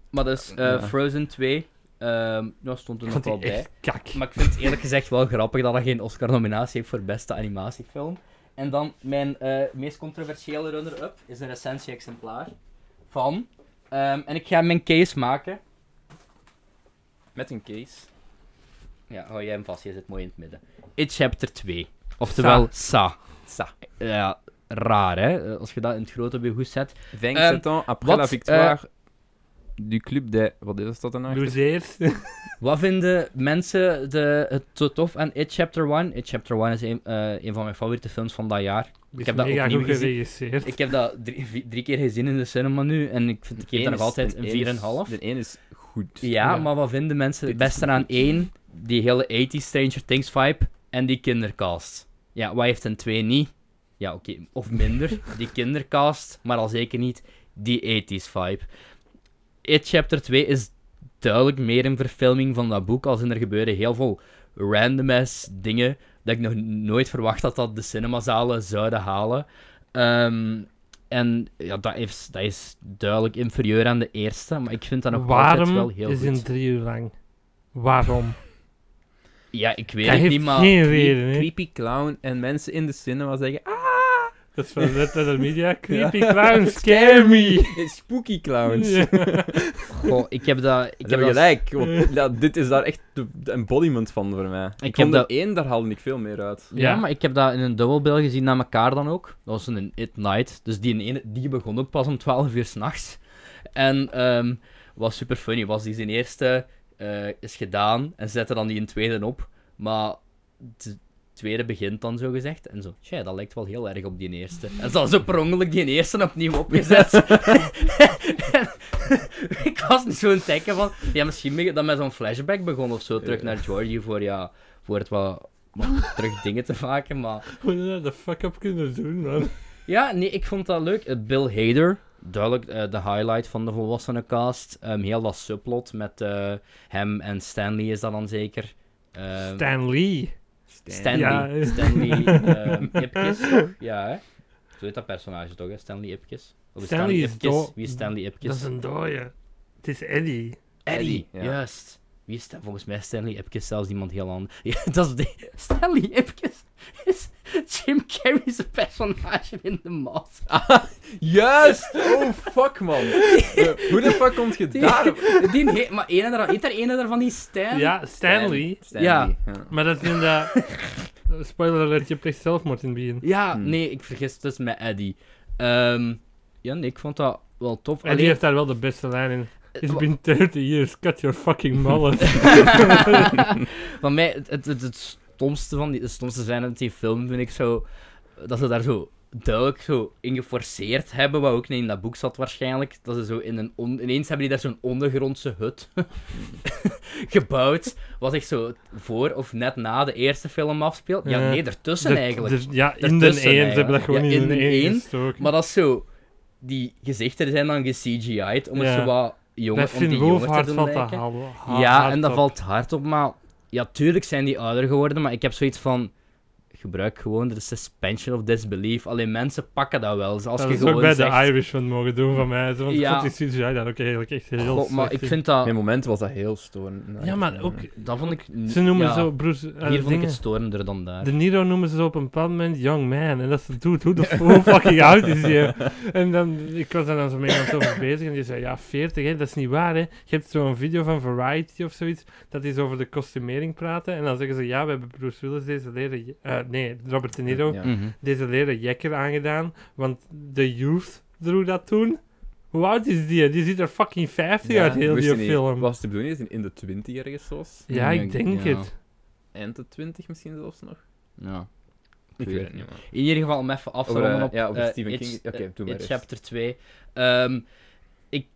Maar dus eh,
Ja.
Frozen 2, ehm dat stond er
Ik
nog
vond
wel
die
bij.
echt kak.
Maar ik vind het eerlijk gezegd wel grappig dat hij geen Oscar-nominatie heeft voor beste animatiefilm. En dan mijn eh, meest controversiële runner-up is een recensie-exemplaar van. ehm, en ik ga mijn case maken.
Met een case.
Ja, hou jij hem vast, je zit mooi in het midden. It Chapter 2. Oftewel Sa.
Sa.
Ja, raar hè, eh, als je dat in het grote behoes zet.
Vingt
Ehm,
ans après
wat,
la victoire die club de... Wat is dat dan eigenlijk?
Loseers.
Wat vinden mensen de, het zo tof aan It Chapter 1? It Chapter 1 is een, eh, een van mijn favoriete films van dat jaar. heb
Ik heb
dat
dat
ook
mega
niet
goed
gezien.
geregisseerd.
Ik heb dat drie, vi- drie keer gezien in de cinema nu en ik, vind, ik geef daar nog altijd een 4,5.
De één is goed.
Ja,
Ja.
maar wat vinden mensen het
Dit is
beste aan
goed.
1? Die hele 80 Stranger Things vibe en die kindercast. Ja, wat heeft een 2 niet? Ja, oké, of minder. Die kindercast, maar al zeker niet die 80s vibe. It Chapter 2 is duidelijk meer een verfilming van dat boek, als in er gebeuren heel veel random ass dingen dat ik nog nooit verwacht had dat de cinemazalen zouden halen. Ehm, en ja, dat, is, dat is duidelijk inferieur aan de eerste, maar ik vind dat nog altijd wel
Waarom
heel
is
goed.
een drie uur lang? Waarom?
Ja, ik weet
Hij
het
heeft
niet, maar...
geen reden, hè?
Creepy clown en mensen in de cinema zeggen... Ah,
Dat is van net naar de media. Creepy clown, scare me!
spooky clowns.
Ja.
Goh, ik heb dat... Ik
Ik
heb
heb
dat-
gelijk. want ja, dit is daar echt de, de embodiment van voor mij. Ik,
heb
vond
dat-
dat... één, daar haalde ik veel meer uit.
Ja,
Ja.
maar ik heb dat in een dubbelbel gezien na elkaar dan ook. Dat was een It Night. Dus die, ene, die begon ook pas om 12 uur s'nachts. En ehm was super funny. Was die zijn eerste eh, is gedaan en zette dan die een tweede op. Maar de tweede begint dan zo gezegd. En zo, tja, dat lijkt wel heel erg op die eerste. En ze hadden zo per ongeluk die eerste opnieuw opgezet. En ik was niet zo'n tekken van. Ja, misschien ben ik dan met zo'n flashback begon of zo terug naar Georgie voor, ja, voor het wat terug dingen te maken, maar...
Hoe je dat de fuck up kunnen doen, man?
Ja, nee, ik vond dat leuk. Eh, Bill Hader, duidelijk eh, de highlight van de volwassene cast. Ehm, heel dat subplot met eh, hem en Stanley is dat dan zeker. Ehm,
Stan Lee.
Stanley.
Ja.
Stanley ehm, Ipkiss, toch? Ja, hè? Zo heet dat personage toch, hè? Stanley Ipkiss? Of
Stanley is
Ipkiss?
dood.
Wie is Stanley
Dat
Ipkiss?
is een dode. Het is Eddie.
Eddie,
Eddie, ja.
juist. Wie is dat? Volgens mij is Stanley Ipkiss zelfs iemand heel anders. Ja, dat is de... Stanley Ipkiss is Jim Carrey's personage in de maat.
Juist! Oh, fuck, man. Eh, Hoe de fuck komt je
Die,
daarop?
die he- maar ene daar, heet er ene daarvan die Ehm, Stan?
Ja, Stanley.
Stanley,
Maar dat is in dat... Spoiler alert, je pleegt zelfmoord in het begin.
Ja,
Hmm.
nee, ik vergis het dus met Eddie. Ehm, ja, nee, ik vond dat wel tof.
Eddie heeft daar wel de beste lijn in. It's
Eh, wa-
been 30 years, cut your fucking mullet.
Van mij, het, het, het, het stomste van die, de stomste zijn uit die film vind ik zo. Dat ze daar zo duidelijk zo in geforceerd hebben, wat ook niet in dat boek zat waarschijnlijk. Dat ze zo in een on- ineens hebben die daar zo'n ondergrondse hut gebouwd. Wat zich zo voor of net na de eerste film afspeelt. Ja,
Ja.
nee, ertussen
Dat-
eigenlijk.
dat- Ja, in de
Daartussen
één. Ze hebben dat
eigenlijk.
gewoon
Ja,
in
in
de
de
één
één,
gestoken.
Maar dat is zo. Die gezichten zijn dan ge-CGI'd om het
Ja.
zo wat jonger,
Bij
om die
Finn
jonger te
Wolfhard
doen
valt dat
lijken.
hal- ha-
Ja,
hard
en dat
op.
valt hard op, maar... Ja, tuurlijk zijn die ouder geworden, maar ik heb zoiets van... Gebruik gewoon de suspension of disbelief. Alleen mensen pakken dat wel. Dus als
Dat
je
is
gewoon
ook bij
zegt...
de Irishman mogen doen van mij. Want
Ja.
ja. die CGI daar ook eigenlijk echt
God,
heel
maar
slecht
ik
in.
vind
In
dat...
het moment was dat heel storend.
Ja, maar ook...
Dat vond ik...
Ze noemen
ja,
zo... Bruce, eh,
Hier vond ik
dingen.
het storender dan daar.
De Niro noemen ze op een bepaald moment Young Man. En dat ze doet, hoe de hoe fucking oud is hij? En dan, ik was daar dan zo mee aan het over bezig. En die zei, ja, 40, hè, dat is niet waar, hè. Je hebt zo'n video van Variety of zoiets, dat is over de kostumering praten. En dan zeggen ze, ja, we hebben Bruce Willis deze leren... je- eh, nee, Robert De Niro,
Ja.
Mhm.
deze leren jekker aangedaan. Want de youth droeg dat toen. Hoe oud is die? Die ziet er fucking 50 uit, heel
wist
die
je niet.
film.
Was het de bedoeling dat hij in de 20 ergens was?
Ja,
Ja,
ik denk
ja.
het.
Eind de 20 misschien zelfs nog?
Ja.
Ik weet het niet, man.
In ieder geval om even af te
Over,
ronden
eh,
op
ja, over
eh,
Stephen
It-
King. Oké,
eh,
doe maar
It
eerst.
Chapter 2. Ehm, ik,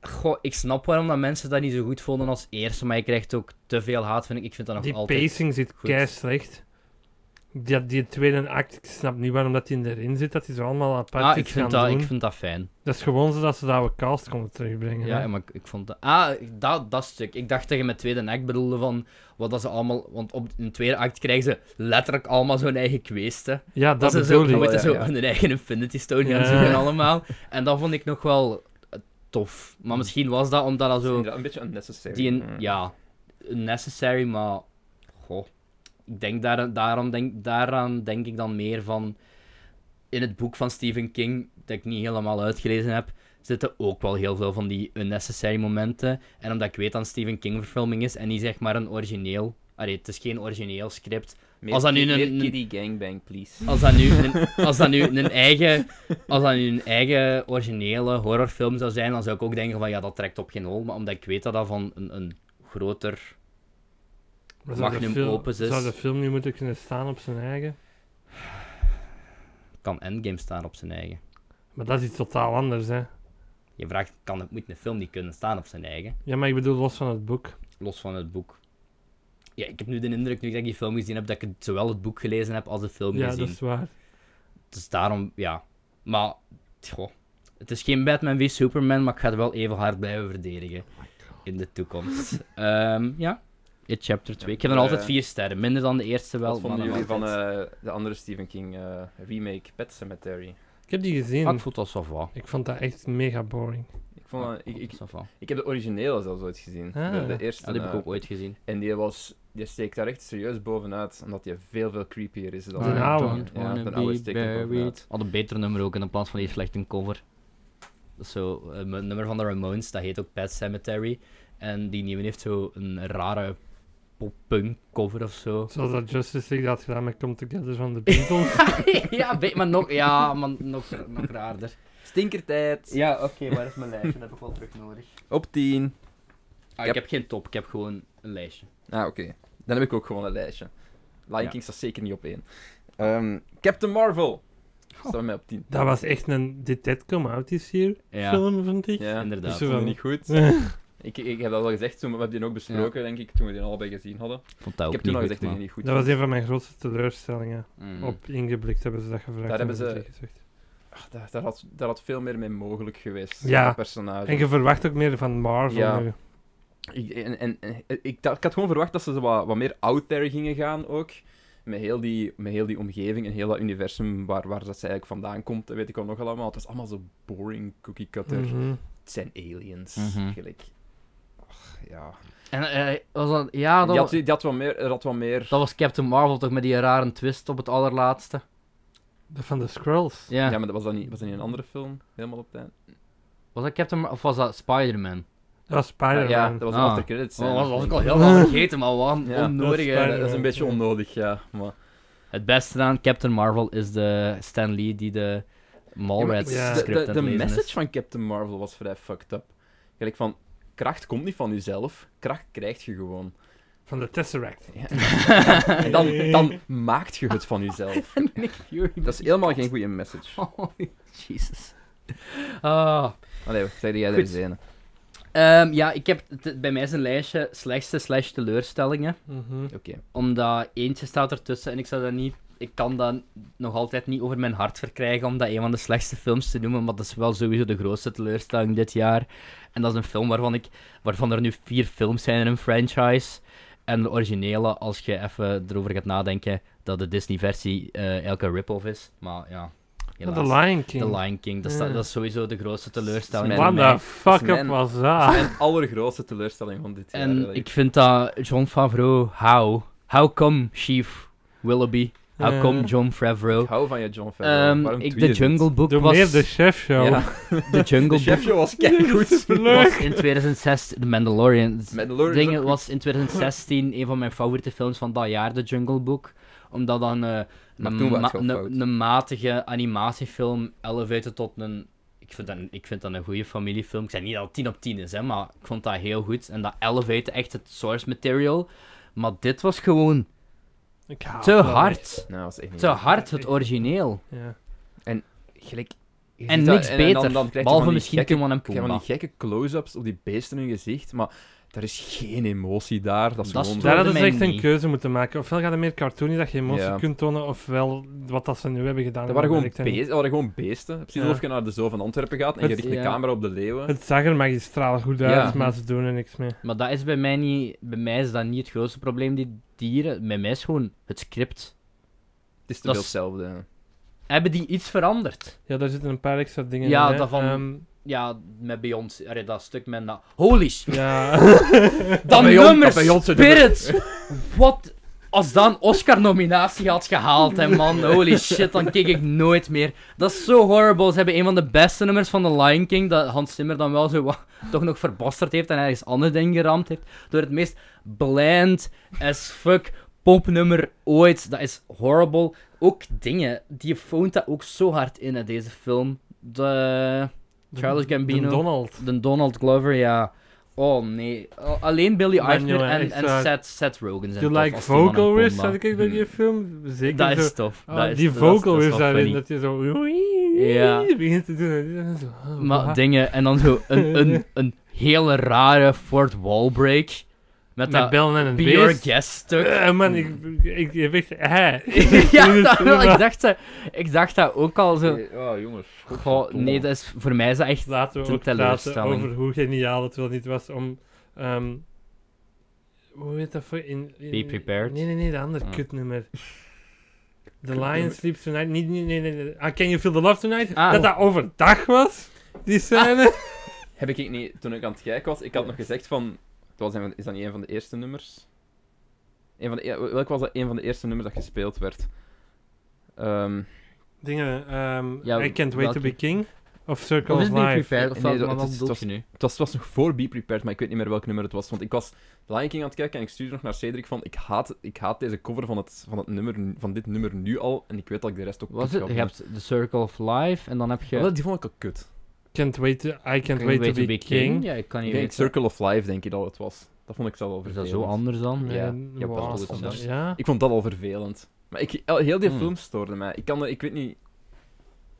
goh, ik snap waarom dat mensen dat niet zo goed vonden als eerste, maar je krijgt ook te veel haat, vind ik. Ik vind dat nog
Die
altijd...
pacing zit
goed.
kei slecht. Die, die tweede act, ik snap niet waarom dat die erin zit, dat die zo allemaal apart
Ah,
is
ik vind,
gaan
dat, ik
doen.
vind dat fijn.
Dat is gewoon zodat ze dat we cast konden terugbrengen.
Ja,
hè.
maar ik, ik vond dat... Ah, dat, dat stuk. Ik dacht dat je met tweede act bedoelde van... Wat dat ze allemaal... Want op, in de tweede act krijgen ze letterlijk allemaal zo'n eigen kweesten.
ja dat,
ze zo,
bedoel
dan
ik.
moeten
Ja,
zo
ja.
hun eigen Infinity Stone gaan
Ja.
zoeken allemaal. En dat vond ik nog wel eh, tof. Maar misschien was dat omdat dat zo...
Inderdaad, Een beetje unnecessary.
Die een-
Mm.
ja, necessary, maar goh, ik denk daar, daarom denk, daaraan denk ik dan meer van in het boek van Stephen King, dat ik niet helemaal uitgelezen heb, zitten ook wel heel veel van die unnecessary momenten. En omdat ik weet dat het een Stephen King verfilming is en niet zeg maar een origineel, allee, het is geen origineel script,
Meer
Als dat nu
ki-
een-
meer
een-
kiddie gangbang, please.
Als dat nu een, als dat nu een eigen, als dat nu een eigen originele horrorfilm zou zijn, dan zou ik ook denken van ja, dat trekt op geen hol. Maar omdat ik weet dat dat van een, een groter...
Maar zou de
Magnum
film-
opus is-
Zou de film nu moeten kunnen staan op zijn eigen?
kan Endgame staan op zijn eigen.
Maar dat is iets totaal anders, hè.
Je vraagt, kan, moet een film niet kunnen staan op zijn eigen?
Ja, maar ik bedoel, los van het boek.
Los van het boek. Ja, ik heb nu de indruk, nu dat ik die film gezien heb, dat ik het- zowel het boek gelezen heb als de film
Ja,
gezien.
dat is waar.
Dus daarom, ja. Maar, goh, het is geen Batman wie Superman, maar ik ga het wel even hard blijven verdedigen in de toekomst. Ehm, ja, in chapter 2. Ik heb er
Eh,
altijd vier sterren, minder dan de eerste wel.
Wat vonden
maar dan
jullie van
altijd.
eh, de andere Stephen King eh, remake, Pet Cemetery?
Ik heb die
eh,
gezien.
Ah, ik voel dat zo va.
Ik vond dat echt mega boring.
Ik, vond, dat- ik, ik,
Ça va.
ik heb de originele zelfs ooit gezien.
Ah.
De, de eerste.
Ja, die heb
eh,
ik ook ooit gezien.
En die, was, die steekt daar echt serieus bovenuit, omdat die veel, veel creepier is dan...
De
eh,
oude.
Ja, de oude steekt er bovenuit.
Had een beter nummer ook in plaats van die slechte cover. Dat is zo, eh, een nummer van de Ramones, dat heet ook Pet Cemetery. En die nieuwe heeft zo een rare pop-punk cover of zo.
Zoals dat Justice League dat had gedaan met Come Together van de Beatles.
ja, weet- maar nog, ja, maar nog, nog raarder.
Stinkertijd!
Ja, oké, waar is mijn lijstje? Dat heb ik wel terug nodig.
Op 10.
Ah, ik heb geen top, ik heb gewoon een lijstje.
Ah, oké. Dan heb ik ook gewoon een lijstje. Lion
Ja.
King staat zeker niet op één. Ehm, Captain Marvel! Staat bij mij op 10.
dat was echt een Did That Come Out This Year
Ja.
film, vond ik.
Ja,
inderdaad.
Ik vond
Zo.
die niet goed. ik, ik heb dat al gezegd, toen we hebben die ook besproken, denk ik, toen we die allebei gezien hadden.
Vond dat
ik heb toen al gezegd dat die niet goed
Dat was
was.
een van mijn grootste teleurstellingen.
Hmm. Mm.
Op ingeblikt hebben ze dat gevraagd.
Daar
en
hebben
hebben
ze-
gezegd.
Ach, Ah, daar, daar had, daar had veel meer mee mogelijk geweest.
Ja.
dat Personage.
En je verwacht ook meer van Marvel
Ja.
nu.
Ik, en, en, en- ik, dacht- ik had gewoon verwacht dat ze zo wat, wat meer out there gingen gaan ook. Met heel, die, met heel die omgeving en heel dat universum waar, waar dat ze eigenlijk vandaan komt, dat weet ik al nog allemaal. Het was allemaal zo boring cookie cutter.
Mhm.
Het zijn aliens,
Mhm.
eigenlijk. Ach, ja.
En eh, was dat, ja, dat,
die, had,
was,
die had wat meer... er had wat meer...
dat was Captain Marvel toch met die rare twist op het allerlaatste.
Dat van de Skrulls.
Ja.
Ja, maar dat was, dat niet, was dat niet een andere film? Helemaal op het eind?
Was dat Captain Mar- of was dat Spider-Man?
Dat was Spider-Man.
ja, dat was een
Ah.
after credits.
Oh, was, was ik al
heel...
helemaal vergeten, maar wat een
Ja,
onnodige...
dat is
Dat is een beetje onnodig, ja. Maar...
Het beste aan Captain Marvel is de Stan Lee die de Mallrats
Ja, maar
de,
script
de,
aan
de
het lezen
message
is.
van Captain Marvel was vrij fucked up. Gelijk van, kracht komt niet van jezelf, kracht krijg je gewoon.
Van de Tesseract.
Ja. En dan, dan maakt je het van jezelf.
Nick Fury.
Dat is helemaal geen goede message.
Oh, Jesus. Ah.
Allee, zeg jij
Goed.
er zenen.
Ehm, ja, ik heb t- bij mij is een lijstje slechtste slash teleurstellingen.
Mhm.
Oké.
Omdat eentje staat ertussen en ik zou dat niet... Ik kan dat nog altijd niet over mijn hart verkrijgen om dat een van de slechtste films te noemen. Maar dat is wel sowieso de grootste teleurstelling dit jaar. En dat is een film waarvan, ik, waarvan er nu vier films zijn in een franchise. En de originele, als je even erover gaat nadenken, dat de Disney-versie eh, elke rip-off is. Maar ja,
Ja,
helaas.
de Lion King.
The Lion King, dat, sta-
Ja.
dat is sowieso de grootste teleurstelling.
Mijn-
voor
What
Wanda.
mij.
the fuck
Dat is
up
mijn-
was dat?
Ah. Mijn allergrootste teleurstelling van dit jaar.
En
eigenlijk.
ik vind dat John Favreau, how? How come Chief Willoughby? How
Eh.
come John
Ik
Favreau?
hou van je John Favreau.
Ehm,
Waarom
ik,
doe je
de
dit?
Jungle Book
Doe
was...
meer de chef show.
Ja.
de Jungle
De
Book
chefje was keigoed.
was in 2006... De Mandalorian.
Met
Dingen was in 2016 een van mijn favoriete films van dat jaar, de Jungle Book. Omdat dan eh,
Maar
een,
toen was het
ma-
wel fout.
een, een matige animatiefilm elevated tot een... Ik vind, dat, ik vind dat een goede familiefilm. Ik zei niet dat het 10 op 10 is, hè, maar ik vond dat heel goed. En dat elevate echt het source material. Maar dit was gewoon
Ik
Ah,
haat
te
dat
hard.
Nou, was echt niet
Te hard, het origineel.
echt. Ja.
Gelijk, je
En
ziet dat-
niks
dan-
beter.
dan krijg je van
Behalve
die
misschien
gekke-
Timon en
Ik heb van
Pumbaa.
die gekke close-ups op die beesten in hun gezicht, maar daar is geen emotie daar. Dat is
Dat
gewoon
is
zo-
Daar hadden ze
mij
echt een
niet.
keuze moeten maken. Ofwel gaat er meer cartoony dat je emotie
Ja.
kunt tonen, ofwel wat dat ze nu hebben gedaan.
Dat waren gewoon,
werkt dan
beesten,
niet.
dat waren gewoon beesten. Precies
Ja.
alsof je naar de zoo van Antwerpen gaat en je
Het-
richt de
ja.
camera op de leeuwen.
Het zag er magistraal goed uit,
Ja.
maar ze doen er niks mee.
Maar dat is bij mij niet... Bij mij is dat niet het grootste probleem, die dieren. Bij mij is gewoon het script.
Het is te
dat
veel
is-
hetzelfde. ja.
Hebben die iets veranderd?
Ja, daar zitten een paar extra dingen
Ja,
in. hè.
dat van-
Ehm,
Ja, met Beyoncé. Allee, dat stuk met dat... Holy shit.
ja.
Dat
Beyon-
nummer
dat Beyoncé
Spirits. Wat... Als dat een Oscar-nominatie had gehaald, hè, man. Holy shit, dan kijk ik nooit meer. Dat is zo horrible. Ze hebben een van de beste nummers van The Lion King, dat Hans Zimmer dan wel zo wat- toch nog verbasterd heeft en ergens anders in geramd heeft, door het meest bland as fuck popnummer ooit. Dat is horrible. Ook dingen, die foont dat ook zo hard in, hè, deze film. De...
De-
Charles
de
Gambino.
Donald.
De Donald Glover, ja. Oh nee. Al- Alleen Billy
Man,
Eichner
jongen,
en,
echt
en
waar.
Seth, Seth Rogen zijn
You
tof
like
als die mannen
vocal
op
riffs?
combat.
Had ik ook bij die film? Zeker
Dat
zo.
is tof.
Ah,
dat is-
die
dat is- dat is
vocal riffs
wel
daarin,
funny.
dat je zo...
Ja.
Begint te doen. en dan zo, oh,
Maar
wow.
dingen, en dan zo een, een, een hele rare Fort Wall break. Met
Met
dat
bellen en een
Be Your
beest.
Guest stuk.
Eh, man, ik, ik, ik weet hè.
ja, dat wel, ik dacht dat, ik dacht dat ook al zo.
Ja, jongens.
Goh, nee, dat is, voor mij is dat echt...
Laten we
Ten
ook praten
teleurstelling.
over hoe geniaal het wel niet was om... ehm, hoe heet dat voor... In, in-
Be prepared?
Nee, nee, nee, de andere
Ah.
kutnummer. The Lion Sleeps Tonight. Niet, niet, nee, nee, nee. Ah, Can You Feel The Love Tonight?
Ah.
Dat dat overdag was, die scène.
Heb ik niet, toen ik aan het kijken was, ik had nog gezegd van... Het was een, van- is dat niet een van de eerste nummers? Een van de, e- welk was dat een van de eerste nummers dat gespeeld werd? Ehm,
Dingen, ehm,
Ja,
I Can't Wait
welke?
To Be King. Of Circle
Of is
of
het niet
Life.
prepared? Of
Nee,
wat-
dat-
wat
het is-
bedoel
het
je nu?
het, was, het was nog voor Be Prepared, maar ik weet niet meer welk nummer het was. Want ik was Lion King aan het kijken en ik stuurde nog naar Cedric van... Ik haat, ik haat deze cover van, het, van, het nummer, van dit nummer nu al. En ik weet dat ik de rest ook
Was
kut
het?
ga
Je
vinden.
hebt The Circle of Life, en dan heb je...
Wel, Die vond ik al kut.
Can't wait to, I Can't Wait, To Be, King.
Ja, ik kan
Ik
niet
denk
weten.
Circle of Life, denk ik dat het was. Dat vond ik zelf al
Is
vervelend.
dat zo anders dan? eh?
Ja,
Nee,
ja,
wow,
dat is anders.
Ja.
Ik vond dat al vervelend. Maar ik, el- heel die
Hmm.
film stoorde mij. Ik kan er- ik weet niet...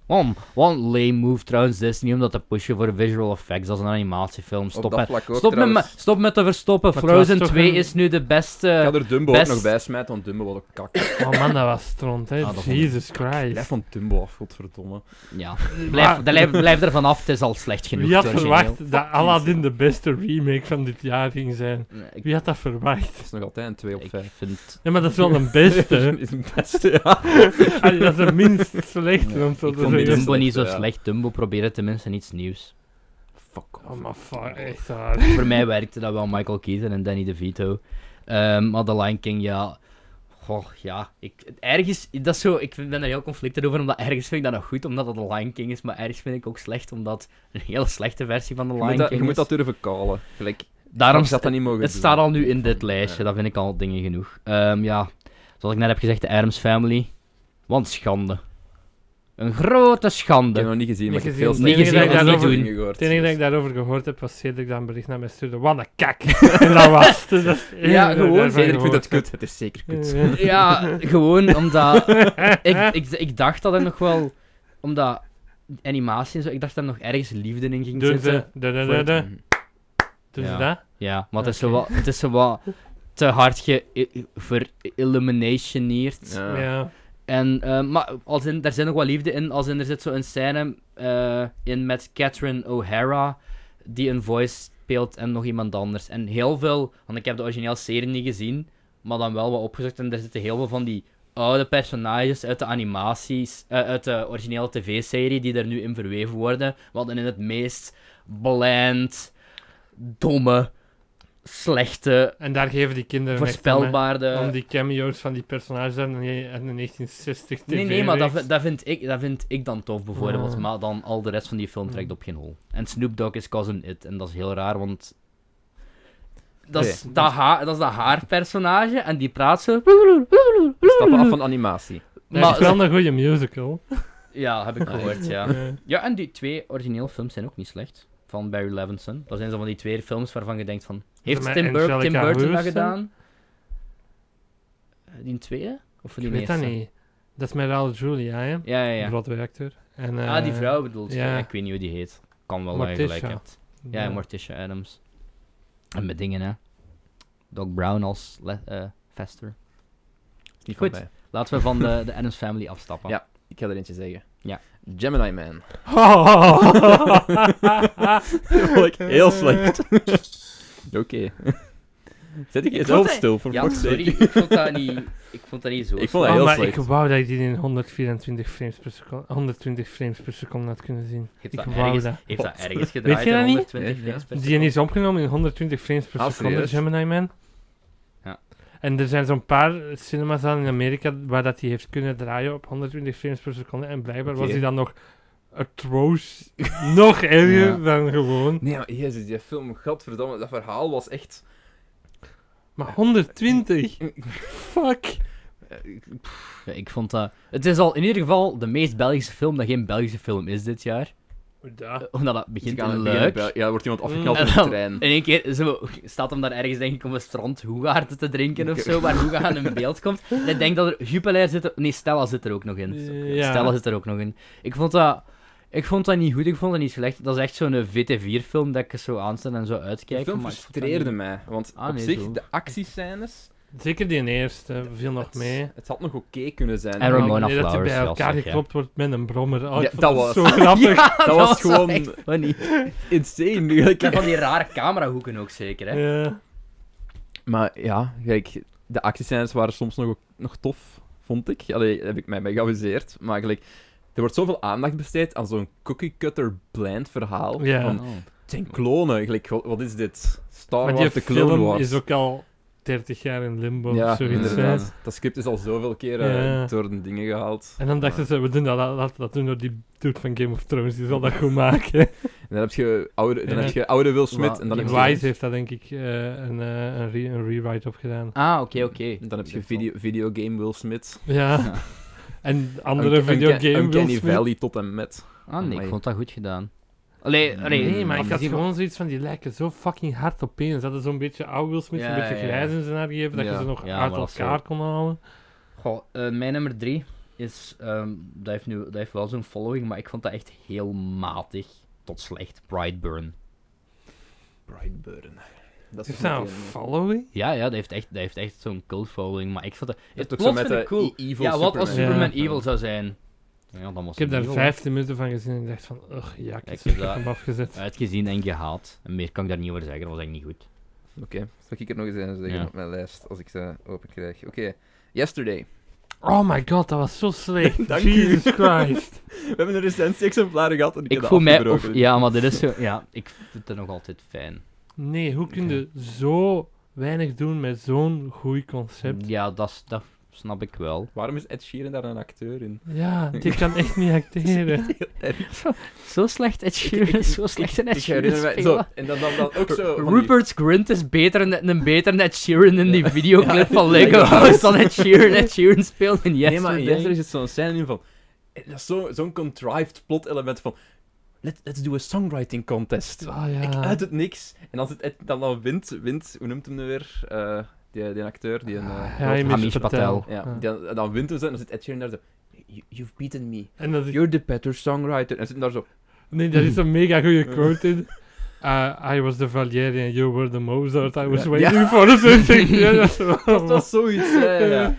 Waarom? Wat een lame move trouwens, Disney, om dat te pushen voor visual effects als een animatiefilm.
op
Stop,
dat
met,
vlak ook,
stop, met, me-
trouwens.
stop met te verstoppen.
Maar het was
Frozen
toch
2
een-
is nu de
Ik
beste...
ga er Dumbo
best-
ook nog bij smijten, want Dumbo was ook kak.
Oh man, dat was stront, hè.
Ah, dat vond ik-
Jesus
Blijf
Christ.
van Dumbo af, godverdomme.
Ja, blijf, blijf, blijf er vanaf, het is al slecht genoeg.
Wie had
het origineel.
verwacht dat Aladdin de beste remake van dit jaar ging zijn?
Nee, Ik,
Wie had dat verwacht?
Dat is nog altijd een 2 op
ik
5.
vind...
Ja, maar dat is wel een beste.
is het beste, ja.
Allee, dat is de minst slechte, om het zo
Ik
te
vond
zeggen.
Dumbo
slecht,
niet zo
ja.
slecht. Dumbo probeerde tenminste iets nieuws.
Fuck
Oh,
off.
maar fuck, echt waar.
Voor mij werkte dat wel Michael Keaton en Danny DeVito. Ehm maar The Lion King, ja... Goh, ja. Ik, ergens, dat is zo, ik vind- ben er heel conflicted over, omdat ergens vind ik dat nog goed, omdat het The Lion King is, maar ergens vind ik ook slecht, omdat het een heel slechte versie van The
Je
Lion
moet, dat,
King
je moet dat
is.
durven kalen. Gelijk,
Daarom
ik had dat niet mogen
het
doen.
staat al nu in dit
Ja.
lijstje, dat vind ik al dingen genoeg. Ehm, ja, zoals ik net heb gezegd, de Adams Family. Want schande. Een grote
Ik heb
schande.
hem nog niet gezien, maar ik
Niet
heb veel
gezien.
slechte
Niet gezien,
dingen
dat niet
over
doen.
dingen gehoord.
Het enige dat ik daarover gehoord heb, was Cedric dat een bericht naar mij stuurde. Wat een kak! En dat was het. Dus dat is het enige
Ja,
dat ik
gewoon,
daarvan
Dus Cedric vindt
gehoord
het kut. Het is zeker kut.
heb.
Ja, gewoon omdat... ik, ik, ik dacht dat er nog wel... Omdat animatie en zo, ik dacht dat er nog ergens liefde in ging
Doen
zitten.
ze, Dus, eh, da, da, da, da. Doen ze
Ja.
dat?
Ja, maar het is zo
Oké.
wat, het is zo wat te hard geïlluminationeerd.
Ja.
Ja.
En, eh, maar als in, daar zit nog wel liefde in. Als in, er zit zo'n scène eh, in met Catherine O'Hara, die een voice speelt en nog iemand anders. En heel veel, want ik heb de originele serie niet gezien, maar dan wel wat opgezocht. En er zitten heel veel van die oude personages uit de animaties, eh, uit de originele tv-serie, die er nu in verweven worden. Wat dan in het meest bland, domme, slechte,
En daar geven die kinderen echt om, hè.
voorspelbare...
Om die cameo's van die personages uit de- uit de 1960 TV.
Nee, nee, maar dat,
reeks.
vind- dat, vind ik, dat vind ik dan tof, bijvoorbeeld.
Ah.
Maar dan al de rest van die film trekt op geen hol. En Snoop Dogg is Cousin It. En dat is heel raar, want... Dat is,
Oké.
dat, haar, dat is dat haar personage. En die praat zo...
Stappen af van animatie.
Nee,
maar-
het is wel een goede musical.
Ja, heb ik gehoord, ja.
Eh,
Ja, en die twee origineel films zijn ook niet slecht. Van Barry Levinson. Dat zijn zo van die twee films waarvan je denkt van... Heeft
met
Tim, Bur- Tim
Angelica
Burton dat
Houston?
gedaan? Eh, Die tweede? Of die
Ik weet
eerste?
dat niet. Dat is met Raul Julia, hè?
Ja, ja, ja.
Broadway-acteur. En,
ah, die
eh,
vrouw bedoelt. je.
ja.
Ik weet niet hoe die heet. Kan wel dat je gelijk
Morticia.
hebt. Ja, en Morticia Adams. En met dingen, hè. Doc Brown als le- eh, Fester.
Niet van
Goed.
mij.
Laten we van de, de Adams Family afstappen.
Ja. Ik ga er eentje zeggen.
Ja.
Gemini Man.
Oh, Morticia.
Dat vond ik heel slecht. Oké. Zet ik jezelf
vond hij-
stil, voor
Ja,
fuck's
sorry.
sake.
Ik vond dat niet, ik vond dat niet zo.
Ik vond
slecht.
dat
Oh,
heel
maar
slecht.
ik wou dat ik die in 124 frames per seconde, 120 frames per seconde had kunnen zien.
heeft dat
ik wou
ergens,
dat.
heeft dat
Wat?
ergens gedraaid
je dat
in
niet?
120
Nee,
frames per
Die is opgenomen in 120 frames per
Ah,
seconde,
serieus?
Gemini Man.
Ja.
En er zijn zo'n paar cinemas aan in Amerika waar dat die heeft kunnen draaien op 120 frames per seconde. En blijkbaar was
Oké.
die dan nog atroos, nog erger
Ja.
dan gewoon.
Nee, maar jezus, die film, godverdamme, dat verhaal was echt...
Maar 120? fuck?
Ja, ik vond dat... Het is al in ieder geval de meest Belgische film dat geen Belgische film is dit jaar. Eh,
Ja.
Omdat dat
Ze
begint
gaan
in
in
Luik.
Bel- Ja, er wordt iemand afgeknald
Mm.
op
En
de
dan
trein.
in één keer zo, staat hem daar ergens, denk ik, om een strand hoegaarten te drinken of zo, waar hoegaan in beeld komt. En ik denk dat er Jupiler zit er... Nee, Stella zit er ook nog in.
Ja.
Stella zit er ook nog in. Ik vond dat... Ik vond dat niet goed, ik vond dat niet slecht. Dat is echt zo'n eh, VT4-film dat ik er zo aanstel en zo
De
uitkijk.
film
maar ik vond dat niet-
frustreerde mij, want
Ah,
op
nee,
zich,
zo.
de actiescènes,
Zeker die eerste viel nog
het,
mee. Oh,
het had nog oké kunnen zijn.
En Ramona
Nee, dat je
Flowers,
bij
ja,
elkaar
zeg, ja.
geklopt wordt met een brommer. Oh, ik
Ja,
vond
dat
dat
was-
zo grappig.
Ja,
Dat was
wel
gewoon-
echt funny.
Insane. gelijk.
En van die rare camerahoeken ook zeker, hè.
Ja.
Maar ja, kijk, de actiescènes waren soms nog, nog tof, vond ik. Allee, heb ik mij mee geamuseerd. Maar gelijk, er wordt zoveel aandacht besteed aan zo'n cookie-cutter blind verhaal.
Ja.
Van, het zijn klonen. Gelijk, wat, wat is dit? Star
Maar
Wars,
die
de Clone
film
Wars.
is ook al 30 jaar in limbo
ja,
of zoiets. hè.
inderdaad. Dat script is al zoveel keer eh,
Ja.
door de dingen gehaald.
En dan dachten ze, we doen dat, laten we dat doen door die dude van Game of Thrones, die zal dat goed maken.
En dan heb je oude, dan
Ja.
heb je oude Will Smith
Maar
en dan heb
die
je...
Wise heeft daar denk ik eh, een, eh, een, re- een rewrite op gedaan.
Ah, oké, oké.
En Dan heb je video, videogame Will Smith.
Ja.
Ja.
En andere
Unca-
videogame
Uncanny
Will Smith.
Valley tot en met.
Ah, nee, ik
Amai.
vond dat goed gedaan. Allee, allee.
Nee, maar ik had
afgezien-
gewoon zoiets van, die lijken zo fucking hard op eens. Dat is zo'n beetje oude Will Smith,
Ja,
een beetje
ja,
grijs in zijn haar gegeven, dat
Ja.
je ze nog
Ja,
uit
maar dat is
elkaar
zo.
kon halen.
Goh, eh, mijn nummer drie is... ehm, dat, heeft nu, dat heeft wel zo'n following, maar ik vond dat echt heel matig tot slecht. Brightburn.
Brightburn. Dat
Is dat een following?
Ja, ja, dat heeft echt, dat heeft echt zo'n cult following, maar ik vond dat...
Dat
Het
ook
plot
zo met
vind ik
de
cool.
e- evil
ja, wat als
Superman.
Superman
Ja.
evil zou zijn? Ja, dan was
Ik
hij
heb daar
evil.
15 minuten van gezien en ik dacht van, ugh, ja, ik
Kijk,
heb
dat-
hem afgezet.
Uitgezien en gehaald. En meer kan ik daar niet over zeggen, dat was eigenlijk niet goed.
Oké, zal ik er nog eens een zeggen
Ja.
op mijn lijst als ik ze open krijg. Oké, Yesterday.
Oh my god, dat was zo slecht.
Dank
Jesus Christ.
We hebben er recent exemplaren gehad en
Ik voel mij... Of, ja, maar dit is zo... Ja, ik vind het nog altijd fijn.
Nee, hoe kun je zo weinig doen met zo'n goed concept?
Ja, dat, is- dat snap ik wel.
Waarom is Ed Sheeran daar een acteur in?
Ja, die kan echt niet acteren.
Zo slecht Ed
ik- ik-
zo slecht een Ed Sheeran
zo,
spelen.
en dan, dan, dan ook zo... van die-
Rupert's Grint is beter, net- een beter Ed Sheeran in die videoclip van
Ja,
Lego
ja.
House dan Ed Sheeran. Ed Sheeran speelt in
nee, maar in
Yesterday.
Yesterday zit zo'n scène in van... eh, Dat is zo- zo'n contrived plot element van... Let, let's do a songwriting contest.
Ah ja.
Ik uit het niks. En als het Ed dan, dan wint, wint, hoe noemt hem nu weer? Eh, die, die acteur, die een... eh,
Ja, je
Hamish
mist
Patel.
Patel.
Ja, Dan, dan wint hem zo en dan zit Ed Sheeran daar zo... "You- You've beaten me.
En dat is
You're the better songwriter. En zit daar zo...
Nee, daar is een mega goede quote in. Uh, I was the Valieri and you were the Mozart. I was
Ja.
waiting for the something. ja, dat is wel-
Dat was zoiets, hè, ja.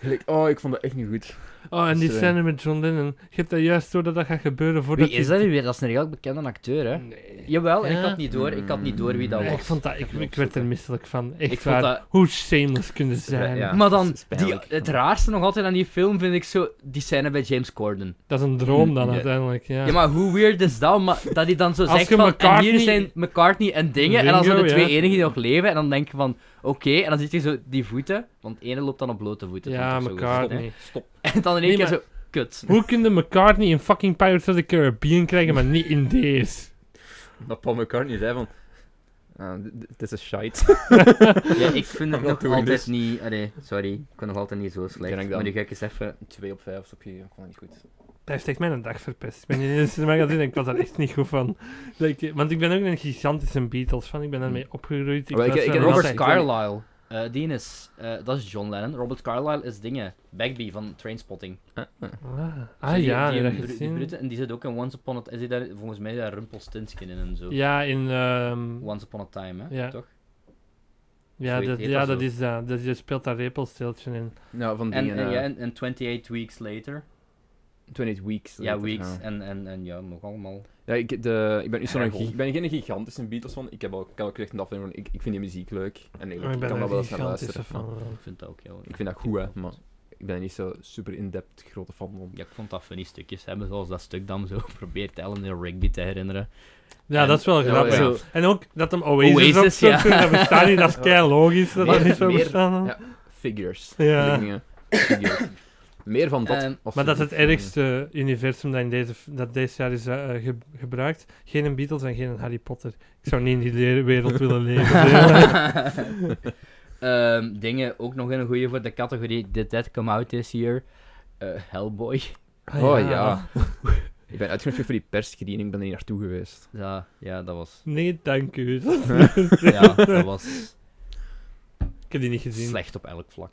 Gelijk, oh, ik vond dat echt niet goed.
Oh, en die
Sorry.
scène met John Lennon. Je hebt dat juist door dat dat gaat gebeuren voordat
Wie is dat nu weer? Dat is een heel bekende acteur, hè?
Nee.
Jawel, en ik
Ja.
had niet door, ik had niet door wie dat
Nee,
Ja,
was.
ik, vond dat, ik,
hem
ik werd er
opzoeken.
misselijk van. Echt
Ik vond
waar.
dat-
Hoe shameless kunnen zijn.
Ja. dat
maar dan,
is
die,
pijnlijk.
het raarste nog altijd aan die film vind ik zo, die scène bij James Corden.
Dat is een droom dan
Ja.
uiteindelijk. Ja.
Ja, maar hoe weird is dat? Maar dat hij dan zo
Als
zegt
je
van, en
McCartney-
hier zijn McCartney en dingen, en dan zijn de
Ringo,
twee
ja.
enigen die nog leven, en dan denk je van, oké, en dan ziet je zo die voeten, want de ene loopt dan op blote voeten.
Ja,
dat is ook zo
McCartney.
gezegd,
Nee.
Stop.
hè. En dan in één keer
Nee,
zo, kut.
Hoe kunnen McCartney in fucking Pirates of the Caribbean krijgen, maar niet in deze?
Dat Paul McCartney zei van... ah, d- d- Dit is shite.
Ja, ik vind het
I'm not
nog
doing
altijd
this.
niet, allee, sorry, ik kon nog altijd niet zo
Ken ik
slecht,
dan.
maar nu ga ik eens even...
2 op 5 op je, ik vond dat niet goed.
Dat heeft echt mijn dag verpest. Ik ben in het cinema gaan zien en ik was daar echt niet goed van. Dat ik- want ik ben ook een gigantische Beatles fan. Ik ben daarmee opgegroeid. Ik
Maar ik-
was
ik-
daar
ik-
altijd-
Robert
altijd-
Carlyle, eh, die is, eh, dat is John Lennon, Robert Carlyle is dingen, Bagby van Trainspotting.
Ah,
Zo
ah
die-
ja,
die, die,
die, heb ik
bru- die
gezien.
brute, en die zit ook in Once Upon a Time. Zit daar volgens mij daar Rumpelstinskin in en zo.
Ja, in... ehm
Once Upon a Time, hè?
Ja.
Toch?
ja,
zoiets
dat,
heet
ja,
dat
dat
zo.
is eh, dat. dat je speelt daar repelsteeltje in. Oh,
Nou, van
En,
dingen...
en,
eh,
ja, en, en 28 Weeks Later.
28 Weeks.
ja,
later,
Weeks.
ja.
En, en, en ja, nog allemaal.
Ja, ik, de, ik ben niet zo'n...
Ergel.
gi- Ik ben geen gigantische Beatles fan. Ik heb al, ik heb al gezegd in de aflevering, ik, ik vind die muziek leuk. En
Maar
eigenlijk,
ik
ik kan daar wel
ben er een
eens naar
gigantische
luisteren.
fan van.
Ik vind dat ook heel
Ik vind dat goed, hè, maar ik ben er niet zo super in-depth grote fan van.
Ja, ik vond dat funny stukjes hebben, zoals dat stuk dan zo probeert Ellen de Rigby te herinneren.
Ja,
En-
dat is wel
Ja,
grappig.
ja.
Zo,
En ook dat hem Oasis,
Oasis,
opzoekt,
ja.
dat bestaat niet. Dat is kei logisch dat dat
Meer-
niet zo
meer-
bestaan.
ja. Figures.
Ja.
Die dingen. Figures. Meer van dat.
Ehm,
Maar dat is het
alsjeblieft.
ergste universum dat, in deze, dat deze jaar is eh, eh, ge- gebruikt. Geen een Beatles en geen een Harry Potter. Ik zou niet in die le- wereld willen leven.
ehm, dingen ook nog in een goede voor de categorie Did That Come Out This Year? Eh, Hellboy.
Ah,
Oh ja. ik ben uitgenodigd voor die persscreening, ik ben er niet naartoe geweest.
Ja, ja, dat was...
Nee, dank u.
Ja, dat was
Ik heb die niet gezien.
slecht op elk vlak.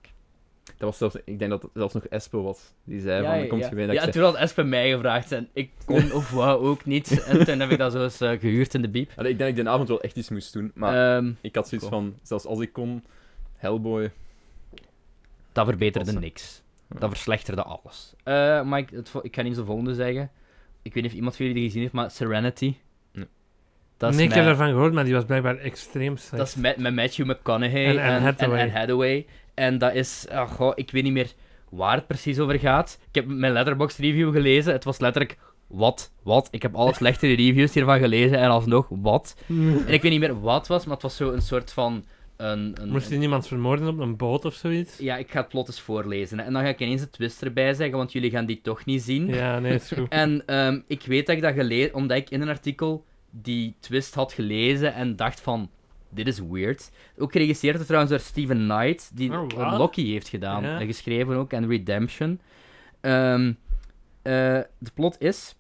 Dat was zelfs, ik denk dat dat zelfs nog Espo was. Die zei van,
ja,
er komt
ja.
je mee. Dat
Ja,
ik zei,
toen had Espen mij gevraagd en ik kon of wou ook niet. En toen heb ik dat zo eens eh, gehuurd in de biep.
Allee, ik denk dat ik de avond wel echt iets moest doen, maar
Ehm,
ik had zoiets van, zelfs als ik kon, Hellboy.
dat verbeterde
Passen.
niks. Dat verslechterde alles. Eh, maar ik, het vo- ik ga niet zo volgende zeggen. Ik weet niet of iemand van jullie die gezien heeft, maar Serenity.
Nee.
Dat is,
nee, ik heb
mijn,
ervan gehoord, maar die was blijkbaar extreem slecht.
dat is met, met Matthew McConaughey en,
En
en,
Anne
en
Hathaway.
Anne Hathaway. En dat is, ah, goh, ik weet niet meer waar het precies over gaat. Ik heb mijn Letterboxd review gelezen. Het was letterlijk, wat, wat. Ik heb alle slechtere reviews hiervan gelezen en alsnog, wat.
Mm.
En ik weet niet meer wat het was, maar het was zo een soort van... Een, een,
Moest
een-
hij niemand vermoorden op een boot of zoiets?
Ja, ik ga het plot eens voorlezen. hè. En dan ga ik ineens het twist erbij zeggen, want jullie gaan die toch niet zien.
Ja, nee, is goed.
En ehm, ik weet dat ik dat gelezen... Omdat ik in een artikel die twist had gelezen en dacht van... Dit is weird. Ook geregisseerd trouwens door Steven Knight, die
Oh,
Loki
wat?
heeft gedaan.
Ja.
En geschreven ook, en Redemption. Ehm, eh, de plot is...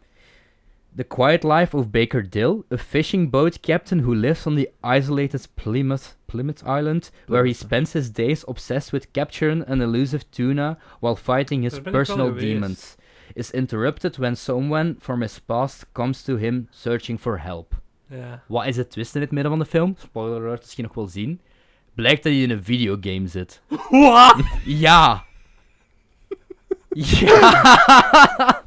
The Quiet Life of Baker Dill, a fishing boat captain who lives on the isolated Plymouth, Plymouth Island, where he spends his days obsessed with capturing an elusive tuna while fighting his
Daar ben ik wel
personal
geweest.
demons, is interrupted when someone from his past comes to him searching for help.
Ja.
Wat is de twist in het midden van de film? Spoiler alert, misschien nog wel zien. Blijkt dat hij in een videogame zit. Ja! Ja!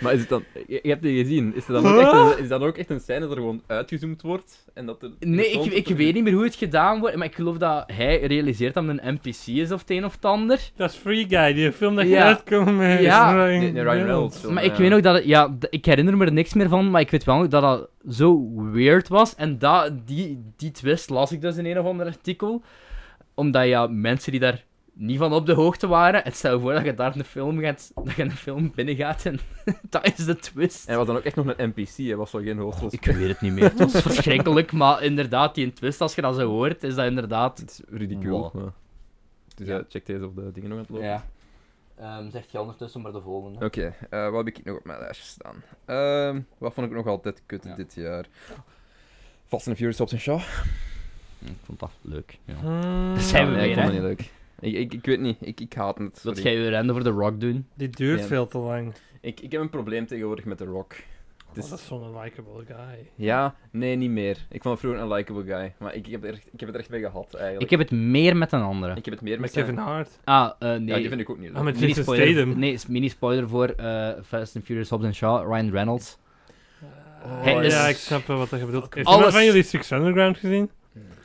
Maar is het dan, je, je hebt die gezien, is, het dan ook echt een, is dat ook echt een scène dat er gewoon uitgezoomd wordt? En dat er,
Nee,
getoond
ik,
wordt
ik
dat er-
weet niet meer hoe het gedaan wordt, maar ik geloof dat hij realiseert dat het een NPC is of het een of het ander.
Dat is Free Guy, die film dat je
Ja.
uitkomt met
Ja.
Ryan,
Nee, nee, Ryan Reynolds. film,
Maar ik
ja.
weet nog dat het, ja, d- ik herinner me er niks meer van, maar ik weet wel nog dat dat zo weird was. En dat, die, die twist las ik dus in een of ander artikel. Omdat ja, mensen die daar niet van op de hoogte waren, het stel je voor dat je daar een film gaat, dat je een film binnengaat en dat is de twist.
En hij was dan ook echt nog een NPC, hij was zo geen hoofdrol.
Ik weet het niet meer, het was verschrikkelijk, maar inderdaad, die twist, als je dat zo hoort, is dat inderdaad...
Het is ridicuul.
Wow.
maar- Dus
Ja.
ja, check deze of de dingen nog aan het lopen.
Ja. Ehm, zegt je ondertussen maar de volgende.
Oké, eh, wat heb ik nog op mijn lijstje staan? Ehm, wat vond ik nog altijd kut
Ja.
dit jaar? Fast and Furious Hobbs and Shaw.
Ik vond dat leuk. Ja.
Hmm.
Zijn we
Ah, nee, ik
weer,
vond
hè?
het niet leuk. Ik, ik, ik weet niet, ik, ik haat het.
Wilt
sorry.
jij weer rennen voor The Rock doen?
Die duurt
Ja.
veel te lang.
Ik, ik heb een probleem tegenwoordig met The Rock.
Oh,
Dus-
Dat is zo'n likable guy.
Ja, nee, niet meer. Ik vond vroeger een likable guy, maar ik, ik, heb, er, echt- ik heb het er echt bij gehad eigenlijk.
Ik heb het meer met een andere.
Ik heb het meer
Met
met
Kevin
zijn-
Hart.
Ah, eh,
Ja, die
nee.
vind ik ook niet leuk.
Ah, met
mini
Jason
spoiler,
Statham.
nee, is mini spoiler voor eh, Fast and Furious Hobbs and Shaw, Ryan Reynolds.
Oh,
dus
Hij is-
ja, ik snap wel wat je bedoelt. Heeft
Alles-
iemand van jullie Six Underground gezien?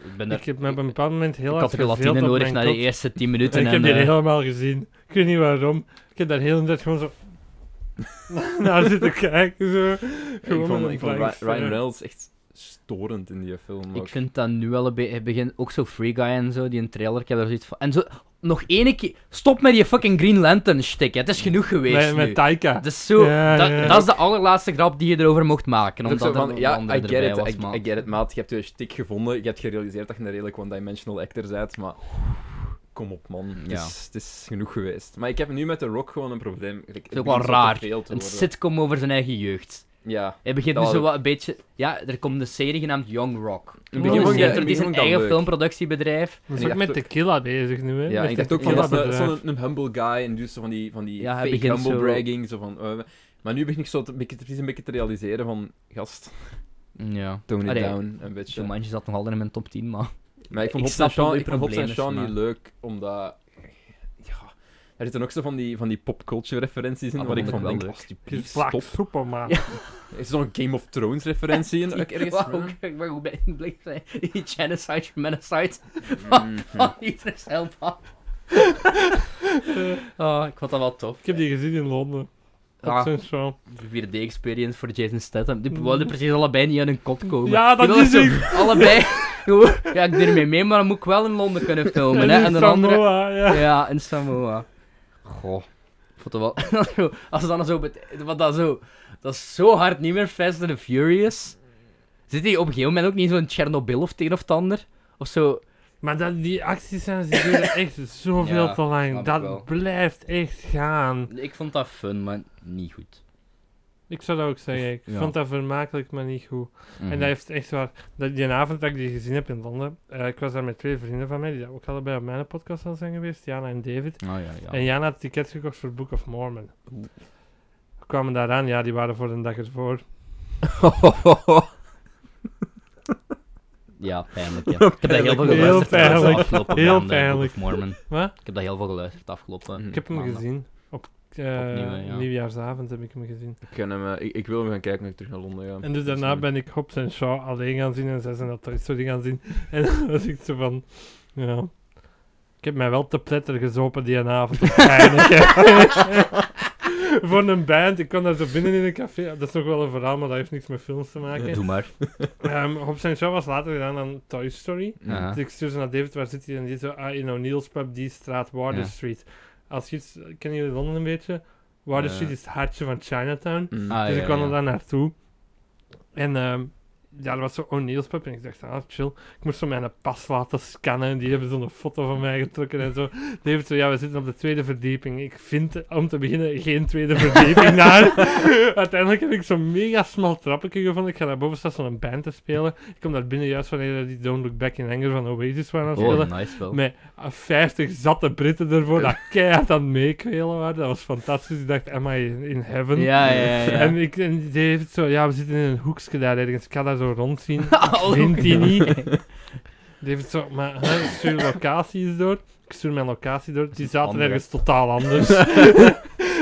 Ik ben er.
Ik heb me op een bepaald moment heel
ik
hard
had gelatine
verveeld op
nodig
mijn
na
kot.
de eerste 10
En
minuten.
ik heb
En,
die
eh,
helemaal gezien. Ik weet niet waarom. Ik heb daar heel de tijd gewoon zo... naar zitten kijken, zo.
ik
Gewoon met
vond,
een
ik vond
blank
Ry- Ryan
stare.
Reynolds echt storend in die film.
ik
ook.
vind dat nu wel een beetje. het begint Ook zo Free Guy en zo, die een trailer. Ik heb daar zoiets van. En zo, nog één keer. Stop met die fucking Green Lantern shtick. hè. Het is genoeg geweest.
Met,
nu.
met Taika.
Het is zo.
Ja,
dat,
ja.
dat is de allerlaatste grap die je erover mocht maken.
Ook
Omdat
zo
er
van,
een
ja,
ander
I get
erbij
it,
was,
I,
maat.
I get it, maat. Je hebt je stick gevonden, je hebt gerealiseerd dat je een redelijk one-dimensional actor bent, maar... Kom op, man. Het,
Ja.
is, het is genoeg geweest. Maar ik heb nu met The Rock gewoon een probleem. Ik- Het
is ook wel
begint zo te
raar.
veel te
Een
worden.
sitcom over zijn eigen jeugd.
Ja.
Hij begint
Dat
nu zo
had ik-
wat een beetje... Ja, er komt een serie genaamd Young Rock.
In het
begin
Een
vond ik-
serie
in het
door
begin
die zijn
vond ik dat
eigen
leuk.
filmproductiebedrijf.
Hij is
En
ook
ik
met
dacht
tequila bezig nu, hè.
Ja,
Met
ik
dit
dacht ook van, dat is een-
tequila-bedrijf.
zo'n een humble guy en dus zo van die, van die
eh, Ja, hij
fake
begint
humble
zo-
bragging. Zo van, eh, maar nu begin ik zo te, beetje- precies een beetje te realiseren van, gast,
Ja.
tone it
Allee,
down een beetje.
Jumanji zat nog altijd in mijn top 10, maar...
Maar ik vond
Ik
Hobbs en
snap wel
Shaw,
die
ik vond Hobbs en
problemen,
Shaw niet
maar-
leuk, omdat... Ja, er zitten ook zo van die, van die popculture referenties in,
Ah,
waar
dat
ik
vond
van
ik wel
denk,
leuk.
Die
alsjeblieft,
vlak
stop.
soepel, maar.
Ja.
Er Is zo'n Game of Thrones referentie in? dat ik ergens...
Wauw,
Mm.
ik ben goed bij in blik zijn. Die genocide, humanicide
Mm.
van, van Idris Elba. oh, ik vond dat wel tof.
Ik heb die gezien in Londen. Op
Ah.
zijn show.
die 4D-experience voor Jason Statham. Die wilden precies allebei niet aan hun kot komen.
Mhm. Ja,
Die
dat
wilden
is
zo
ik.
Allebei. gewoon, ja, ik doe ermee mee, maar dan moet ik wel in Londen kunnen filmen. hè. En
in
de andere...
Samoa, ja.
Ja, in Samoa. Goh. Ik vond het wel... Zo, Als het dan zo... bet- Wat dat zo... Dat is zo hard niet meer Fast and the Furious. Zit hij op een gegeven moment ook niet in zo'n Chernobyl of het een of het ander? Of zo...
Maar dat, die actiescènes die duren echt zoveel
Ja,
te lang.
snap ik wel.
Dat blijft echt gaan.
Ik vond dat fun, maar niet goed.
Ik zou dat ook zeggen. Ik
Ja.
vond dat vermakelijk, maar niet goed.
Mhm.
En dat heeft echt waar. Dat, die avond dat ik die gezien heb in Londen, eh, ik was daar met twee vrienden van mij, die dat ook allebei op mijn podcast al zijn geweest, Jana en David.
Ah, ja, ja.
En Jana had tickets gekocht voor Book of Mormon. We kwamen daar aan, ja, die waren voor een dag ervoor.
Ja, pijnlijk. Ja. Ik heb dat heel veel
Heel
geluisterd. trouwens, de
pijnlijk.
afgelopen
Heel
maanden, Book of
pijnlijk.
Mormon.
Wat?
Ik heb dat heel veel geluisterd de afgelopen.
Ik
Ik heb hem
maanden.
gezien. Op eh,
Hm, Opnieuw, hè, ja.
nieuwjaarsavond heb ik hem gezien.
Ik, kan hem, eh, ik, ik wil hem gaan kijken als ik terug naar Londen ga.
En dus daarna ben ik Hobbs en Shaw alleen gaan zien en zij zijn dat Toy Story gaan zien. En dan was ik zo van, ja... Ik heb mij wel te pletter gezopen die avond. Eigenlijk. Voor een band, ik kwam daar zo binnen in een café. Dat is toch wel een verhaal, maar dat heeft niks met films te maken.
Eh, Doe maar.
Ehm Hobbs en Shaw was later gedaan dan Toy Story.
Ja.
Dus ik stuur ze naar David, waar zit hij? En die zo, ah, in O'Neill's pub, die straat, Warder
Ja.
Street. Als je iets, kennen jullie Londen een beetje?
Eh.
Warder
Ja.
Street is het hartje van Chinatown.
Mm.
Ah,
Dus
ja,
ik kwam
ja.
er daar naartoe. En ehm, ja, er was zo O'Neill's pub en ik dacht, ah, chill. Ik moest zo mijn pas laten scannen en die hebben zo'n foto van mij getrokken en zo. Die heeft zo, ja, we zitten op de tweede verdieping. Ik vind, eh, om te beginnen, geen tweede verdieping daar. Uiteindelijk heb ik zo'n mega smal trappetje gevonden. Ik ga daar boven staan zo'n band te spelen. Ik kom daar binnen juist wanneer die Don't Look Back in Anger van Oasis waren aan het spelen.
Oh, nice wel.
Met eh, 50 zatte Britten ervoor, dat keihard aan het meekwelen waren. Dat was fantastisch. Ik dacht, am I in heaven?
Ja, ja, ja.
En, ik, en die heeft zo, ja, we zitten in een hoekje daar ergens. Ik kan daar zo rondzien.
Oh,
Vindt hij niet. Die heeft zo, maar hè, ik stuur locaties door. Ik stuur mijn locatie door. Die zaten
Andere.
ergens totaal anders.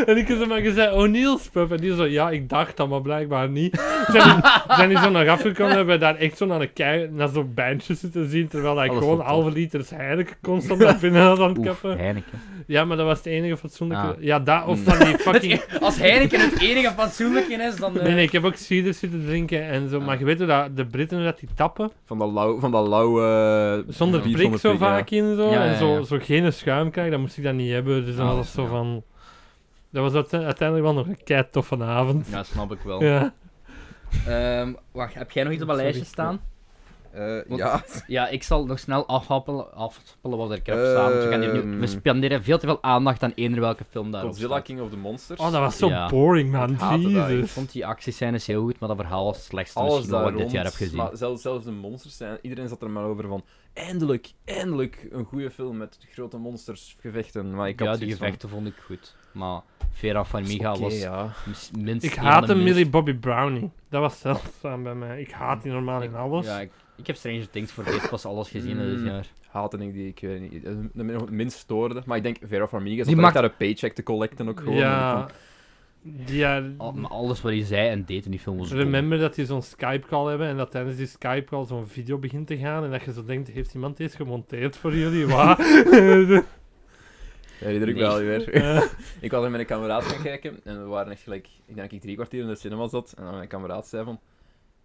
en ik heb zo maar gezegd, O'Neill's pub. En die zo, ja, ik dacht dat, maar blijkbaar niet. Zijn die, zijn die zo naar afgekomen hebben we daar echt zo naar, een kei, naar zo'n bandje zitten zien. Terwijl ik
Alles
gewoon
goed,
halve liters Heineken constant naar binnen was aan het
Oef,
kappen.
Heineken.
Ja, maar dat was het enige fatsoenlijke.
Ah.
Ja, dat of van die fucking...
Als Heineken het enige fatsoenlijke is, dan... eh,
Nee, nee, ik heb ook cider zitten drinken en zo. Maar je weet hoe dat, de Britten hoe dat die tappen.
Van dat lauw... Van dat lauwe...
Zonder
bier,
prik zo
prik, ja.
vaak in zo.
Ja, ja,
En zo,
ja.
zo geen schuim krijgen, dan moest ik dat niet hebben. Dus dan
Ah,
was dat zo
ja.
van... Dat was uite- uiteindelijk wel nog een kei toffe avond.
Ja, snap ik wel.
Ja.
Ehm, wacht, heb jij nog iets op een
Sorry.
lijstje staan?
Eh,
Want-
ja.
Ja, ik zal nog snel afhappelen, afhappelen wat ik heb samen. want we gaan hier nu- We
Ehm.
spenderen veel te veel aandacht aan eender welke film daarop
Godzilla
staat.
King of the Monsters.
Oh, dat was zo
Ja.
boring, man.
Ik haatte dat,
Ik
Jezus.
vond die actiescènes heel goed, maar dat verhaal was het slechtste
Dus- alles
misschien
daar
wat ik
rond,
dit jaar heb gezien.
Maar zelfs, zelfs de monsters zijn... Iedereen zat er maar over van... Eindelijk, eindelijk een goede film met grote monsters gevechten. Maar ik had
ja, die
zoiets van,
gevechten vond ik goed. Maar Vera van
"Is
Miga
oké,
was
ja.
mis- minstens
Ik
een van de
haatte
minst-
Millie Bobby Brownie. Dat was zeldzaam bij mij. Ik haat die normaal in alles.
Ja, ik, ik heb Stranger Things voor het eerst pas alles gezien
Mm.
dit jaar.
Haatte ik die, ik weet niet. eh, De min- de minst stoorde. Maar ik denk Vera Farmiga zat
Die
ook
maakt-
daar een paycheck te collecten ook gewoon. En
Ja.
ik
Die, eh,
Al- maar alles wat hij zei en deed in die film was dom.
Remember dat die zo'n Skype-call hebben en dat tijdens die Skype-call zo'n video begint te gaan en dat je zo denkt, heeft iemand deze gemonteerd voor jullie? Wat?
vond- Herinner ik
Nee.
wel weer.
Eh,
Ik was met mijn kameraad gaan kijken en we waren echt gelijk, ik denk dat ik drie kwartier in de cinema zat en dan mijn kameraad zei van,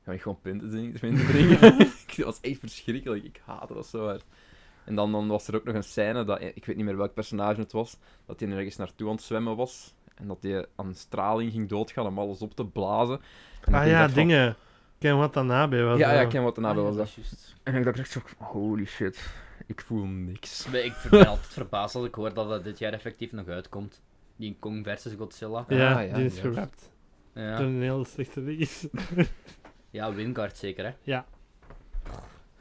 ga ik gewoon punten zien, punten drinken? Ik- dat was echt verschrikkelijk, ik haatte dat zo hard. En dan, dan was er ook nog een scène, dat, eh, ik weet niet meer welk personage het was, dat hij ergens naartoe aan het zwemmen was en dat hij aan straling ging doodgaan om alles op te blazen. En
ah
ik
ja,
dacht van-
dingen. Ken wat daarna bij was.
Ja, ja,
eh.
ik ken wat daarna
Ah, ja,
wel was.
dat
dat.
is juist.
En ik dacht echt zo, holy shit, ik voel niks.
Nee, Ik ben altijd verbaasd als ik hoor dat dat dit jaar effectief nog uitkomt. Die Kong versus Godzilla.
Ja,
Ah, ja,
die is
ja.
gerapt. Door
Ja,
een heel slechte release.
ja Wingard zeker hè.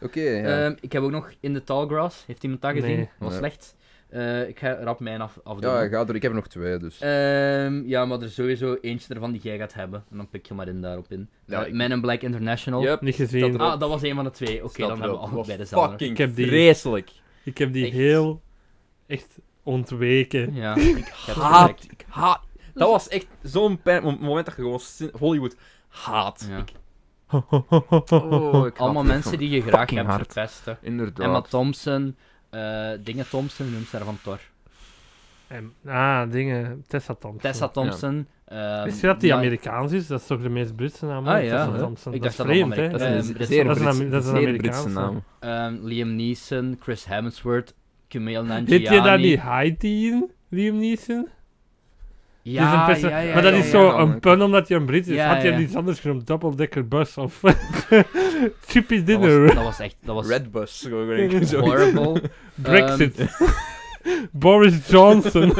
Oké,
Eh,
ja.
Ehm, ik heb ook nog In the Tall Grass. Heeft iemand dat
Nee.
gezien? Dat was
Nee.
slecht. Eh, ik ga rap mijn af, afdoen.
ja, ga door, ik heb er nog twee, dus.
Ehm, ja, maar er is sowieso eentje ervan die jij gaat hebben. En dan pik je maar in daarop in.
Ja,
Eh,
ik-
Men in Black International.
Yep.
Niet gezien.
Dat-
Ah, dat was een van de twee. Oké,
Snap
dan
je
hebben we
wel. Was
allebei dezelfde.
Fucking
Ik heb die-
vreselijk.
Ik heb die
echt.
heel echt ontweken.
Ja, ik
haat. Ik haat. Dat was echt zo'n pijn. Op het moment dat je gewoon sin- Hollywood haat.
Ja.
Ik-
Oh,
ik haat
Allemaal
dit
mensen
gewoon.
die je graag
fucking
hebt
hard.
verpesten.
Inderdaad.
Emma Thompson, eh, Dingen Thompson, noemt ze haar van Thor.
En- ah, dingen. Tessa Thompson.
Tessa Thompson. ehm,
Wist je dat die
Ma-
Amerikaans is? Dat is toch de meest Britse naam?
Ah,
ook,
ja,
Tessa
hè?
Thompson.
Ik
dat is
dacht dat
vreemd,
dat
hè?
Dat is een
Ehm, dat is
zeer,
een-
Brits,
dat is een
zeer
Amerikaanse.
Britse naam.
ehm, Liam Neeson, Chris Hemsworth, Kumail Nanjiani.
Heet je daar niet Haiti in, Liam Neeson? Die is Dus een perso- maar dat
ja,
is
ja,
zo
ja.
een pun omdat je een Brit is.
Ja,
Had je
ja.
iets anders genoemd? Double-decker bus of Chippy
Dat was,
Dinner,
dat was echt... Dat was
Redbus. gewoon denk ik, zo.
horrible.
Brexit,
Ehm.
Boris Johnson.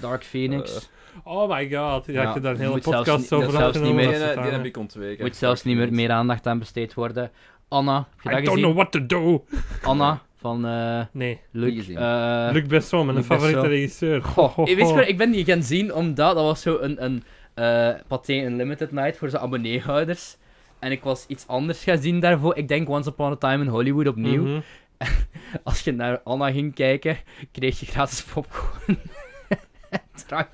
Dark
Eh.
Phoenix.
Oh my god, ja,
Ja,
ik heb daar een
die
hele
moet zelfs
podcast
niet-
over
moet zelfs niet
afgenomen.
meer-
dat soort
Die
dingen.
heb ik ontweken.
moet zelfs niet meer, meer aandacht aan besteed worden. Anna, heb je dat
I don't know
gezien?
what to do.
Anna van eh
Nee,
Niet
Luc.
gezien.
eh,
Luc Besson, mijn
Luc
favoriete
Besson.
regisseur.
Goh,
Ho, ho,
ik, weet je
ho.
wat, ik ben die gaan zien omdat dat was zo een, een eh, Pathé Unlimited night voor zijn abonneehouders. En ik was iets anders gaan zien daarvoor. Ik denk Once Upon a Time in Hollywood opnieuw.
Mhm.
Als je naar Anna ging kijken, kreeg je gratis popcorn en drank.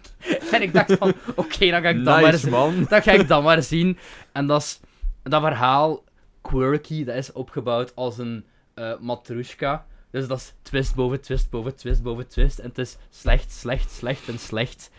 En ik dacht van, oké, dan ga ik dat maar eens
Nice, man.
Dus dat ga ik dan maar zien. En dat, is, dat verhaal, Quirky, dat is opgebouwd als een eh matrushka. Dus dat is twist boven twist boven twist boven twist. En het is slecht, slecht, slecht en slecht.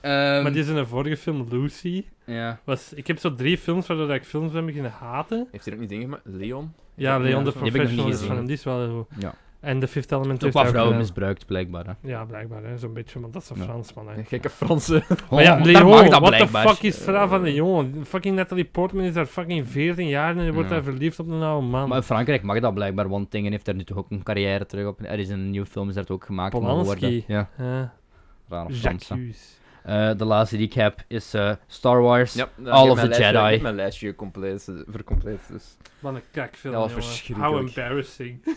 Ehm,
Maar die is in een vorige film, Lucy.
Ja.
Was, ik heb zo drie films waardoor ik films ben beginnen haten.
Heeft hij er ook niet dingen gemaakt? Leon?
Ja,
Ja,
Leon the
die heb ik nog niet
Professional is van
gezien.
hem, die is wel heel goed.
Ja.
En The Fifth Element
Ook
heeft
wat
hij
vrouwen
gedaan.
misbruikt, blijkbaar. Hè.
Ja, blijkbaar, hè, zo'n beetje, want dat is een
Ja.
Fransman. Hè.
Gekke Franse.
Maar ja,
Oh,
Leon,
mag dat
what the
blijkbaar.
fuck is het verhaal
Eh.
van de jongen? Fucking Natalie Portman is daar fucking 14 jaar en je wordt
Ja.
daar verliefd op een oude man.
Maar in Frankrijk mag dat blijkbaar, want Dingen heeft daar nu toch ook een carrière terug op. Er is een nieuw film, is daar ook gemaakt. van geworden.
Polanski.
Ja,
Ja,
raar of
Jacques
Fransen.
Hughes.
Eh, de laatste die ik heb is eh, Star Wars.
Ja, nou,
All
ik heb
of
mijn
the
lijstje-
Jedi.
Ik heb mijn lijstje compleet, eh, vercompleet. Dus.
Wat een kakfilm,
Dat was
jongen.
verschrikkelijk.
How embarrassing.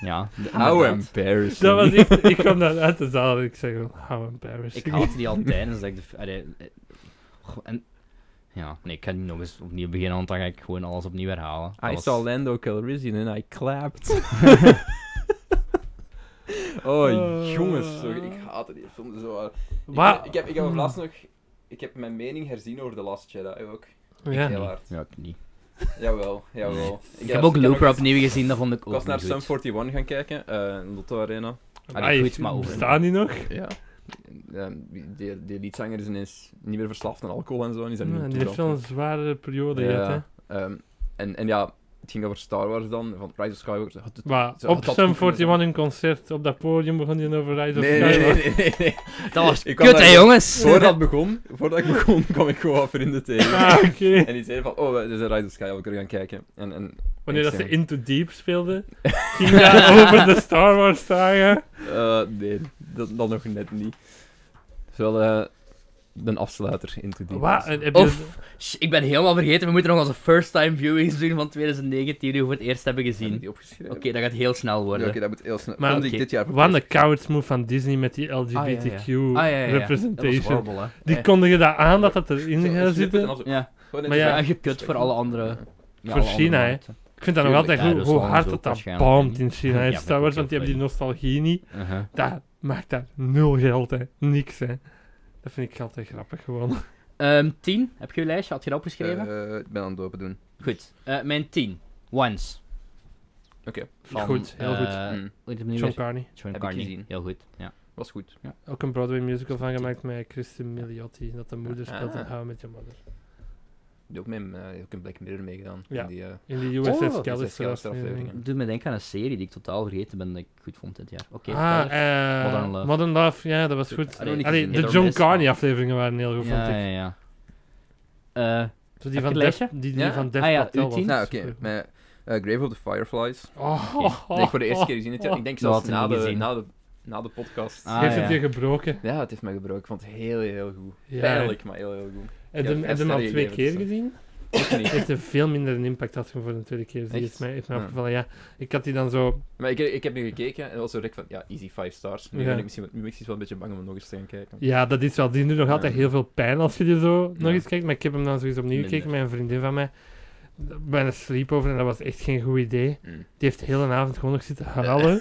Ja, de-
How
inderdaad.
embarrassing.
dat was echt... Ik kwam daar uit de zaal en ik zeg gewoon, how embarrassing.
Ik haatte die al tijdens dat ik de... f- allee, eh, goh, en, ja, nee, ik ga niet nog eens opnieuw beginnen, want dan ga ik gewoon alles opnieuw herhalen.
Ah,
Dat
I
was-
saw Lando Calrissian and I clapped. oh,
Eh.
jongens. sorry, ik haatte die film zo hard.
Maar-
Ik, ik, heb, ik heb op laatst nog... Ik heb mijn mening herzien over The Last Jedi ook.
Ja.
Heel hard.
Ja, ik niet.
Jawel, jawel.
Ik heb ook Looper opnieuw gezien, dat vond ik ook
Ik was naar
niet
Sum
goed.
41 gaan kijken, eh, in Lotto Arena.
Allee, goed, maar over.
Bestaan die nog?
Ja. die, die liedzanger is ineens niet meer verslaafd aan alcohol en zo. En is daar
Ja,
niet
die
meer
heeft wel een zware periode gehad, hè.
ja. ehm, en, en ja, het ging over Star Wars dan, van Rise of Skywalker. Het- het-
Maar
Zo,
op
dat
Sum
moet kunnen
41 in concert, op dat podium begon je over Rise of
Nee, nee,
Skywalker.
nee, nee, nee, nee.
Dat was
Ik kwam
kut,
daar-
hè, jongens!
Voordat het begon, voordat ik begon, kwam ik gewoon wat vrienden tegen.
Ah, oké.
En die zeiden van, oh, we zijn Rise of Skywalker gaan kijken. En, en
Wanneer dat ze
Excellent.
Into Deep speelden, ging daar over de Star Wars saga.
eh, nee, dat, dat nog net niet. Dus wel eh, een afsluiter in te diepen.
Wat? En Heb je...
Of, sh- ik ben helemaal vergeten, we moeten nog onze first time viewings doen van 2019, die we voor het eerst hebben
Heb ik
gezien.
die opgeschreven?
Oké, dat gaat heel snel
Ja,
worden.
Oké, dat moet heel snel.
Maar
Film die ik
oké,
dit jaar voor
Wat
het
een
eerst-
koud move van Disney met die LGBTQ
Ah, ja, ja, ja. Dat was
representation.
horrible, hè.
Die
Eh,
kondigen dat aan dat dat erin
Zo,
gaat
snippet en
zitten.
dan zo.
Ja,
Gewoon in
Maar
de Eh,
ja,
ja,
zaal.
gekut voor alle andere... ja,
Voor
alle andere
China, hè.
markten.
Ik vind dat nog altijd
Ja,
goed,
dat is
hoe
wel
hard
zo
dat dat
waarschijnlijk.
palmt in China
Ja,
in
dat
Star
klopt,
Wars, want die
dat
hebben die nostalgie niet.
Uh-huh.
Dat maakt daar nul geld, hè. Niks, hè. Dat vind ik altijd grappig, gewoon.
Ehm, 10, heb je je lijstje? Had je dat opgeschreven?
Eh, ik ben aan het dopen doen.
Goed, eh, mijn 10. Once.
Oké,
Van,
Goed, heel goed.
eh,
Mm,
hoe heet het nu
John
weer?
Carney.
John
Heb ik
Carney.
gezien.
Heel goed. Ja.
was goed.
Ook een Broadway musical van gemaakt met Kristen Milioti. Dat de moeder speelt in
Ah.
How I Met Your Mother.
Die ook, mee, eh, ook in Black Mirror meegedaan.
Ja.
In die, eh,
In de USS
Oh,
Callister
USS Callister
aflevering.
aflevering.
Doe me denken aan een serie die ik totaal vergeten ben dat ik goed vond dit jaar. Oké,
ah,
verder.
eh,
Modern Love.
Modern Love, ja, dat was goed.
Allee,
niet
Allee,
gezien.
de
Hit or
John
miss,
Carney
maar-
afleveringen waren heel goed,
ja,
vond ik.
ja, ja. Eh,
Zo
Heb
die van
je
Def,
een
die, die
Ja.
van Def
Ah ja,
Patel
uw tien?
was
Nou, oké.
super.
Met, eh, Grave of the Fireflies.
Oh,
Oké.
oh,
Nee, voor de eerste keer gezien dit jaar. Ik denk
Dat
zelfs
had ik
na
niet
de,
gezien.
na, de, na de podcast.
Ah,
Heeft het
ja.
je gebroken?
Ja, het heeft mij gebroken. Ik vond het heel, heel goed.
Ja.
Pijnlijk, maar heel, heel goed.
Heb
Ja,
je hem-
vijf
heb je hem al
sterren
twee keer
gegeven, dus,
gezien?
Ik niet.
Heeft er veel minder een impact had voor de tweede keer. Dus Die
Echt?
is mij, heeft mij
Ja.
opgevallen, ja. Ik had die dan zo...
Maar ik, ik heb nu gekeken en dat was zo direct van, ja, easy 5 stars. Nu
Ja.
ben ik misschien, nu ben ik misschien wel een beetje bang om hem nog eens te gaan kijken.
Ja, dat is wel. Die doet nog altijd
Ja.
heel veel pijn als je die zo nog
Ja.
eens kijkt. Maar ik heb hem dan zoiets opnieuw
Minder.
gekeken met een vriendin van mij. Bij een sleepover en dat was echt geen goed idee.
Mm.
Die heeft de hele avond gewoon nog zitten huilen.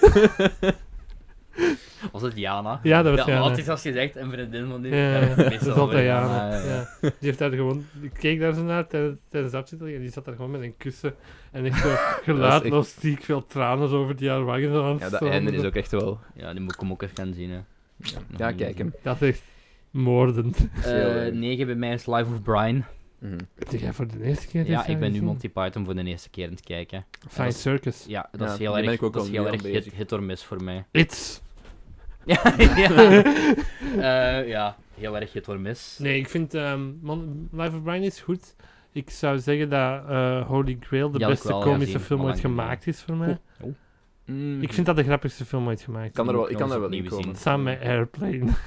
was het Jana?
Ja, dat was
ja,
ja,
altijd als je zegt, een vriendin van die...
Ja,
daar heb ik het
dat
meestal
is altijd
over,
Jana,
maar, eh,
Ja. Die heeft daar gewoon, ik keek daar zo naar tijdens tijdens de afzitting en die zat daar gewoon met een kussen. En echt zo geluidloos ziek veel tranen zo over die haar wangen zo aan het
Ja, dat
stromen.
einde is ook echt wel...
Ja, die moet ik hem ook even gaan zien, hè.
Ja,
Nog
ja
niet
kijk hem.
Dat is echt moordend.
is heel erg.
9 Eh, bij mij is Life of Brian.
Mhm.
Heb jij voor de eerste keer dit
Ja, ik
jaar
ben nu
gezien?
Monty Python voor de eerste keer aan het kijken.
Fine Circus.
Ja, dat
Ja,
is heel
die ben
erg,
ik ook
dat is
al nu
heel
aan
erg hit,
bezig.
hit or miss voor mij.
It's.
ja, ja. Eh, ja, heel erg het hoor mis.
Nee, ik vind ehm, man, Life of Brian is goed. Ik zou zeggen dat eh, Holy Grail de
Die had ik
beste
wel
komische
gezien,
film
al
ooit
lang geleden.
gemaakt is voor mij.
Mm.
Ik vind dat de grappigste film ooit gemaakt.
kan er wel, ik kan
Kan
er
ons
wel in
opnieuw
komen.
zien.
Samen met Airplane.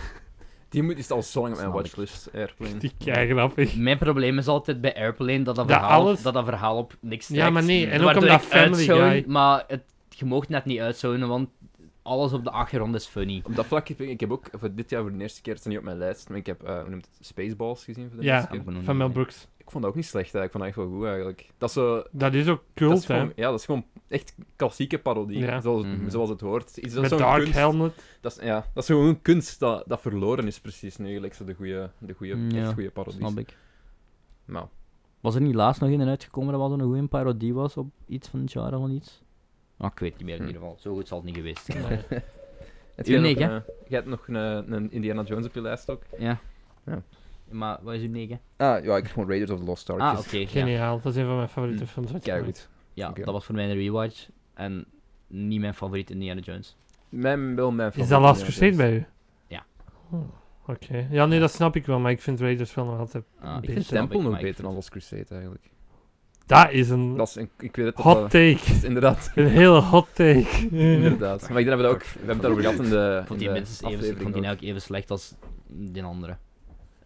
Die moet, is al zo lang op mijn
Snap ik.
watchlist, Airplane.
Die kei grappig.
Mijn probleem is altijd bij Airplane dat dat
Dat
verhaal,
alles-
dat dat verhaal op niks
Ja,
trekt.
maar nee, en ook
Waardoor
omdat
ik
Family
uitzone,
Guy-
Maar het, je mag net niet uitzonen, want alles op de achtergrond is funny.
Op dat vlak heb ik, ik heb ook voor dit jaar voor de eerste keer, het is niet op mijn lijst, maar ik heb, eh, hoe noemt het, Spaceballs gezien voor de
Ja.
eerste keer.
Ik ben nog
Van
niet-
Mel Brooks.
Ik vond dat ook niet slecht, eigenlijk. ik vond dat echt wel goed eigenlijk. Dat is zo,
Dat is ook
dat is
cult, hè?
gewoon, ja, dat is gewoon echt klassieke parodie,
Ja.
zoals,
Mhm.
zoals het hoort. Is dat
Met
zo'n
Dark
kunst,
Helmet.
Dat is, ja, dat is gewoon kunst dat, dat verloren is precies nu, gelijk zo de goede de goeie,
Mm,
echt
ja,
goede parodies.
Snap ik.
Nou,
Was er niet laatst nog in en uitgekomen dat wat een goede parodie was op iets van het jaar of iets? Ah, ik weet het niet meer in
Hm.
ieder geval. Zo goed zal het niet geweest zijn.
Nee.
heb jij
Uniek,
nog
hè?
een- Jij eh, hebt nog een, een Indiana Jones op je lijst ook?
eh, Ja.
Ja.
Maar wat is uw negen?
Ah, ja, ik heb gewoon Raiders of the Lost Ark.
Ah, oké. ja.
Geniaal. Dat is een van mijn favoriete
Mm.
films. ooit
Kijk,
gemaakt.
goed.
Ja,
Oké.
dat was voor mij een rewatch. En niet mijn favoriet Indiana Jones.
Mijn, wel mijn
Is
favoriete
dat Last
Indiana
Crusade bij u?
Ja.
Oh, Oké. Ja, nee, dat snap ik wel, maar ik vind Raiders wel nog altijd...
Ah,
Jones. Ik vind
snap
Temple nog
maar ik
beter
vind-
dan Lost Crusade eigenlijk.
Dat is een
Dat is, een- ik weet het dat
hot
dat-
take.
is inderdaad.
Een hele hot take.
Inderdaad. Maar ik denk dat we, dat ook, we hebben het daarover gehad in de,
Ik
in
vond die
de
minstens even, ik vond
aflevering.
die
ook.
nou ook even slecht als die andere.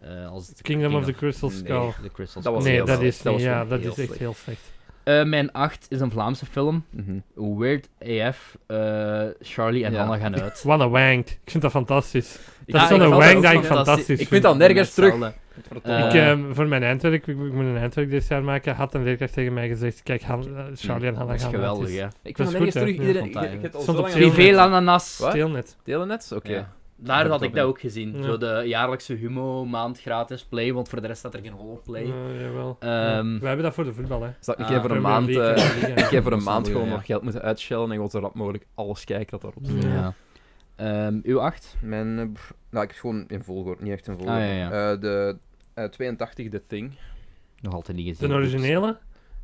Eh, als
Kingdom of the
Crystal
Crystal Skull.
Nee, The Crystal
Dat was
Skull.
nee,
heel
dat
slecht.
is
Dat
niet.
was
Ja,
echt
dat
heel
is echt
slecht.
heel slecht.
Eh, mijn 8 is een Vlaamse film.
Mhm.
Weird AF. eh, Charlie en
Ja.
Hannah gaan uit.
Wat een wank. Ik vind dat fantastisch.
Ik
Dat is
vind-
zo'n
ik
wank
vond
dat ik
ook-
fantastisch
Ik vind dat nergens terug.
Hetzelfde.
Verdomme.
Eh,
ik, ehm, voor mijn eindwerk, ik, ik moet een eindwerk dit jaar maken, had een leerkracht tegen mij gezegd, kijk, Han- eh, Charlie en Hannah
hmm, Dat is
gaan
geweldig,
uit.
ja.
Ik
dat
vind
is
dat nergens
goed, hè?
terug.
Ja,
Iedereen,
vond dat
ik, ik heb al
Stond
zo
op
lang
Privé
aan-
Privé ananas.
Wat?
Steelnet.
Telenets? Oké.
Ja. Daar
Dat
had
ook
ik dat
in.
ook gezien.
Ja.
Zo de jaarlijkse humo, maand gratis play, want voor de rest staat er geen hol op play.
Eh, jawel.
Ehm,
We hebben dat voor de voetbal, hè.
Zou ik
Ah.
even voor een
Premier
maand...
League,
eh,
Premier League,
Ik
ja.
heb voor een
Dat is
maand
wel
gewoon
goed,
nog geld moeten uitschellen en ik wil zo rap mogelijk alles kijken dat daarop
Ja.
ja. Ehm, uw 8?
Hmm. Mijn, eh, brr, nou, ik heb gewoon in volgorde, niet echt in volgorde.
Ah, ja,
Eh, de eh, 82, The Thing.
Nog altijd niet gezien.
De originele?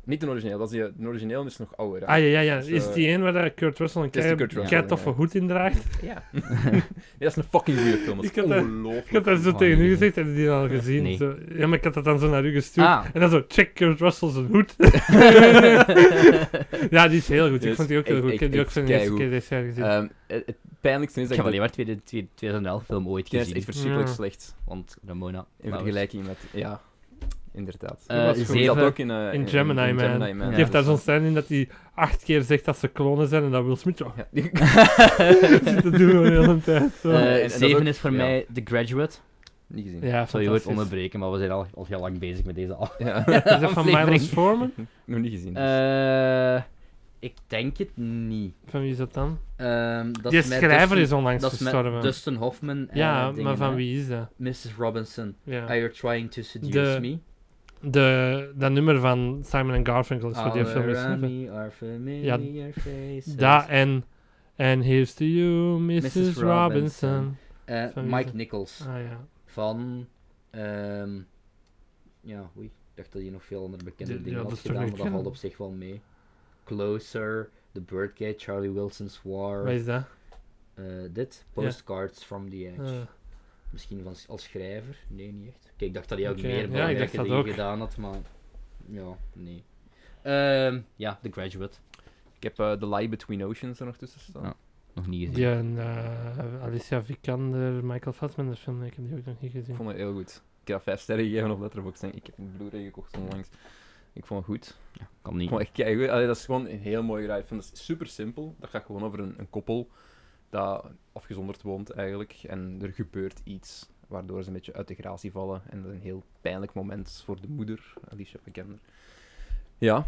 Niet de origineel, dat is die, de origineel is nog ouder. hè.
Ah, ja, ja, ja.
Dus,
Is
eh,
die een waar dat Kurt Russell een
is die Kurt
kei-
Russell,
kei toffe
ja.
hoed in draagt?
Ja. Nee, dat is een fucking goede film, dat
Ik
is
had daar-
ongelooflijk.
Ik had dat zo
Oh,
tegen u
nee.
gezegd, heb je die dan al gezien?
Nee.
Zo, ja, maar ik had dat dan zo naar u gestuurd.
Ah.
En dan zo, check Kurt Russell zijn hoed. ja, die is heel goed. Ik
Die is
vond die ook heel
echt-
goed. Ik heb die ook
echt-
voor de
echt
eerste keer dit jaar gezien.
Ehm, het, het pijnlijkste is
Ik
dat
heb
ik
alleen maar de 2011 film ooit
dat is echt
gezien.
verschrikkelijk
Ja.
slecht.
Want Ramona.
In vergelijking met... Ja, inderdaad.
Dat was
Eh
goed.
Ik zat
zeven.
ook in, eh, in,
Gemini Man.
Ja,
die heeft daar
dat
zo'n
is-
scène in dat hij acht keer zegt dat ze klonen zijn en dat Will Smith zo
Ja, die-
zit te doen de hele tijd. Zo.
Eh, en
Eh
dat is
7
ook-
is voor
ja.
mij The Graduate.
niet gezien.
ja,
Sorry, je wordt
fantastisch.
onderbreken, maar we zijn al, al heel lang bezig met deze al.
Ja.
Is dat van Miles
aflevering.
Forman?
nog niet gezien. dus.
Eh, ik denk het niet.
Van wie is dat dan?
Ehm, dat
die
met
schrijver
Dustin-
is onlangs
Dat is met
gestorven.
Dustin Hoffman. en
ja,
Eh, dingen,
maar van
hè.
wie is dat?
Mrs. Robinson. Are
Ja.
you trying to seduce
De-
me?
De, dat nummer van Simon and Garfunkel is voor die
All
film
around
geschreven.
me are familiar faces.
Dat en... And here's to you, Mrs.
Mrs.
Robinson.
Robinson. Eh,
Van wie is
Mike
dat?
Nichols.
Ah ja.
Van. ehm, ja, oei. Ik dacht dat hij nog veel andere bekende
Ja,
dingen
dat
had
is toch
gedaan,
niet
maar dat valt
kennen?
op zich wel mee. Closer, The Birdcage, Charlie Wilson's War.
Wat is dat?
eh, dit, Postcards from the Edge.
Ah.
Misschien van, als schrijver? Nee, niet echt. Kijk, ik dacht dat hij ook
Oké, ja,
meer
ik
belangrijke
dacht dat
dingen
ook.
gedaan had, maar... Ja, nee. Ehm, ja, The Graduate.
Ik heb eh, The Lie Between Oceans er nog tussen staan.
Ja. Nog niet gezien.
Die en eh, Alicia Vikander, Michael Fassbender film, ik heb die ook nog niet
Ik
gezien.
vond het heel goed. Ik heb 5 sterren gegeven op Letterboxd. denk Ik Ik heb een Blu-ray gekocht onlangs. Ik vond het goed.
Kan
Ik
niet.
vond het echt keigoed. Allee, dat is gewoon een heel mooi gedraaid. film. Dat is super simpel. Dat gaat gewoon over een, een koppel dat afgezonderd woont eigenlijk. En er gebeurt iets waardoor ze een beetje uit de gratie vallen. En dat is een heel pijnlijk moment voor de moeder, Alicia Vikander. Ja,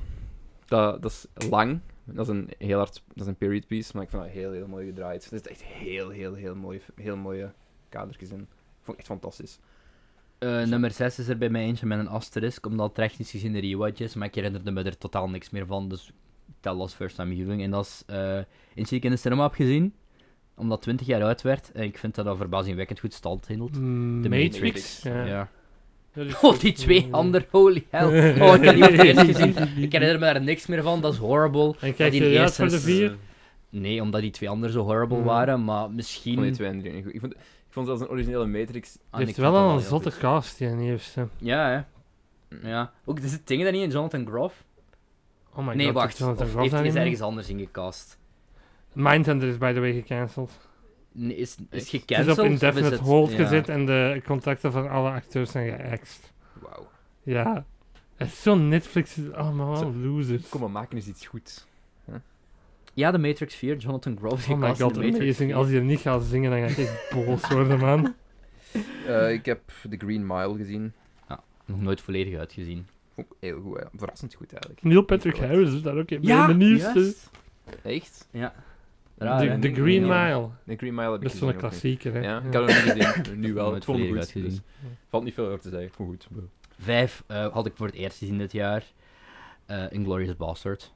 dat, dat is lang. Dat is een heel hard, dat is een period piece, maar ik vind dat heel, heel mooi gedraaid. Er zitten echt heel, heel, heel, mooi, heel mooie kadertjes in. Ik vond het echt fantastisch.
Eh, nummer 6 is er bij mij eentje met een asterisk, omdat het technisch gezien de rewatch is, maar ik herinnerde me er totaal niks meer van, dus ik tel als first time viewing. En dat is eh eentje die ik in de cinema heb gezien, omdat 20 jaar oud werd, en ik vind dat dat verbazingwekkend goed stand hield.
Mm,
De
Matrix.
Matrix.
Ja. Dat is
Oh,
goed.
die twee
Mm.
handen, holy hell. Oh, ik heb die niet gezien. Ik herinner me daar niks meer van, dat is horrible.
En kijk
die
je uit
eerste
voor de
is- eh,
vier?
Nee, omdat die twee anderen zo horrible
Mhm.
waren, maar
Ik vond die
misschien...
twee anderen niet goed. Ik vond, ik vond zelfs een originele Matrix...
Ah,
Die
ik
heeft
vond
wel
dat
al een
heel
zotte
goed.
cast, die eh, nieuwste.
Ja, hè. Ja. Ook, er zit dingen daar niet in Jonathan Groff.
Oh my
nee,
god.
wacht.
Jonathan
Of
Groff
heeft hij is
daarin?
ergens anders ingecast?
Mindhunter is by the way gecanceld.
Nee, is, is
Het
gecanceld?
is op
of
indefinite
het-
hold
ja.
gezet en de contracten van alle acteurs zijn geëxt.
Wauw.
Ja. Het is zo'n Netflix... Allemaal
Zo-
losers.
Kom, we maken eens iets goeds.
Ja, de Matrix 4, Jonathan Groff is
Oh my
gecast in
god,
de Matrix
amazing.
4.
Als je hem niet gaat zingen, dan ga ik echt boos worden, man.
Eh, ik heb The Green Mile gezien.
Nog nooit volledig uitgezien.
Ook heel goed, hè. verrassend goed eigenlijk.
Neil Patrick
Niet
Harris is daar ook in. Ja, mijn nieuwste.
juist.
Eh, Echt?
Ja. Raar,
The,
hè?
The Green
Ja.
Mile.
The Green Mile heb ik
Dat is
gezien
zo'n
ook niet.
klassieker, hè.
Ja, ik had hem niet gezien. Nu wel.
Nooit
Ik vond hem
volledig
goed. Dus
uitgezien.
valt niet veel over te zeggen. Ik vond het goed.
Vijf eh, had ik voor het eerst gezien dit jaar. Eh Inglorious Bastard.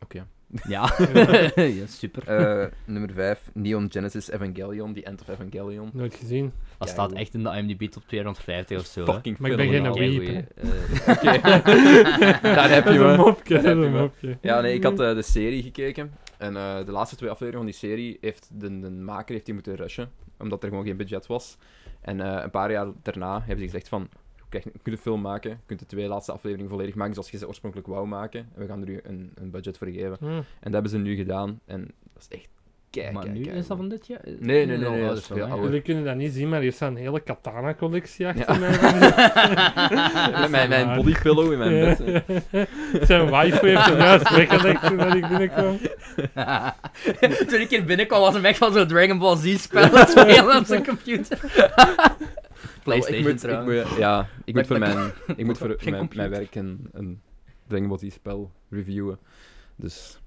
Oké.
Ja. ja, super.
Eh, nummer 5, Neon Genesis Evangelion, The End of Evangelion.
Nooit gezien.
Dat
Ja,
staat
joh.
echt in de IMDb top 250 of zo. hè.
Fucking
Maar ik ben
film,
geen
ja.
weep,
Keigoeie,
hè.
eh,
Oké. Daar heb
Dat
je
is een
me.
mopje, dat is
Daar heb je
een
me.
mopje.
Ja, nee, ik had eh, de serie gekeken. En eh, de laatste twee afleveringen van die serie heeft de, de maker heeft die moeten rushen. Omdat er gewoon geen budget was. En eh, een paar jaar daarna hebben ze gezegd van... Je kunt een film maken, je kunt de twee laatste afleveringen volledig maken zoals je ze oorspronkelijk wou maken. En we gaan er nu een, een budget voor geven.
Hm.
En dat hebben ze nu gedaan. En dat is echt kijk.
Hmm. maar
kei,
nu
kei
is
goed.
dat van dit jaar?
nee, nee, nee, dat is veel ouder.
Jullie kunnen dat niet zien, maar hier staat een hele katana-collectie achter
Ja.
mij.
Met mijn, mijn bodypillow in mijn bed. hè.
Zijn wife heeft hem juist weggelegd toen dat ik binnenkwam.
Toen ik hier binnenkwam was hem echt van zo'n Dragon Ball Z-spel aan het spelen op zijn computer.
Oh, ik
PlayStation
moet,
trouwens.
Ik moet, ja, ik moet
Maar
voor mijn, ik moet voor
Geen
mijn,
computer.
mijn werk een, een Dragon Ball Z-spel reviewen. Dus...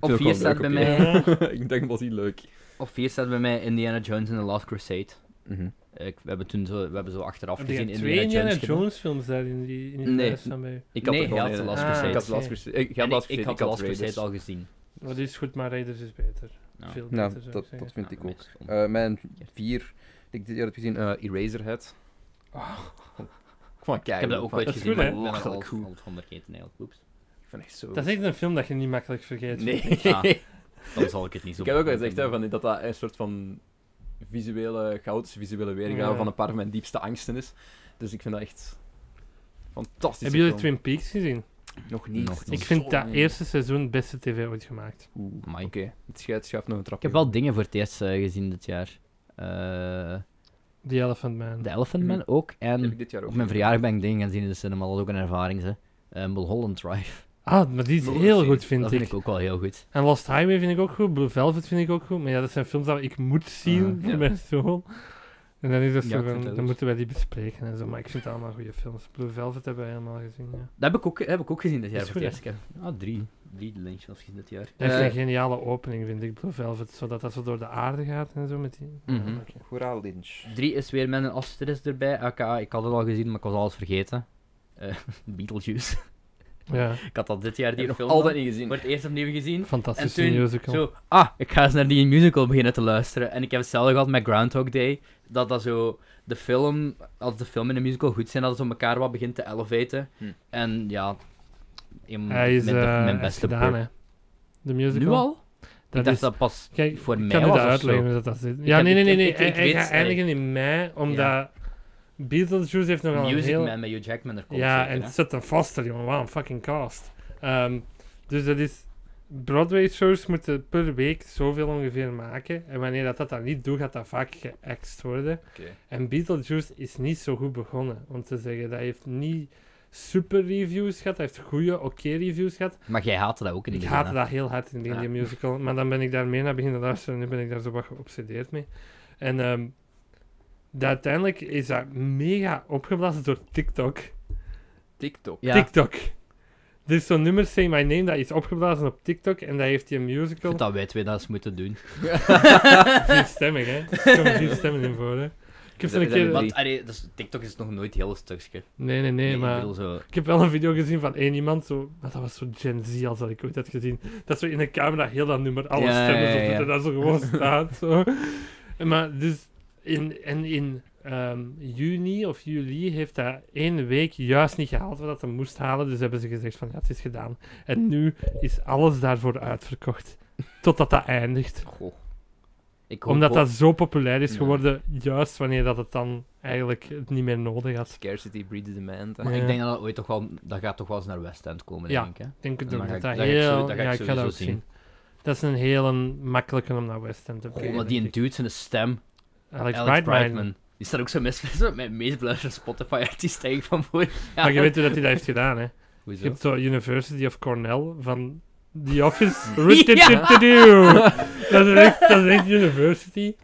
Op
Ik vind het ook wel leuk
vier staat bij
op
mij...
ik denk Dragon Ball Z leuk.
Op vier staat bij mij Indiana Jones and the Last Crusade. Mhm. Ik, we, hebben toen zo, we hebben zo achteraf
Heb
gezien
je twee Indiana
Jones. gedaan.
Jones films daar in die, in die
Nee.
lijst van mij?
Ik had
Nee,
er gewoon
hij had
een-
The Last
ah,
Crusade.
Ik had The Last
Oké.
Crusade. Ik, ik
En
had
ik-
The Last Crusade.
ik, had The Last
Raiders.
Crusade al gezien.
Maar die is goed, maar Raiders is beter.
Ja.
Veel beter,
Nou,
zou ik
dat,
zeggen.
dat vind ik
dus, Ja,
ook.
meestal.
Eh, mijn vier, die ik dit jaar heb gezien, eh, Eraserhead. Ik vond het
Oh. ik heb dat
keigoed.
ook ooit
dat is
gezien,
goed,
maar
hè?
ik ben er
Belachelijk
al
goed.
al van vergeten eigenlijk. Oeps.
Ik vind het echt zo...
Dat is echt een film dat je niet makkelijk vergeet.
Nee.
Ah, Dan zal ik het niet zo
Ik heb ook al
makkelijk
gezegd
doen.
hè, van, dat dat een soort van visuele goud, visuele weergave
Ja.
van een paar van mijn diepste angsten is. Dus ik vind dat echt fantastisch.
Hebben jullie Twin Peaks gezien?
Nog niet.
Nog niet.
Ik vind
Zo
dat
niet.
eerste seizoen beste tv ooit gemaakt.
Oeh,
Amai.
Oké, het schuift, schuift nog een
Ik
trapje.
heb wel dingen voor het eerst eh, gezien dit jaar. Eh
The Elephant Man.
The Elephant Man
Mhm.
ook.
Dat heb
En
ik dit jaar ook.
op mijn verjaardag ben ik dingen gaan zien in de cinema. Dat was ook een ervaring, hè. Eh, Mulholland Drive.
Ah, maar die is
Moet
heel
gezien.
goed, vind
dat
ik.
vind ik ook wel heel goed.
En Lost Highway vind ik ook goed. Blue Velvet vind ik ook goed. Maar ja, dat zijn films dat ik moet zien
Ah,
voor
ja.
mijn zoon. En dan is dat
Ja,
zo
ik
van,
vind dat
dan
ook.
moeten wij die bespreken en zo. Maar ik vind het allemaal goede films. Blue Velvet hebben wij helemaal gezien, ja.
Dat heb ik ook, heb ik ook gezien dit jaar
Is
voor het eerst.
goed,
Ik heb- Ah, drie. Drie Lynch films gezien dit jaar.
Dat
Eh,
is een geniale opening, vind ik, Blue Velvet. Zodat dat zo door de aarde gaat en zo met die... Ja,
Mhm.
oké.
Hoera Lynch.
Drie is weer met een asterisk erbij. Aka, ik had het al gezien, maar ik was alles vergeten. Eh, Beetlejuice.
Ja,
ik had dat dit jaar
Ik heb
die
nog
film
altijd
dan
niet gezien.
voor het eerst opnieuw gezien.
fantastische
En toen-
musical.
Zo, ah, ik ga eens naar die musical beginnen te luisteren. En ik heb hetzelfde gehad met Groundhog Day. Dat dat zo, de film, als de film en de musical goed zijn, dat het zo elkaar wat begint te elevaten.
Hm.
En ja, een-
Hij is,
mijn,
eh, hij
mijn
is
beste
gedaan,
per-
hè. De musical.
Nu al? ik
Dat
dacht
is,
dat pas
Kijk,
voor
ik
mij
kan je
was
dat
of zo.
uitleggen hoe dat, dat zit. Ja,
heb-
nee, nee,
ik-
nee. nee.
ik- ik- ik
hij- hij
weet-
gaat eindigen in mei, omdat Beetlejuice heeft nogal een
Music
heel...
Man met Hugh Jackman er komt.
Ja,
zeker,
en
hè?
Sutton Foster, jongen, wat een fucking cast. Ehm, dus dat is... Broadway-shows moeten per week zoveel ongeveer maken. En wanneer dat dat dan niet doet, gaat dat vaak geaxt worden.
Oké.
En Beetlejuice is niet zo goed begonnen, om te zeggen. Dat heeft niet super reviews gehad, dat heeft goede, oké reviews gehad.
Maar jij haatte dat ook in
Ik
die
haatte dat heel hard in die, in die
Ja.
musical. Maar dan ben ik daar meer naar beginnen luisteren. Nu ben ik daar zo wat geobsedeerd mee. En ehm, dat uiteindelijk is dat mega opgeblazen door TikTok.
TikTok.
Ja, ik
TikTok. Er is zo'n nummer, Say My Name, dat is opgeblazen op TikTok. En dat heeft die musical...
vind dat wij twee dat eens moeten doen.
Vier stemmen, hè? Er komen vier stemmen in voor, hè? Ik
Is
heb zo'n
dat- is dat
keer...
niet wat-
Want allee, dus TikTok is nog nooit heel stukje.
Nee, nee, nee,
Ik
maar...
bedoel zo...
Ik heb wel een video gezien van één iemand, zo, maar dat was zo Gen Z als dat ik ooit had gezien. Dat zo in de camera heel dat nummer, alle
Ja,
stemmen,
ja,
zo,
ja,
dat
ja.
er daar zo gewoon staat. Zo. En Maar dus, in, en in ehm, juni of juli heeft dat één week juist niet gehaald wat dat hij moest halen. Dus hebben ze gezegd van ja, het is gedaan. En nu is alles daarvoor uitverkocht. Totdat dat eindigt.
Goh. Ik hoop
Omdat
wel-
dat zo populair is
Ja.
geworden, juist wanneer dat het dan eigenlijk het niet meer nodig had.
Scarcity breeds demand. hè.
Maar
Ja.
ik denk dat dat ooit toch wel... Dat gaat toch wel eens naar West End komen,
Ja.
denk ik. hè.
Ik denk dat
Dan
dat,
ga ik-
dat
dat ga ik
heel...
sowieso- dat ga
ja,
ik
ik ga dat
sowieso
ook
zien.
zien. Dat is een hele makkelijke om naar West End te
Goh,
brengen.
Oh, maar die
denk ik.
dude, zijn stem.
Alex,
Alex
Brightman.
Brightman. Die staat ook zo mis met mijn meest beluisterde Spotify-artiest, denk ik, van vorig jaar.
Maar je weet hoe dat hij dat heeft gedaan, hè. Je
Hoezo?
hebt zo University of Cornell van The Office. dat, is echt, dat is echt University.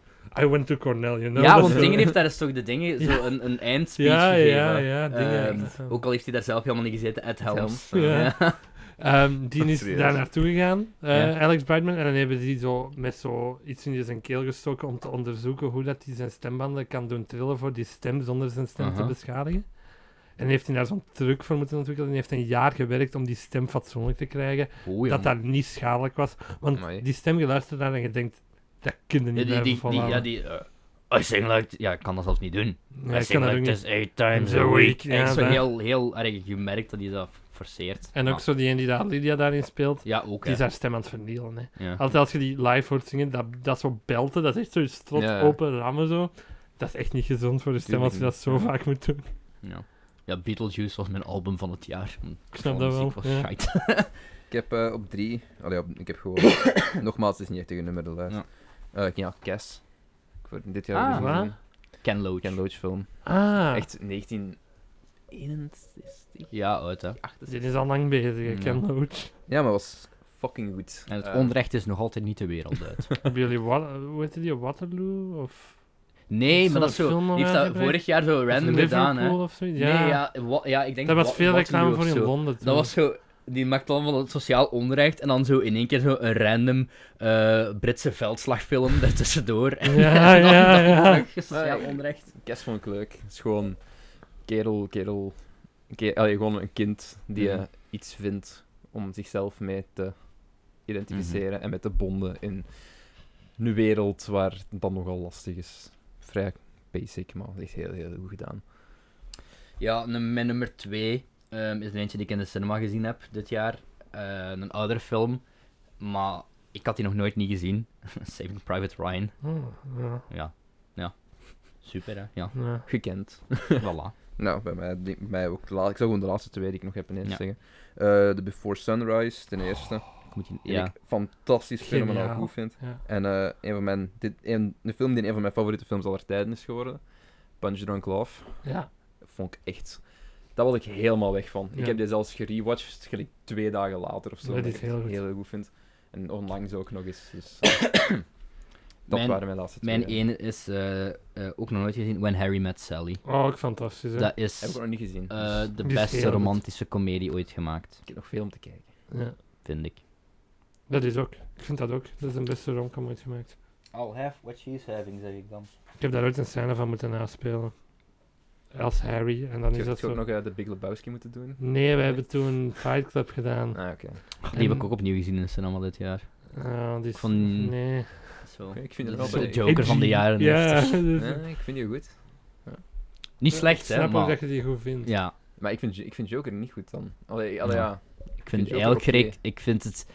I went to Cornell, you know.
ja,
Dat
want
is zo-
dingen heeft daar eens toch de dingen, zo een, een eindspeech
Ja,
gegeven.
ja, ja, dingen,
Ehm,
echt zo.
ook al heeft hij daar zelf helemaal niet gezeten, Ed Helms.
Helms, ja. Ehm, die is
Serieus.
daar naartoe gegaan, eh,
Ja.
Alex Brightman. En dan hebben die zo met zo iets in zijn keel gestoken om te onderzoeken hoe dat hij zijn stembanden kan doen trillen voor die stem zonder zijn stem te
Aha.
beschadigen. En heeft hij daar zo'n truc voor moeten ontwikkelen. En heeft een jaar gewerkt om die stem fatsoenlijk te krijgen.
Oei,
dat
man.
dat niet schadelijk was. Want
Amai.
die stem geluisterd naar en je denkt, dat kunnen
Ja, die,
niet blijven
die, die,
volhouden.
ja, die... eh, I sing like... Ja, ik kan dat zelfs niet doen.
Ja,
I
ik kan
sing
dat ook
like
niet.
this eight times
A
a
week,
week.
ja,
Echt zo
dat.
heel, heel erg, je merkt dat hij dat forceert.
En ook
Ah,
zo die een die daar Lydia daarin speelt,
Ja, ook,
die
hè.
is haar stem aan het vernielen. Hè.
Ja.
Altijd als je die live hoort zingen, dat, dat zo belten, dat is echt zo je strot
Ja.
open rammen zo. Dat is echt niet gezond voor de stem als je dat
Tuurlijk
zo
niet.
vaak moet doen.
Ja. ja, Beetlejuice was mijn album van het jaar.
Ik snap dat wel,
was
ja.
shite.
Ik heb eh, op drie... Allee, op- ik heb gewoon... Nogmaals, het is niet echt een nummer de lijst.
Ja.
Eh, ik ja, Cass. Ik word dit jaar
Ah,
weer
waar?
gezien.
Ken Loach.
Ken Loach film.
Ah,
Echt 1961.
Ja, uit, hè.
dit is al lang bezig, ik
Ja.
ken Loach.
Ja, maar was fucking goed.
En het
Eh,
onrecht is nog altijd niet de wereld uit.
Hebben jullie, Wa- hoe heette die, Waterloo? Of
Nee,
Is
maar
dat
dat is
een film
zo.
nog
Die heeft dat
uitgebracht?
vorig jaar zo
of
random gedaan, hè?
Liverpool of zoiets?
Nee, ja, wa- ja, ik denk
Dat was
Wa-
veel
Waterloo
reclame
of
voor in
zo.
Londen
Dat was zo. Die maakt dan van het sociaal onrecht en dan zo in één keer zo een random eh, Britse veldslagfilm daartussendoor. En
Ja,
dan-
ja,
dan
ja.
terug Sociaal
Nee.
onrecht.
Cass vond ik leuk. Het is gewoon kerel, kerel... ke- allee, gewoon een kind die eh,
Mhm.
iets vindt om zichzelf mee te identificeren
Mhm.
en met te bonden in een wereld waar het dan nogal lastig is. Vrij basic, maar echt heel, heel goed gedaan.
Ja, num- mijn nummer twee ehm, is er eentje die ik in de cinema gezien heb dit jaar. Eh, een oudere film, maar ik had die nog nooit niet gezien. Saving Private Ryan.
Hmm, ja,
Oh, Ja, ja. Super, hè? Ja,
ja.
Gekend.
voilà.
Nou, bij mij, die- bij mij ook. de laat- ik zal gewoon de laatste twee die ik nog heb ineens
Ja. Oh.
zeggen. Eh The Before Sunrise, ten eerste.
Ik moet die-
Die
ja.
ik fantastisch fenomenaal
Geniaal.
goed vind.
Ja.
En eh, een van mijn, dit, een, een film die een van mijn favoriete films aller tijden is geworden, Punch Drunk Love,
Ja,
vond ik echt... Dat was ik helemaal weg van.
Ja.
Ik heb die zelfs gerewatcht, gelijk twee dagen later of zo.
Dat
omdat
is
ik
heel
het
goed.
heel goed vind. En onlangs ook nog eens. Dus, dat
Mijn-
waren mijn laatste twee.
Mijn ene is eh, eh, ook nog nooit gezien, When Harry Met Sally.
Oh, ook fantastisch. Hè?
Dat
Heb ik
is
nog niet gezien.
eh,
dus
de
Die is heel
beste
goed.
romantische komedie ooit gemaakt,
ik heb nog veel om te kijken.
Ja.
vind ik.
Dat is ook. Ik vind dat ook. Dat is een beste romcom ooit gemaakt.
I'll have what she's having, zeg ik dan.
Ik heb daar ooit een scène van moeten naspelen. Als Harry. En dan
Ik
is dat
zou
zo.
ook nog eh, de Big Lebowski moeten doen.
Nee, we hebben toen Fight Club gedaan.
Ah, oké.
Die heb
En-
ik ook opnieuw gezien in de cinema dit jaar.
Ah, die is-
Ik vond-
Nee.
Zo.
Ik vind het
Dat
wel
is de
bij-
Joker van de jaren.
Ja,
90.
dus-
Nee, ik vind die goed.
Niet slecht,
Ik
hè,
snap ook
maar...
dat je die goed vindt.
Ja,
Maar ik vind, Jo- ik vind Joker niet goed dan. Allee, allee,
Ja.
ja.
ik
vind
vind
Joker
eigenlijk...
oké.
Rick- Ik vind het...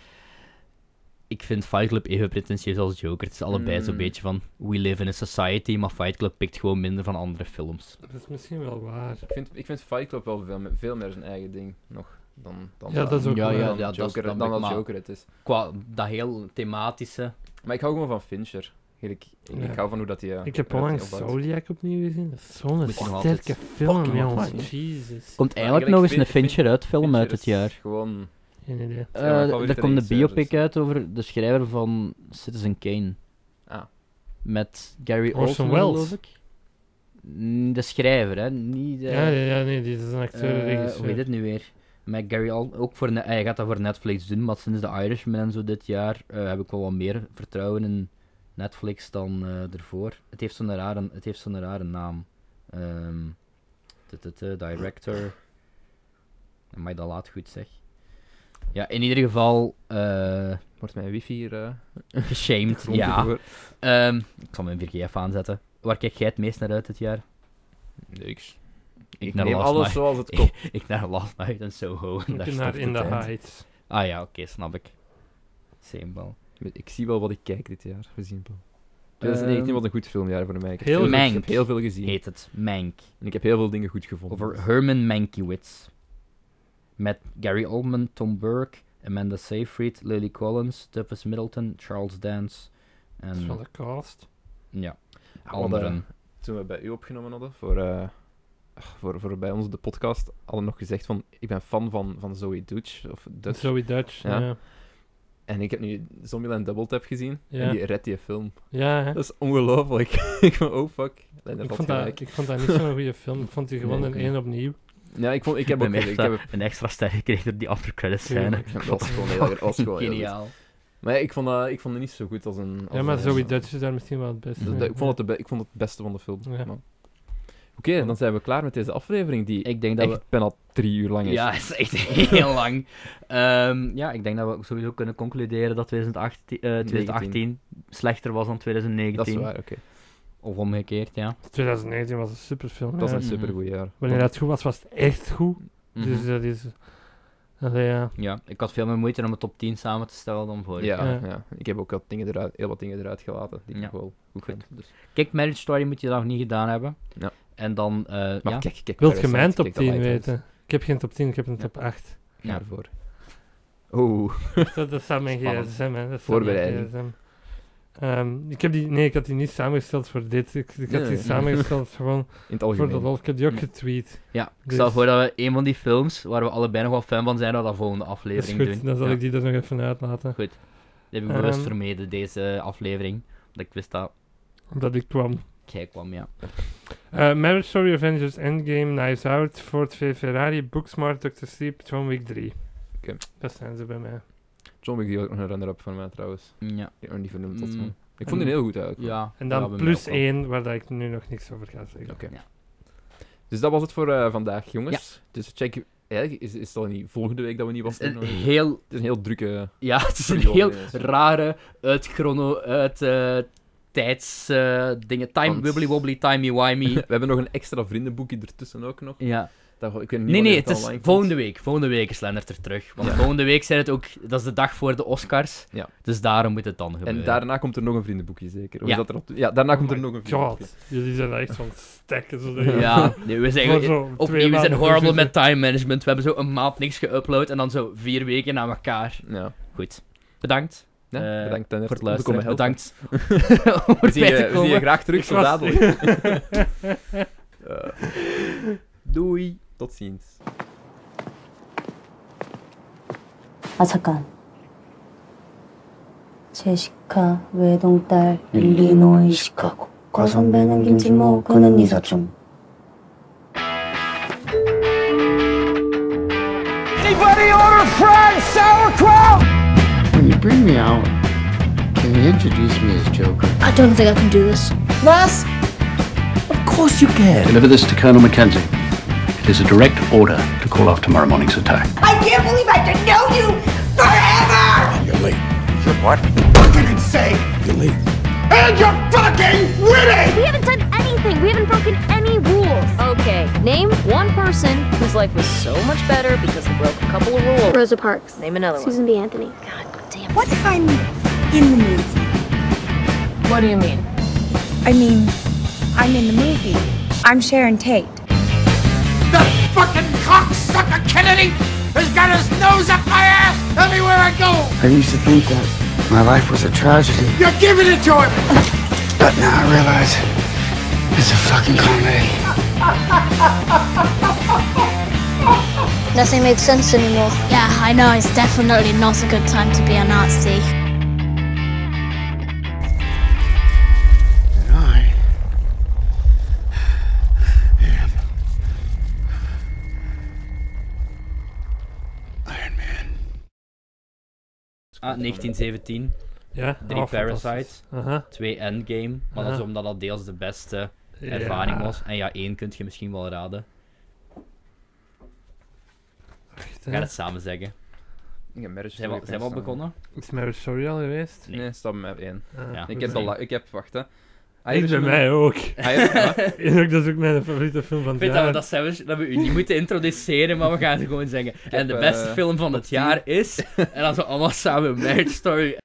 Ik vind Fight Club even pretentieus als Joker. Het is allebei zo'n
Mm.
beetje van... We live in a society, maar Fight Club pikt gewoon minder van andere films.
Dat is misschien wel waar.
Ik vind, ik vind Fight Club wel veel, me- veel meer zijn eigen ding nog dan, dan
Ja, dat is ook
dan
Ja, waar. ja,
ja, dat
Joker,
snap
dan
ik,
als
maar-
Joker het is.
Qua dat heel thematische...
Maar ik hou gewoon van Fincher. Ik, ik,
Ja.
hou van hoe dat hij. eh,
Ik heb
hoe dat hij
onlangs
opbouwt.
Zodiac opnieuw gezien. Dat is zo'n
Moet je nog
sterke film,
fucking altijd
jongen. Jezus.
Komt eigenlijk
gelijk
nog eens een
Fin-
Fincher uit film
Fincher
uit het
is
jaar. Eh,
Gewoon.
Geen idee.
mijn favoriete
er komt een
regisseurs,
biopic uit over de schrijver van Citizen Kane.
Ah.
Met Gary
Orson
Oldman,
Welles.
geloof ik. Mm, De schrijver, hè. Niet eh, de...
Ja, ja, ja, nee, dit is een acteur.
eh, hoe heet
regisseur.
dit nu weer? Met Gary Oldman. Ook voor ne- hij gaat dat voor Netflix doen, maar sinds de Irishman en zo dit jaar eh, heb ik wel wat meer vertrouwen in Netflix dan eh, ervoor. Het heeft zo'n rare, het heeft zo'n rare naam. Ehm de, de, de director. Amai, dat laat goed zeg. Ja, in ieder geval, eh
Wordt mijn wifi hier. eh,
geshamed.
grond
ja.
door-
Ehm, ik zal mijn 4GF aanzetten. Waar kijk jij het meest naar uit dit jaar? Niks. Ik,
Ik
naar
neem
Last
alles
Night-
zoals het komt.
ik naar Last Night en Soho. En daar
Ik
stond
naar
het
In the
eind.
Heights.
Ah ja, oké, snap ik. Same bal.
Ik zie wel wat ik kijk dit jaar, we zien wel. 2019
Ehm,
was een goed filmjaar voor mij. Ik heb,
Heel
veel, ik
Mank.
heb heel veel gezien.
Heet het Mank.
En ik heb heel veel dingen goed gevonden.
Over Herman Mankiewicz. Met Gary Oldman, Tom Burke, Amanda Seyfried, Lily Collins, Tuffus Middleton, Charles Dance.
Dat is
En
van de cast.
ja,
Ja, we hadden-
anderen.
toen we bij u opgenomen hadden, voor, eh, voor, voor bij ons de podcast, hadden we nog gezegd van, ik ben fan van, van Zoe Dutch. Of Dutch.
Zoe Dutch.
Ja.
Ja, ja.
En ik heb nu Zombieland Double Tap gezien. En die redt die film.
hè.
Dat is ongelooflijk. ik van, oh fuck. Allee, daar
ik,
valt
vond dat,
gelijk.
ik vond dat niet zo'n goede film. Ik vond die gewoon
Nee,
een
ook
één opnieuw.
Ja, ik, vond, ik heb ook...
een,
Ik
extra,
heb,
een extra ster gekregen door die aftercredits scène.
Tuurlijk.
dat was gewoon heel, dat was gewoon heel goed.
Geniaal.
Maar ja, ik vond, dat, ik vond het niet zo goed als een... Als
Ja, maar
een-
Zoe Dutch is daar misschien wel het beste.
Dus dat- ik, vond het de be- ik vond het het beste van de film.
Ja.
maar- Oké, dan zijn we klaar met deze aflevering die
Ik denk dat
echt
we...
ben al drie uur lang is.
Ja, het is echt heel lang. Ehm, ja, ik denk dat we ook sowieso kunnen concluderen dat 2018, eh, 2018 slechter was dan 2019.
dat is waar, oké.
Of omgekeerd, ja.
2019 was een superfilm.
Dat
ja.
is een
Mhm.
supergoed jaar.
Wanneer dat goed was, was het echt goed.
Mhm.
Dus dat is... Allee, ja.
Ja, ik had veel meer moeite om een top 10 samen te stellen dan vorig jaar.
Ja, ja.
Ja.
ik heb ook wat dingen eruit, heel wat dingen eruit gelaten die
Ja.
ik nog wel goed vind. Dus.
Kijk, Marriage Story moet je nog niet gedaan hebben.
Ja.
En dan, eh,
Maar
ja.
kijk, kijk.
Wilt je
Parasite,
mijn top
kijk dat
10
Lighthouse.
weten? Ik heb geen top 10, ik heb een top 8.
Ga
Ja.
ervoor. Oh,
dat, dat staat mijn
Spannend.
gsm, hè. Dat staat
Voorbereiding.
mijn GSM. Ehm, ik heb die... Nee, ik had die niet samengesteld voor dit. Ik, ik had
Nee.
die samengesteld gewoon
in het
voor de
algemeen.
lol. Ik heb die ook
Ja.
getweet.
ja, ik
Dus-
stel voor dat we een van die films, waar we allebei nog wel fan van zijn, dat we dat volgende
Dat is
aflevering
goed,
doen.
dan zal
Ja,
ik die er nog even uitlaten.
Dat heb ik bewust
Ehm.
vermeden, deze aflevering. Omdat ik wist dat
Omdat ik kwam.
jij kwam, ja.
Eh, Marriage Story, Avengers, Endgame, Knives Out, Ford V Ferrari, Booksmart, Dr. Sleep, John Wick 3.
Oké.
Dat zijn ze bij mij.
John Wick die was ook nog een runner-up van mij trouwens.
Ja.
Ik heb nog niet vernoemd tot
Mm.
van. Ik vond die heel goed eigenlijk.
ja
En
ja,
dan
bij mij
plus
ook wel.
1, waar dat ik nu nog niks over ga zeggen.
Oké.
Ja.
Dus dat was het voor eh, vandaag, jongens. Dus check... Eigenlijk is, is het al niet volgende week dat we niet
Het is
was.
een
Het
heel,
is een heel drukke...
ja, het is een
Periode
heel
ineens.
rare, uit chrono, uit eh, tijds eh, dingen. Time,
Want-
wibbly wobbly, timey wimey.
We hebben nog een extra vriendenboekje ertussen ook nog.
ja.
Dat, ik weet niet
Nee, nee,
wanneer
het is
online komt.
volgende week. Volgende week is Lennart er terug. Want
Ja.
volgende week zijn het ook... Dat is de dag voor de Oscars.
Ja.
Dus daarom moet het dan gebeuren.
En daarna komt er nog een vriendenboekje, zeker? Of
Ja. Oh
is dat er al- ja, daarna komt er
my
nog een vriendenboekje.
God, jullie zijn echt zo'n stekken. Zo
Ja, nee, we zijn...
Voor zo twee
Opnieuw, we zijn
maanden
horrible
precies.
met time management. We hebben zo een maand niks geüpload en dan zo vier weken na elkaar.
Ja.
Goed. Bedankt
Ja,
Eh,
bedankt Dennis,
voor het
om te komen
luisteren.
helpen.
Bedankt om
We
erbij
zien, je,
te
we zien je
komen.
graag terug
Ik
zo
was-
dadelijk. Eh, doei. Tot ziens.
아 잠깐 제시카 외동딸 일리노이 시카고 과선배는 김진모 그는 이사중
Anybody order fried sauerkraut?
When you bring me out, can you introduce me as Joker?
I don't think I can do this.
Russ? Of course you can.
Deliver this to Colonel Mackenzie. It is a direct order to call off tomorrow morning's attack.
I can't believe I can know you forever! You're late. You're what? Fucking insane! You're late. And you're fucking winning!
We haven't done anything. We haven't broken any rules. Okay, name one person whose life was so much better because they broke a couple of rules. Rosa Parks. Name another Susan one. Susan B. Anthony. God damn.
What if I'm in the movie?
What do you mean?
I mean, I'm in the movie. I'm Sharon Tate.
The fucking cocksucker Kennedy has got his nose up my ass everywhere I go!
I used to think that my life was a tragedy,
You're giving it to him!
but now I realize it's a fucking comedy.
Nothing makes sense anymore. Yeah, I know. It's definitely not a good time to be a Nazi.
And I am Iron Man.
Ah, 1917,
Ja,
drie
oh, fantastisch.
Parasites,
Aha.
twee Endgame. Maar dat is
Ja.
omdat dat deels de beste
Ja.
ervaring was. En ja, één kunt je misschien wel raden.
Echt,
We
Ah, hè.
gaan het samen zeggen.
Ik heb marriage
Zijn we,
story
zijn we al
bijstaan.
begonnen?
Is Marriage Story al geweest?
Nee, stap met één.
Ah,
Ja.
Ik heb,
goed.
al, ik heb, wacht hè.
Ah, bij mij ook. En ook, dat is ook mijn favoriete film van
Ik vind dat
het
we
jaar.
dat, zelfs, dat we u niet moeten introduceren, maar we gaan het gewoon zeggen. en de
heb,
beste
eh,
film van het jaar is... En dan zo allemaal samen Marriage Story